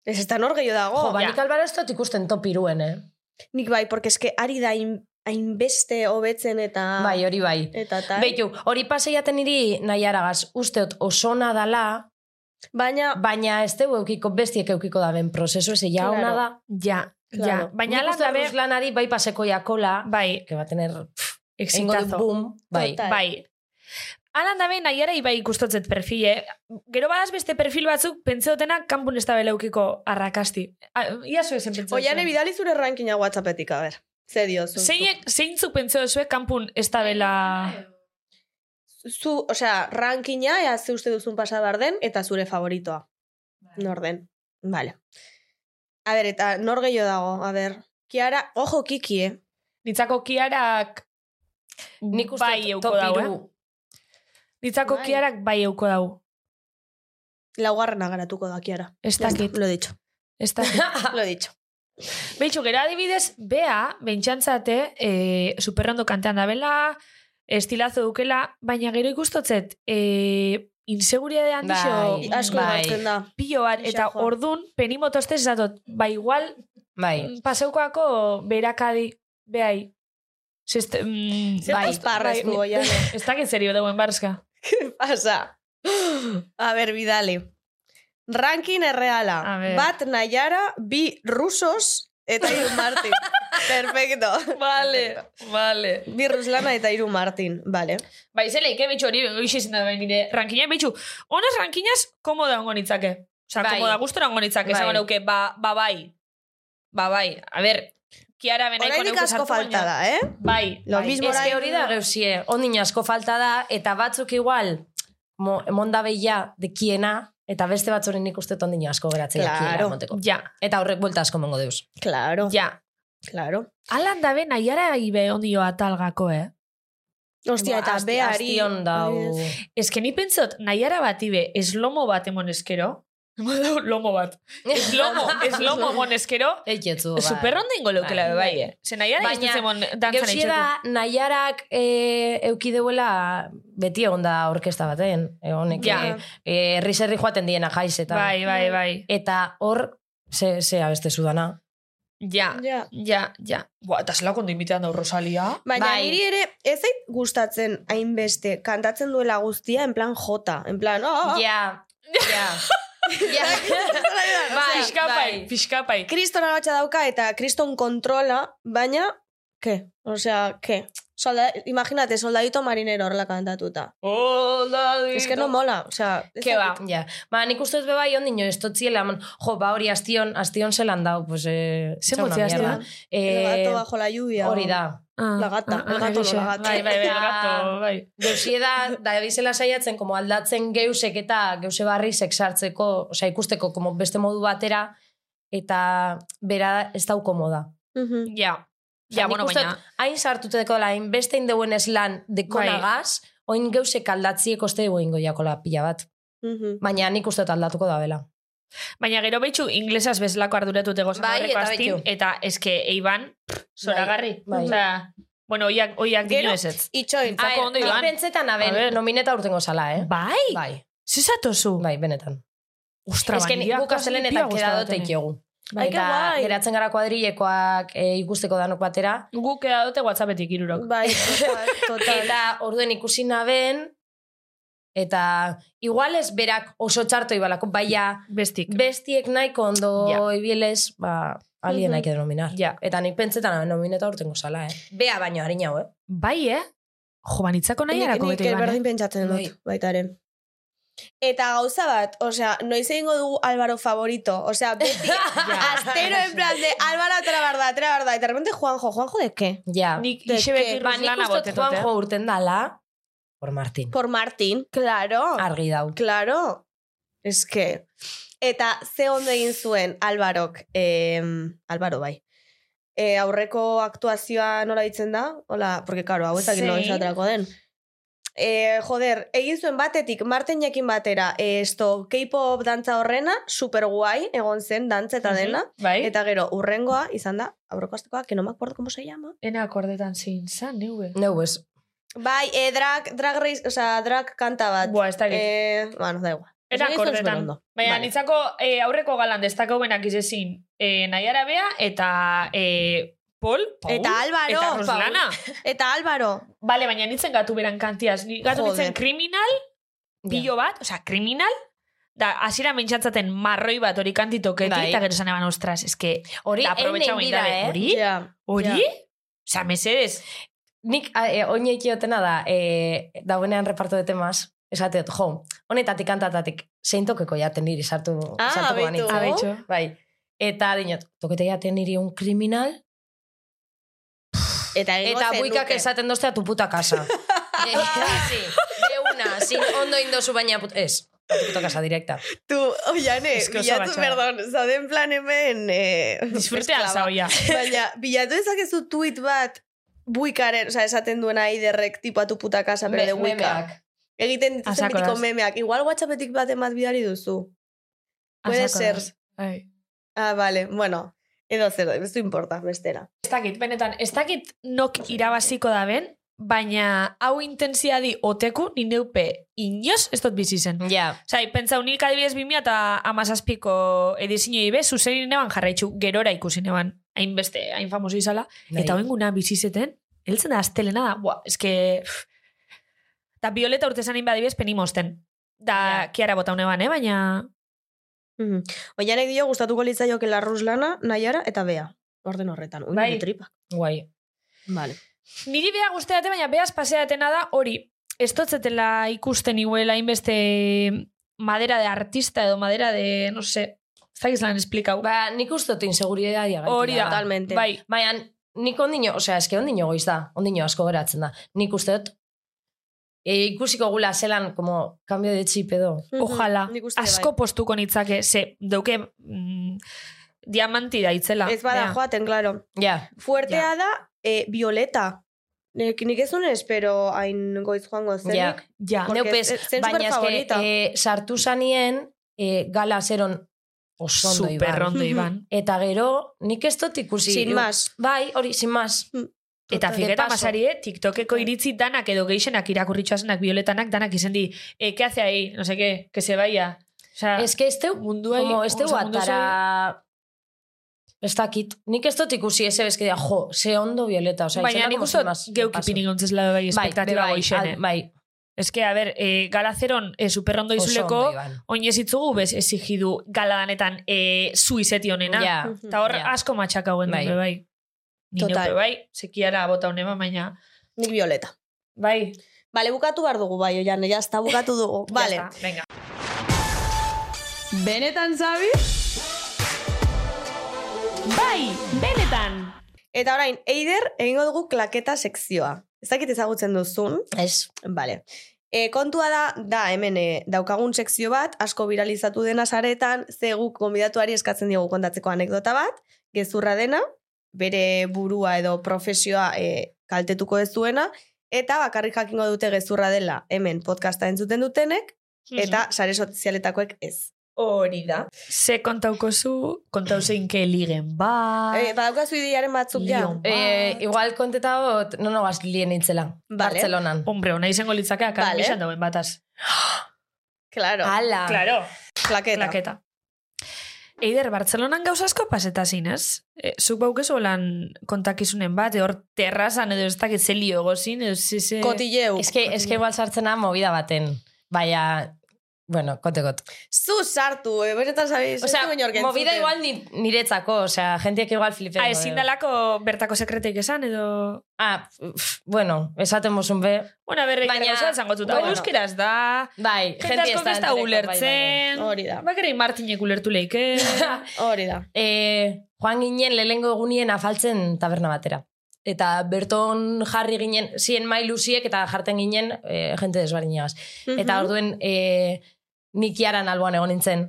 S5: Ez ez da nor gehiago dago.
S6: Jo, ba,
S4: ja.
S6: nik Álvaro ez dut ikusten top iruen, eh?
S5: bai, Nik bai, porque eske ari da hain- hainbeste hobetzen
S4: Ah.
S5: eta...
S6: Bai, hori bai.
S5: Eta tal.
S6: Beitu, hori paseiaten niri nahiaragaz, usteot osona dala,
S5: Baina,
S6: baina ez dugu eukiko, bestiek eukiko da ben prozesu, ez ja ona
S5: Claro.
S6: da.
S4: Ja. Ja.
S5: Claro.
S4: Baina
S6: Nik
S4: lan
S6: uste
S4: dabe...
S6: Ruslanari bai paseko jakola,
S4: Bai,
S6: que va a tener egingo du
S4: exitazo.
S6: boom, bai.
S5: Total.
S4: Bai. Alan dabe nahiara ibai ikustotzet bai perfile. Gero badaz beste perfil batzuk pentseotena kanpun ez da beleukiko arrakasti. A, ia zuen zen pentsatzen.
S5: oian ebidali zure rankina WhatsAppetik, a ber. Ze diozu.
S4: Zeinek, zeintzuk pentseo zuen kanpun ez da bela...
S5: Zu, osea, rankina, ea ze uste duzun pasa behar den, eta zure favoritoa. Nor den. Vale. A ber, eta nor gehiago dago, a ber. Kiara, ojo kiki, eh?
S4: Nitzako kiarak...
S6: Nik uste
S4: bai
S6: dut
S4: euko
S6: top
S4: dau, eh?
S6: hiru.
S4: Nitzako
S5: Bai.
S4: kiarak bai euko dau.
S5: Laugarrena garatuko da, Kiara.
S4: Ez
S5: Ya está,
S4: dakit,
S5: Lo he dicho.
S4: ez dakit.
S5: Lo he dicho.
S4: Beitxu, gero adibidez, bea, bentsantzate, e, superrondo kantean da bela, estilazo dukela, baina gero ikustotzet, e, inseguridade handixo
S6: Bai.
S5: Asko
S6: Bai.
S5: igartzen da.
S4: pioan, eta
S5: Ixa joan.
S4: ordun penimotozte ez datot, ba igual, mm,
S6: Bai.
S4: paseukoako berakadi, beai. Zeste, mm,
S5: Zer
S6: Bai,
S5: tosparraz
S4: bai.
S5: du, oian.
S4: ez dakit zerio dauen barzka.
S5: pasa? A ver, bidali. Ranking erreala.
S4: A ver.
S5: Bat Nayara, bi rusos eta iru Martin. Perfecto. Perfecto.
S4: vale.
S5: Bi ruslana eta iru Martin, vale.
S4: Bai, zela ike betxo hori, hoxe izan da bai nire rankina, betxo, honaz rankinaz, komoda ongo nitzake. Osa,
S6: Bai.
S4: komoda gustora ongo nitzake,
S6: Bai.
S4: esango neuke, ba, ba, bai. Ba, bai. A ber, kiara benaiko
S5: Horainik
S4: neuke
S5: asko
S4: sartu
S5: falta
S4: baina-
S5: da, eh?
S4: Bai,
S5: Lo
S4: bai.
S5: mismo
S6: Ez que
S5: orain-
S6: hori da geuzie, ondino asko falta da, eta batzuk igual, mo, monda behia dekiena, eta beste batzuren nik uste dut ondino asko geratzen
S5: Claro.
S6: dakiela moteko.
S4: Ja,
S6: Eta horrek buelta asko emango deuz.
S5: Claro,
S4: ja.
S5: claro.
S4: Alan dabe nahiara ibe ondio atalgako, eh?
S5: Ostia, eta
S6: Ba,
S5: Bai,
S6: Asti-
S5: beari...
S6: Astion dau.
S4: Ez que ni pentsot, nahiara bat ibe, eslomo bat emon eskero. lomo bat. Eslomo, eslomo emon eskero.
S6: Eitetzu, bai.
S4: Superronda ingo leukela,
S6: Bai,
S4: be, ba. bai, eh? Ze nahiara
S6: Baina,
S4: iztetzen emon dantzan
S6: Geuzie da, nahiarak e, eukideuela beti egon da orkesta baten. E, honek,
S4: Ja.
S6: ja. e, herri zerri joaten diena jaiz eta.
S4: Bai, bai, bai.
S6: Eta hor, ze, ze abeste zudana.
S4: Ja,
S5: Ja.
S4: ja, ja. Boa, eta zelako ondo imitean da Rosalia.
S5: Baina
S6: Bai.
S5: niri ere ez zait gustatzen hainbeste kantatzen duela guztia en plan jota, en plan, oh, oh, oh.
S6: Ja, ja. ja. bai,
S4: Piskapai,
S6: bai.
S4: piskapai.
S5: kriston arabatxa dauka eta kriston kontrola, baina, ke? Osea, ke? Solda, imagínate, soldadito marinero horrela kantatuta.
S4: Hola,
S5: Es que no mola, osea... ez
S4: Ke ba.
S5: dakit.
S6: Ja. Ba, nik uste dut bebai ondino, ez totziela, man, jo, ba hori astion, astion zelan dau, pues, eh,
S4: Ze
S6: txau una
S4: motzea
S6: mierda.
S4: Astion? ba,
S5: El gato
S6: Eh,
S5: bajo la lluvia.
S6: hori da.
S5: La gata, el gato, no,
S2: ah,
S5: la gata.
S4: Bai, bai, bai, el gato, bai.
S6: Geusie da, da bizela saiatzen, como aldatzen geusek eta geuse barrizek sartzeko, osea, ikusteko como beste modu batera, eta bera ez dau komoda.
S5: Mhm.
S4: Ja. Ja, bueno, baina...
S6: Hain sartuteko la, hain beste indeuenez lan
S4: Bai.
S6: dekonagaz, oin geusek aldatziek oste goingo jakola pila bat.
S5: Mhm.
S6: Baina nik uste dut aldatuko da bela.
S4: Baina gero behitxu inglesaz bezalako arduratu tego
S6: Bai, eta
S4: aztin,
S6: behitxu.
S4: eta eske eiban, pff, zoragarri.
S6: Bai.
S4: Osea, bueno, oiak, oiak dino
S5: Gero,
S4: ez ez.
S5: itxoin.
S4: Zako ondo
S6: nik
S4: joan.
S6: pentsetan, a
S4: A ber.
S6: ber, nomineta urtengo zala, eh?
S4: Bai,
S6: Bai,
S4: zizatozu.
S6: bai, benetan.
S4: Ostra,
S6: Ez que
S4: baina
S6: guk
S4: kasi pila
S6: astelenetan
S4: gustatu
S6: kedadote
S4: tenek.
S6: ikiogu.
S4: Bai,
S6: Eta
S5: guai.
S6: geratzen gara kuadrilekoak eh, ikusteko danok batera.
S4: Guk kedadote whatsappetik irurok.
S5: Bai, total,
S4: Bai.
S5: total.
S6: Eta orduen ikusi naben, eta igual ez berak oso txarto ibalako, baina
S4: Bestik.
S6: bestiek nahiko ondo
S4: Ja.
S6: ibielez, ba,
S5: Mhm.
S6: alien nahi denominar.
S4: Ja.
S6: Eta nik pentsetan nomineta urtengo zala, eh? Bea baino harin hau, eh?
S4: Bai, eh? Jo, banitzako nahi
S5: Nik,
S4: harako
S5: nik
S4: bete eh? iban,
S5: berdin pentsatzen
S6: Bai.
S5: dut, baita ere. Eta gauza bat, osea, noiz egingo dugu Álvaro favorito. Osea, beti, astero en plan de Álvaro atera barda, atera barda. Eta de repente Juanjo, Juanjo de qué?
S6: Ja.
S4: eh? Nik
S5: De
S4: ixe
S5: que-
S4: beti
S6: ba, nik
S4: lana
S6: uste dut
S4: botetot, eh?
S6: Juanjo urten dala, por Martin.
S5: Por Martín, claro.
S6: Argi dau.
S5: Claro. Es que... Eta ze ondo egin zuen Albarok, em, Albaro bai, Eh, aurreko aktuazioa nola ditzen da? Hola, porque claro, hau ezak nola
S4: Zein?
S5: esaterako den. Eh, joder, egin zuen batetik Marten jakin batera, eh, esto, K-pop dantza horrena, super guai, egon zen dantza eta dena.
S4: Bai.
S5: Eta gero, urrengoa, izan da, aurreko astekoa, que no me acuerdo cómo se llama.
S4: Ena akordetan zein zan, neue.
S6: Neu ez.
S5: Bai, eh, drag, drag race, o sea, drag kanta bat.
S4: Buah, ez dakit.
S5: eh, bueno, da igual.
S4: Era
S5: Egin zuen
S4: kordetan.
S5: superondo.
S4: Baina,
S5: Vale.
S4: nitzako eh, aurreko galan destako benak izezin eh, Naiara Bea eta eh, Paul, Paul,
S5: Eta Álvaro,
S4: eta Roslana.
S5: Eta Álvaro,
S4: Bale, baina nitzen gatu beran kantiaz. Ni Gatu
S5: Joder.
S4: nitzen kriminal, pilo bat, osea, kriminal, da, hasiera mentxatzaten marroi bat hori kantitoketi,
S6: Bai.
S4: eta gero zan eban, ostras, eske,
S6: Hori,
S4: da, aprobetsa
S6: einen dira,
S4: guindabe.
S6: eh?
S4: Hori?
S5: Ja,
S4: Hori?
S5: ja.
S4: Osea, mesedez.
S6: Nik a, e, oin ekiotena da, e, dauenean reparto de temas, esateot, jo, honetatik kantatatik, zein tokeko jaten niri sartu,
S5: Ah,
S6: sartuko banintz.
S5: beitu. Abetxo.
S6: Bai. Eta dinot, tokete jaten niri un kriminal,
S5: Eta, egingo
S6: eta
S5: zenuke.
S6: buikak esaten doztea tu puta casa. e, sí, de una, sin ondo indozu baina put... Ez, tu puta casa directa.
S5: Tu, oiane,
S4: Es que oso
S5: bilatu,
S4: batxada.
S5: perdon, zauden plan hemen... Eh,
S4: Disfrutean
S5: esklaba.
S4: zaoia.
S5: Baina, bilatu ezakezu tuit bat buikaren, oza, esaten duena aiderrek tipo atu puta kasa, pero de buika. Egiten
S4: Asako
S5: dituzten bitiko
S4: daz.
S5: memeak. Igual whatsappetik bat emat bidari duzu. Puede
S4: Asako
S5: ser.
S4: da. Bai.
S5: Ah, vale, bueno. Edo zer, ez du importa, bestera.
S4: Ez dakit, benetan, ez dakit nok irabaziko da ben, baina hau intensiadi oteku ni neupe inoz ez dut bizi zen.
S6: Ja.
S4: Zai, pentsa unik adibidez 2000 eta amazazpiko edizinoi be, zuzenin neban jarraitzu, gerora ikusi neban, hainbeste, hain famoso izala,
S6: Bai.
S4: eta hoenguna bizizeten, heltzen da astelena da, buah, eske... pff. Da, Violeta urte zanin badibidez penimosten. Da,
S6: Ja.
S4: kiara bota neban, eh? baina...
S5: Mm Oianek dio gustatuko litzaiokela ruslana, naiara eta bea. Orden horretan. Ui,
S4: Bai.
S5: bai. tripa.
S6: Guai.
S5: Vale.
S4: Niri bea guzteate, baina beaz paseatena da hori, estotzetela ikusten iguela inbeste madera de artista edo madera de, no sé, ez dakiz lan esplikau.
S6: Ba, nik Mm-hmm, uste dut inseguritatea gaitik
S4: Hori da.
S5: Totalmente.
S4: Bai,
S6: Baina, nik ondino, osea, eske ondino goiz da, ondino asko geratzen da. Nik uste dut, e, ikusiko gula zelan, como, cambio de chip edo.
S5: Mhm,
S4: Ojalá.
S5: nik uste
S4: Asko
S5: bai.
S4: postuko nitzake, ze, dauke mm, diamanti da itzela.
S5: Ez bada
S4: Bea.
S5: joaten, claro.
S6: Ja,
S5: Fuertea
S6: Ja.
S5: da, eh, Violeta. Nik, nik ez nuen espero hain goiz joango zenik.
S6: ja.
S4: Ja.
S5: Porque
S6: Neupez,
S5: ez- zen
S6: baina eske,
S5: superfavorita.
S4: eh,
S6: e, sartu zanien, e, gala zeron oso ondo
S4: Super
S6: iban.
S4: rondo
S5: Mhm.
S4: iban.
S6: Eta gero, nik ez dut ikusi.
S5: Sin más.
S6: Bai, hori, sin más.
S4: Eta
S6: Total.
S4: figeta
S6: De paso.
S4: masarie, TikTokeko iritzi danak edo geixenak irakurritxoasenak bioletanak danak izendi, eh, que hace ahí, no sé qué, que se vaya. O sea,
S6: Ez que ez teu,
S4: mundua...
S6: como ez teu atara... Ez dakit. Nik ez dut ikusi ese bezkedia, jo, ze ondo violeta. Osea,
S4: Baina nik uste geukipini gontzezla bai, espektatiba goixene.
S6: Bai,
S4: Ez que, a ber, eh, gala zeron eh, superrondo
S6: oso
S4: izuleko,
S6: ondo iban.
S4: oinez itzugu bez exigidu galadanetan e, suizeti honena.
S6: Ja,
S4: Eta hor
S6: ja.
S4: asko matxaka hauen
S6: Bai.
S4: bai. bai. Ni
S5: Total.
S4: neupe bai, sekiara bota honema, baina...
S5: Nik Violeta.
S4: Bai,
S5: Bale, bukatu behar dugu, bai, oian, jazta, bukatu dugu. Bale.
S4: ya está, venga.
S8: Benetan zabi?
S2: Bai, benetan.
S5: Eta orain, Eider, egingo dugu klaketa sekzioa. Ez dakit ezagutzen duzun,
S6: Ez.
S5: Vale. E, kontua da, da hemen e, daukagun sekzio bat, asko viralizatu dena saretan, ze guk gonbidatuari eskatzen diogu kontatzeko anekdota bat, gezurra dena, bere burua edo profesioa e, kaltetuko ez duena, eta bakarrik jakingo dute gezurra dela hemen podcasta entzuten dutenek,
S6: Mhm.
S5: eta sare sozialetakoek ez. Hori da.
S4: Ze kontauko zu, kontau zein ke ligen ba...
S5: E, badaukazu ideiaren batzuk ja.
S4: Lion.
S6: Eh, igual konteta hot, no, no, lien itzela.
S5: Vale.
S6: Bartzelonan.
S4: Hombre, ona izango litzake akan
S5: Vale.
S4: vale. dauen bataz.
S5: Claro,
S6: Ala.
S4: Claro,
S5: plaketa.
S4: Ah, plaketa. Eider, Bartzelonan gauza asko pasetazin, ez? E, zuk baukezu lan kontakizunen bat, e, hor terrazan edo ez dakit zelio egozin, edo zize...
S5: Kotilleu.
S6: Es que, es que igual sartzena movida baten. Baina, bueno, kotekot.
S5: Zu sartu, eh, benetan sabiz.
S6: O sea, movida igual ni, niretzako, o sea, jentiek igual flipero.
S4: Ah, ezin dalako bertako sekreteik esan, edo...
S6: Ah, pf, bueno, esaten bozun be.
S4: Bueno, berre,
S6: Baina-
S4: Baina... zango zuta.
S6: Bueno.
S4: Bueno. Euskeraz da...
S6: Bai,
S4: Jende asko ez da
S6: entereko, bai, bai, bai.
S4: ulertzen.
S5: Hori da.
S4: Bakarei Martinek ulertu leike.
S5: Hori da.
S6: Eh, joan ginen lehengo egunien afaltzen taberna batera. Eta berton jarri ginen, zien mailuziek eta jarten ginen eh, jente desberdinagaz. Eta
S5: Mhm.
S6: orduen eh, nik iaran alboan egon nintzen.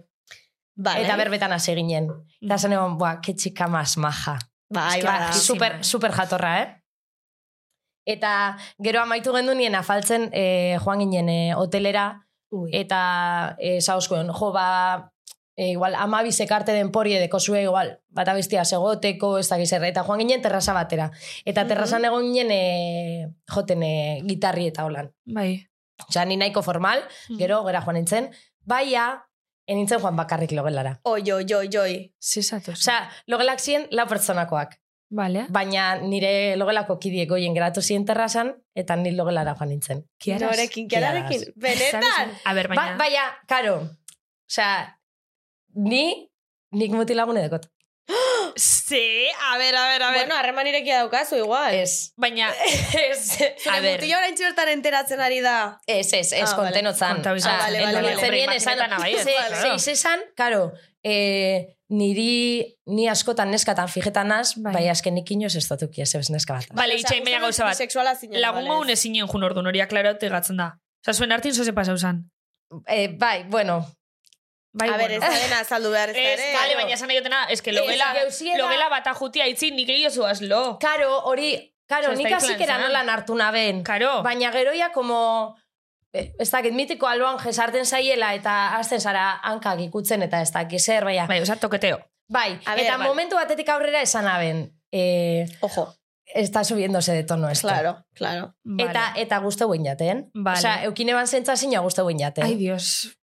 S5: Bai.
S6: Eta berbetan hasi ginen. Eta zen egon, buah, ke txika mas maja.
S5: Bai,
S6: Eske,
S5: bada.
S6: super, super jatorra, eh? Eta gero amaitu gendu nien afaltzen eh, joan ginen eh, hotelera eta eh, zauskoen, jo, ba, eh, igual, ama bizekarte den pori dekozue, igual, bat abiztia segoteko, ez da gizerra, eta joan ginen terraza batera. Eta terrazan egon ginen eh, joten eh, gitarri eta holan.
S4: Bai.
S6: Osea, ni nahiko formal, gero, gera joan nintzen, baia, enintzen joan bakarrik logelara.
S5: Oi, oi, oi, oi.
S4: Zesatoz.
S6: Osea, logelak ziren lau pertsonakoak.
S4: Vale.
S6: Baina nire logelako kidiek goien geratu ziren terrazan, eta ni logelara joan nintzen.
S4: Kiaraz.
S5: Norekin, kiararekin. Benetan.
S4: A ber,
S6: Baina,
S4: baina...
S6: ba, baina karo, osea, ni, nik mutilagune dekot.
S4: Ze, a ber, a ber, a ber.
S5: Bueno, harreman irekia daukazu igual.
S6: Ez.
S4: baina,
S6: Ez,
S4: a
S5: Zure
S4: ber.
S5: mutila orain bertan enteratzen ari da.
S6: ez, ez, ez,
S5: Ah,
S6: kontenotzan.
S4: Kontau izan.
S5: Ah,
S6: Osea,
S5: vale, vale, vale.
S6: etorri nintzen nien esan,
S4: Imaginetan nabai, ez,
S6: ze,
S4: claro.
S6: ze, esan, karo, eh, niri, ni askotan neskatan fijetan az,
S4: Bai.
S6: bai, askenik inoz ez datukia, zebez neska bat.
S4: Bale,
S5: Osea,
S4: itxain baina
S5: uste dut
S4: gauza bat.
S5: bisexuala zinen,
S4: Lagun
S5: bale,
S4: maun
S5: ez.
S4: ezin jun orduan hori aklarote gatzen da. Osa, zuen hartin zoze pasau zan.
S6: Eh, bai, bueno,
S4: Bai,
S5: A ber, ez da dena azaldu behar ez da eh?
S4: Ez,
S5: ere.
S4: bale, baina esan nahi dutena, ez que logela,
S6: Ez, jauziera-
S4: logela bata jutia itzi, nik egio zuaz, lo.
S6: Karo, hori, karo,
S4: Osea, ez
S6: nik
S4: da
S6: azikera
S4: influenza.
S6: nolan hartu naben.
S4: Karo.
S6: Baina geroia, como... eh, Ez dakit, mitiko alboan jesarten zaiela eta azten zara hankak ikutzen eta ez dakit zer, baina... Bai,
S4: Bai, osa, toketeo.
S5: A ber,
S6: eta
S5: bai.
S6: momentu batetik aurrera esan aben. Eh,
S5: Ojo,
S6: está subiéndose de tono esto.
S5: claro, claro.
S6: Eta, eta guztu guen jaten.
S4: Vale.
S6: Osea, eukin eban zentzazina guztu guen jaten.
S4: Ai, dios.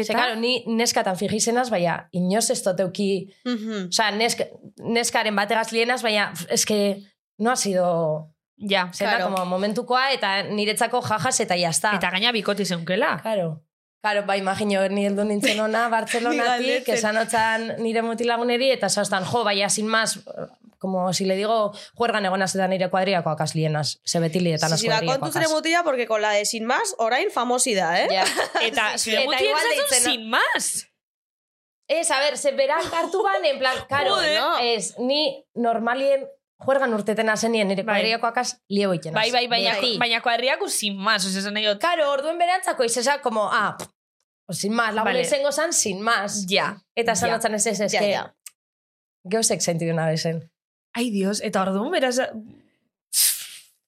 S6: Ze, claro, ni neskatan fijizenaz, baina inoz ez dut euki...
S5: Mhm.
S6: Osea, nesk, neskaren bategaz lienaz, baina eske no ha sido...
S4: Ja,
S6: Zena,
S5: Claro.
S6: como momentukoa, eta niretzako jajas eta jazta.
S4: Eta gaina bikoti zeunkela.
S6: Claro. Claro, ba, imagino, ni heldu nintzen ona, Bartzelonatik,
S5: Galdetzen.
S6: esan otzan nire mutilaguneri, eta sastan, jo, baina sin más, como si le digo, juergan egonaz eta nire kuadriakoak aslienas, ze beti lietan
S5: Si ba, kontuz ere mutila, porque con la de sin más, orain famosidad, eh?
S6: Ja.
S4: Eta zure
S6: Eta
S4: mutien
S6: igual
S4: zazun
S6: deitzen, no?
S4: sin más.
S6: Ez, a ber, ze berak hartu ban, en plan, karo,
S5: Joder.
S6: ez, ni normalien juergan urtetena zenien nire
S4: Bai.
S6: kuadriakoakaz liego itenaz.
S4: Bai, bai, baina,
S6: Beti.
S4: baina kuadriaku sin más. Osa, esan nahi dut.
S6: Karo, orduen berantzako izesa, como, ah, pff, pues sin más, laguna
S4: Vale.
S6: izango zan, sin más.
S4: Ja.
S6: Eta
S4: Ja.
S6: zanotzen ez ez, ez,
S5: Ja,
S6: que
S5: ja.
S6: geuzek sentidu nabe zen.
S4: Ai, dios. Eta orduan, beraz...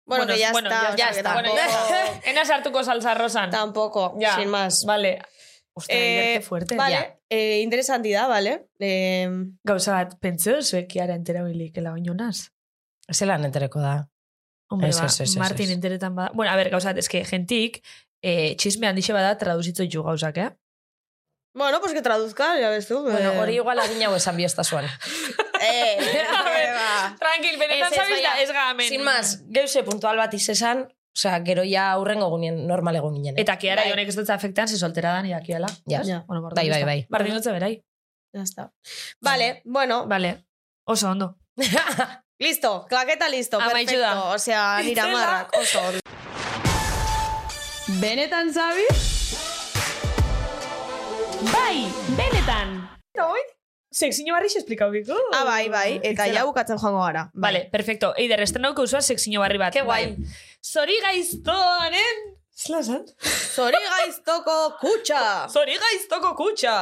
S5: Bueno, que ya
S4: bueno,
S5: está. o sea,
S6: ya
S5: que
S6: está.
S4: Bueno, ya
S5: tampoco-
S4: está. Ena sartuko salsa rosan.
S5: Tampoco,
S4: Ya.
S5: sin más.
S4: Vale. Ostia,
S5: Eh,
S4: eh, fuerte.
S5: Vale,
S6: ya.
S5: eh, interesantidad, vale? Eh,
S4: Gauza bat, pentseo zuek iara entera bilik, ela oinonaz.
S6: Zelan entereko da.
S4: Hombre,
S6: Ez,
S4: ba,
S6: ez, ez, ez,
S4: Martin
S6: ez.
S4: enteretan bada... Bueno, a ver, gauza, bat, eske, gentik, eh, txisme handixe bada traduzitzo ju gauzak, eh?
S5: bueno, pues que traduzca, ya ves tú.
S6: Bueno,
S5: eh.
S6: hori igual adina hau esan biosta zuan.
S5: Eh,
S4: A ver.
S5: ba.
S4: Tranquil,
S6: Ez, ez, baina,
S4: gamen.
S6: Sin más, geuze puntual bat izesan, osea, gero ja aurrengo gunien normal egon ginen. eh?
S4: Eta kiara,
S5: Bai.
S4: honek ez dut afektan, se soltera da nire akiala.
S6: Ja.
S5: Ja,
S4: Bueno, bordo,
S6: Bai, bai, bai.
S4: Martin dutze berai.
S5: ya está. Vale, bueno,
S4: Vale. Oso ondo.
S5: listo, claqueta listo,
S6: Ah,
S4: Amaitu
S5: perfecto.
S4: da.
S5: O sea, nira marrak, oso ondo.
S2: Benetan zabi? Bai, benetan.
S4: Sekzino barri esplikaukiko.
S5: Ah, bai, bai, eta ja bukatzen joango gara.
S4: Vale, perfecto. Eider, estenauko usua sekzino barri bat.
S6: Ke guai.
S4: Zori gaiztoanen Zela esan?
S5: Zori gaiztoko kutxa!
S4: Zori gaiztoko kutxa!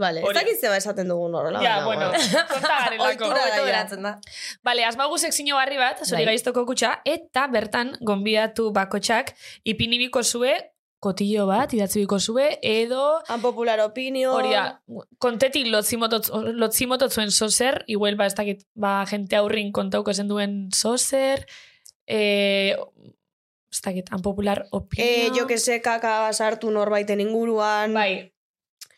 S5: Vale, ez
S4: Hori.
S5: dakit zeba esaten dugun horrela.
S4: Ja,
S5: baina,
S4: bueno, sorta garelako.
S5: Ohitura
S6: Hobeto
S5: gaia.
S6: geratzen da.
S4: Bale, asmagu sekzio harri bat, zori
S6: Bai.
S4: gaiztoko kutxa, eta bertan gonbiatu bakotxak ipinibiko zue, kotillo bat, idatzibiko zue, edo...
S5: Unpopular opinion.
S4: Hori da, kontetik lotzimototz- lotzimotot zuen zozer, iguel ba, ez dakit, ba, jente aurrin kontauko zen duen zozer, eh, ez dakit, unpopular
S5: Eh,
S4: opinion.
S5: jo que se kaka sartu norbaiten inguruan.
S4: Bai.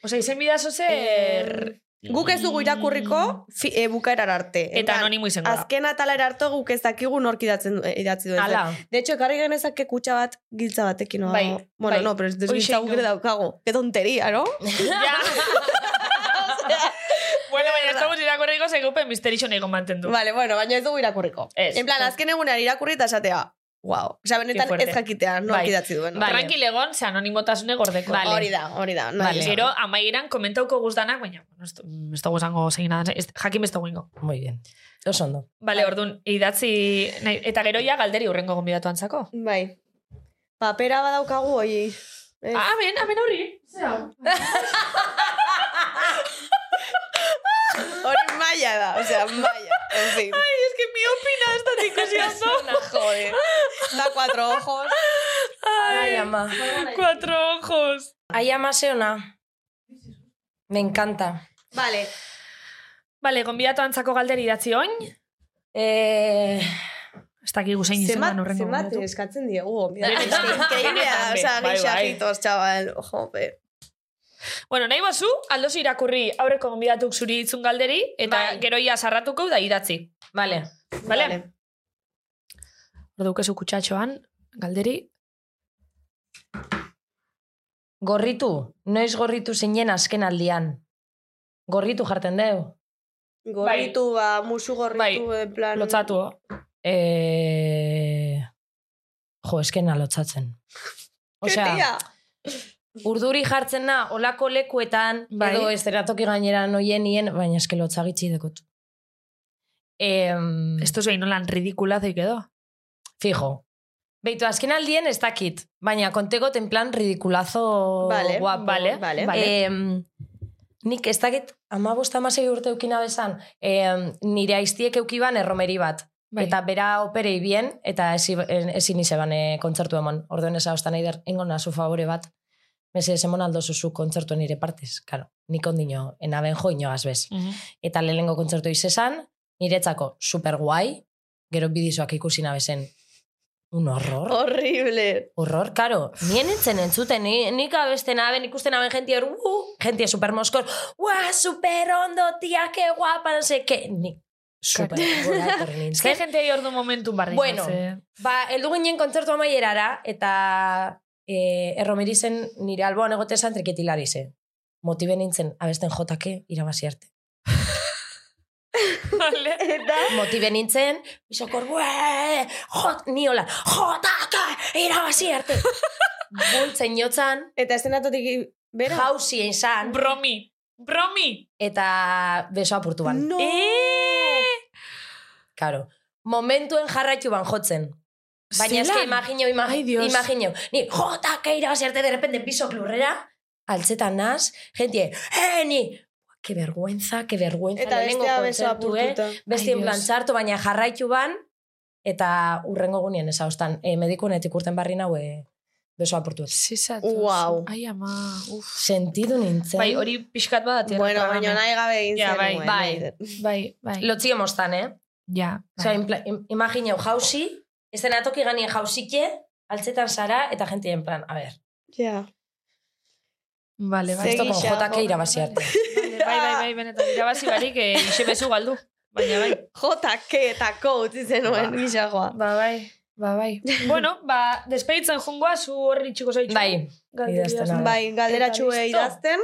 S4: Osa, izen bida zozer...
S5: Eh, Guk ez dugu irakurriko fi, e, bukaerar arte.
S4: Eta
S5: Eman,
S4: anonimo izango da.
S5: Azken atalera arte guk ez dakigu nork idatzi, idatzi duen.
S6: Ala.
S5: De hecho, ekarri genezake kutxa bat giltza batekin. o-
S4: Bai,
S5: bueno,
S4: bai.
S5: no, pero ez des
S4: Hoxe
S5: giltza guk
S4: no.
S5: ere daukago. Ke tonteria, no?
S4: Ja. bueno, baina ez dugu irakurriko segupen misterixo nahi mantendu.
S5: vale, bueno, baina ez dugu irakurriko.
S4: Ez.
S5: En plan, azken egunean irakurri eta esatea. Wow. Osa, benetan
S4: Ke fuerte.
S5: ez jakitea nork
S4: Bai.
S5: idatzi duen.
S4: Vale. Tranquil egon, ze anonimotasune gordeko.
S6: Vale.
S5: Hori da, hori da. nahi
S6: Vale.
S5: esan.
S4: Gero, amaieran komentauko guzdanak, baina, bueno, ez du- mm, ez dugu esango zein adan, ez- jakin beste guingo.
S6: Muy bien. Oso ondo.
S4: Bale, orduan, idatzi, nahi, eta gero ja galderi urrengo gonbidatu antzako.
S5: Bai. Papera badaukagu hoi. Ez.
S4: Ah, amen, amen horri.
S5: Hori maia da, osea, maia. En fin.
S4: Ai, es que mi opina ez da ikusi oso.
S5: Joder. Da cuatro ojos.
S6: Ai, ama.
S4: Cuatro ojos.
S6: Ai, ama zeona. Me encanta.
S5: Vale.
S4: Bale, gonbidatu antzako galderi idatzi oin.
S6: Eh,
S4: Ez dakigu zein izan
S5: Zenbat,
S4: den urrengo
S5: zenbat
S4: gonbidatu.
S5: eskatzen diegu. mira.
S4: Benetan,
S5: Es que Increíblea,
S4: benetan,
S5: osea,
S4: bai, bai.
S5: gixajitos, chaval. Jope.
S4: Bueno, nahi bazu, aldozu irakurri aurreko gonbidatuk zuri itzun galderi, eta
S6: Bai.
S4: gero ia sarratuko da idatzi.
S6: vale.
S4: Bale? Ordukezu kutsatxoan, galderi.
S6: Gorritu. Noiz gorritu zinen azken aldian. Gorritu jarten deu.
S5: Gorritu, ba, musu gorritu, en plan...
S4: Lotzatu, oh.
S6: Eh, jo, eskena lotzatzen. Osea,
S5: Ketia.
S6: urduri jartzen na, olako lekuetan,
S4: Bai.
S6: edo esteratoki gainera noien hien, baina eske lotzagitzi dekot. Em,
S4: Esto zein nolan ridikula zeik edo.
S6: Fijo. Beitu, azken aldien ez dakit, baina kontegot en plan ridikulazo
S5: Vale,
S6: guapo.
S4: vale,
S5: vale.
S6: Em, nik ez dakit, ama bosta amasei urte eukina bezan, em, nire aiztiek eukiban erromeri bat.
S4: Bai.
S6: Eta bera opere ibien, eta ezi- en- ezin izeban e, kontzertu eman. Orduan ez haustan eider, ingo nazu favore bat. Mese, emon aldo zuzu kontzertu nire partez. Claro, nik ondino, enaben jo inoaz bez eta lehenengo kontzertu izan, niretzako super guai, gero bidizoak ikusi nabezen un horror.
S5: Horrible.
S6: Horror, karo, nien entzen entzuten, ni- nik abesten aben, ikusten aben jentia hor, uh, jentia super moskor, ua, super ondo, tia, que guapa, no sé, que, ni, super gora etorri
S4: Ez que
S6: nintzen.
S4: jente ordu momentu barri.
S6: Bueno.
S4: ze-
S6: Ba, eldu ginen kontzertu amaierara, eta e, erromeri zen nire alboan egote esan trikitilari zen. Motibe nintzen, abesten jotake, irabazi arte.
S4: Vale.
S6: Motibe nintzen, bizokor, "Bue, jot, ni hola, jotaka, irabazi arte. Bultzen jotzan,
S5: Eta estenatotik bera?
S6: jauzi izan,
S4: Bromi. Bromi.
S6: eta beso apurtu ban.
S5: No.
S6: Eh? Karo, momentuen jarraitu ban jotzen. Baina eske
S4: Zelan?
S6: imagino, ima,
S4: Ai, Dios.
S6: imagino, ni jotaka irabazi arte, de repente pisok lurrera, altzetan naz, gentie, eh, ni, que vergüenza, que vergüenza,
S5: Eta
S6: lehenengo
S5: bestea besoa
S6: kontzertu, eh.
S5: apurtuta.
S6: Beste
S4: Ai,
S6: plan
S4: Dios.
S6: txarto, baina jarraitu ban, eta urrengo gunien ez haustan. E, medikunetik urten barri nau, e, beso apurtu. dut.
S4: Zizatuz.
S5: Guau.
S4: Ai, ama. Uf.
S6: Sentidu nintzen.
S4: Bai, hori pixkat
S6: Ah,
S4: bat atera.
S5: Bueno, baina
S4: pagame.
S5: nahi gabe egin
S4: Ja, bai,
S5: zenuen,
S6: bai.
S5: nahi-
S4: Bai, bai.
S6: Lotzio mostan, eh?
S4: Ja.
S6: Osea, en plan, im- imagineu jauzi, ezen atoki ganien jauzike, altzetan zara, eta jente en plan, a ber,
S5: Ja.
S4: Vale, bai.
S6: esto
S5: Segi
S6: con
S5: xa,
S6: jotake
S5: jo.
S6: irabazi arte.
S4: Vale, bai, bai, bai, benetan. Irabazi barik, eh, ixe bezu galdu. Baina bai.
S5: Jota, ke eta ko utzi zenuen gisagoa.
S4: Ba, bai. Ba, bai. bueno, ba, despeditzen jungoa, zu horri txiko zaitxu.
S6: Bai,
S4: Galderia
S6: idazten
S4: zen.
S6: hau.
S5: Bai, galderatxue
S4: listo.
S5: idazten.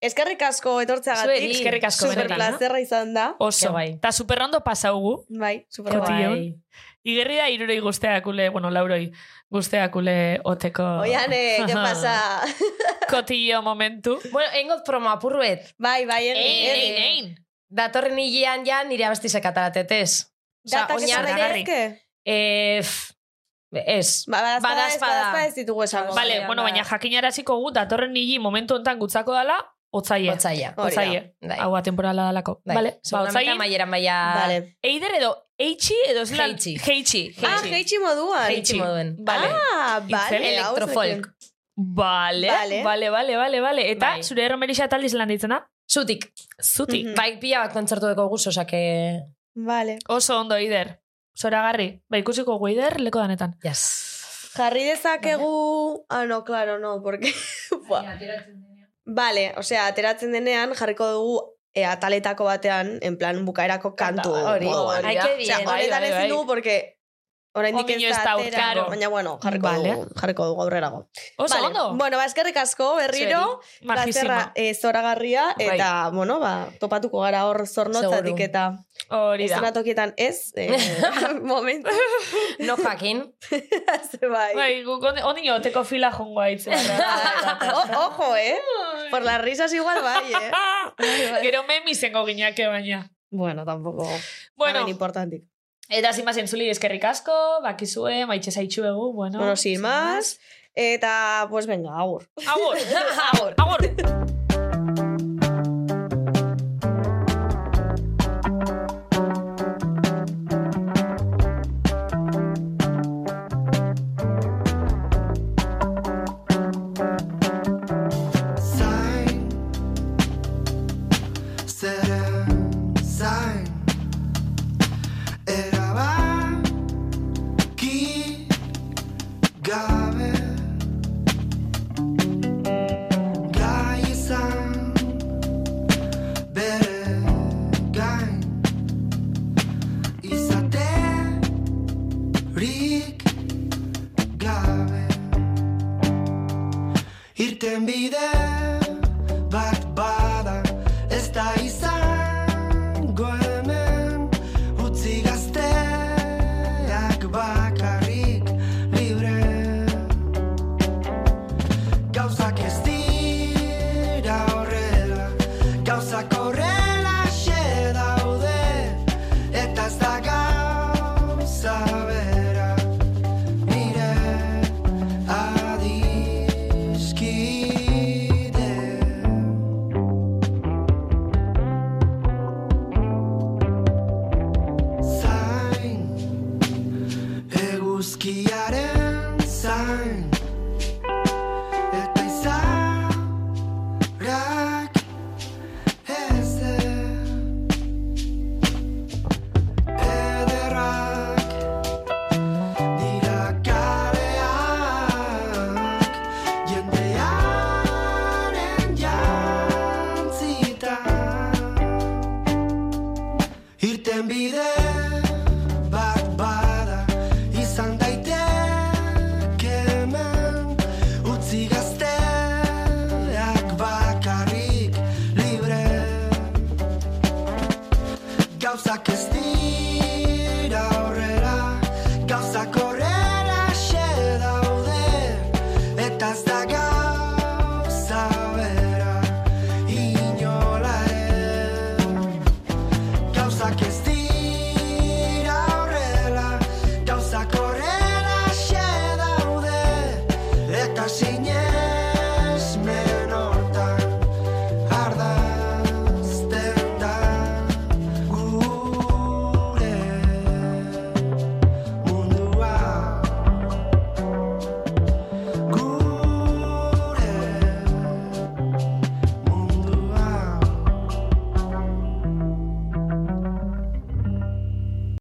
S5: Eskerrik asko etortzeagatik.
S6: Zuei,
S4: eskerrik asko, benetan, eh?
S5: Superplazerra izan da.
S4: Oso.
S6: Ke bai.
S4: Ta superrondo pasaugu.
S5: Bai, super
S4: Koti.
S5: guai.
S4: Kotillon. Igerri da iruroi guzteakule, bueno, lauroi guzteakule oteko
S5: Oiane, eh, ¿qué pasa?
S4: kotillo momentu.
S6: Bueno, engot promo apurruet.
S5: bai, bai, egin,
S4: Egin,
S5: egin.
S4: egin, egin.
S6: Datorren hilean ja nire abestizek ataratetez. Osea,
S5: Datak esan
S6: oinarri-
S5: daitezke?
S6: Eh, pff, Ez.
S5: Ba, badazpada, ez,
S6: Badazpada.
S5: badazpada ez ditugu esango.
S4: Bale,
S6: Otsailean
S4: bueno,
S6: da.
S4: baina jakinaraziko gu, datorren nili momentu hontan gutzako dala, otzaie.
S6: Otzaia.
S5: Hori da.
S4: Otzaie.
S6: Bai.
S4: Hau atemporala dalako.
S6: Bai.
S4: Vale, ba,
S6: Seguramente
S4: otzaien,
S6: amaieran baia...
S5: Vale.
S4: eider edo, eitxi edo zelan...
S6: Heitsi.
S4: Heitsi.
S5: Ah, heitxi moduan.
S6: Heitsi moduen.
S4: Vale.
S5: Ah, bale.
S4: Itzel
S5: hau
S6: Elektrofolk.
S5: zekin.
S4: Vale,
S5: Vale.
S4: vale, vale, vale, vale, vale. Eta
S6: Bai.
S4: zure erromerixa taldiz lan ditzena?
S6: Zutik.
S4: Zutik.
S5: Mhm.
S6: Bai, pila bat kontzertu deko guz, osak... eh,
S5: Bale.
S4: Oso ondo, Eider. Zoragarri. Ba, ikusiko gu Eider leko danetan.
S6: Yes.
S5: Jarri dezakegu... Ah, no, claro, no, porque... Bua. Bale, osea, ateratzen denean jarriko dugu e, ataletako batean, en plan bukaerako kantu.
S6: hori.
S5: moduan.
S6: Ai, que bien.
S5: Osea,
S4: Bai,
S5: honetan
S4: bai,
S5: ezin
S4: bai.
S5: dugu, porque... Oraindik ez
S4: Ondino ez
S5: da
S4: da
S5: atera,
S4: aurtengo.
S5: baina bueno, jarriko
S4: Vale.
S5: dugu, jarriko dugu aurrerago.
S4: Oso
S5: Vale,
S4: ondo.
S5: Bueno, ba, eskerrik asko berriro,
S4: Majísima.
S5: placerra e, zoragarria,
S4: Bai.
S5: eta, bueno, ba, topatuko gara hor zornotzatik
S6: Seguru.
S5: eta
S4: Hori da.
S5: estrenatokietan ez, eh, momentu,
S6: No jakin.
S5: ze bai.
S4: Bai, guk ondi- ondino oteko fila jongo aitzen.
S5: O- ojo, eh? Por las risas igual bai, eh?
S4: Gero memi zengo gineake baina.
S5: Bueno, tampoco.
S4: Bueno,
S5: Bueno. importante.
S4: eta zin bazen zuli eskerrik asko, bakizue, maitxe zaitxuegu, bueno.
S5: Bueno, sin más. Eta, pues venga, agur.
S4: Agur, agur, agur.
S8: Sign, será sign. Erabat, ki, gabe. Gai izan, bere gain. Izaterik gabe. Irten bide bat bada Ez da izango hemen Utzi gazteak bakarrik libre Gauzak ez dira horrela Gauzak horrela xe daude Eta ez da gauza bera Nire adiskide Zain Eguzkiaren zain Eta izarrak ezer Ederrak dira kaleak Jendearen jantzitan Irten bide bat bada izan daiteke hemen utzi gazteak bakarrik libre Gauzak ez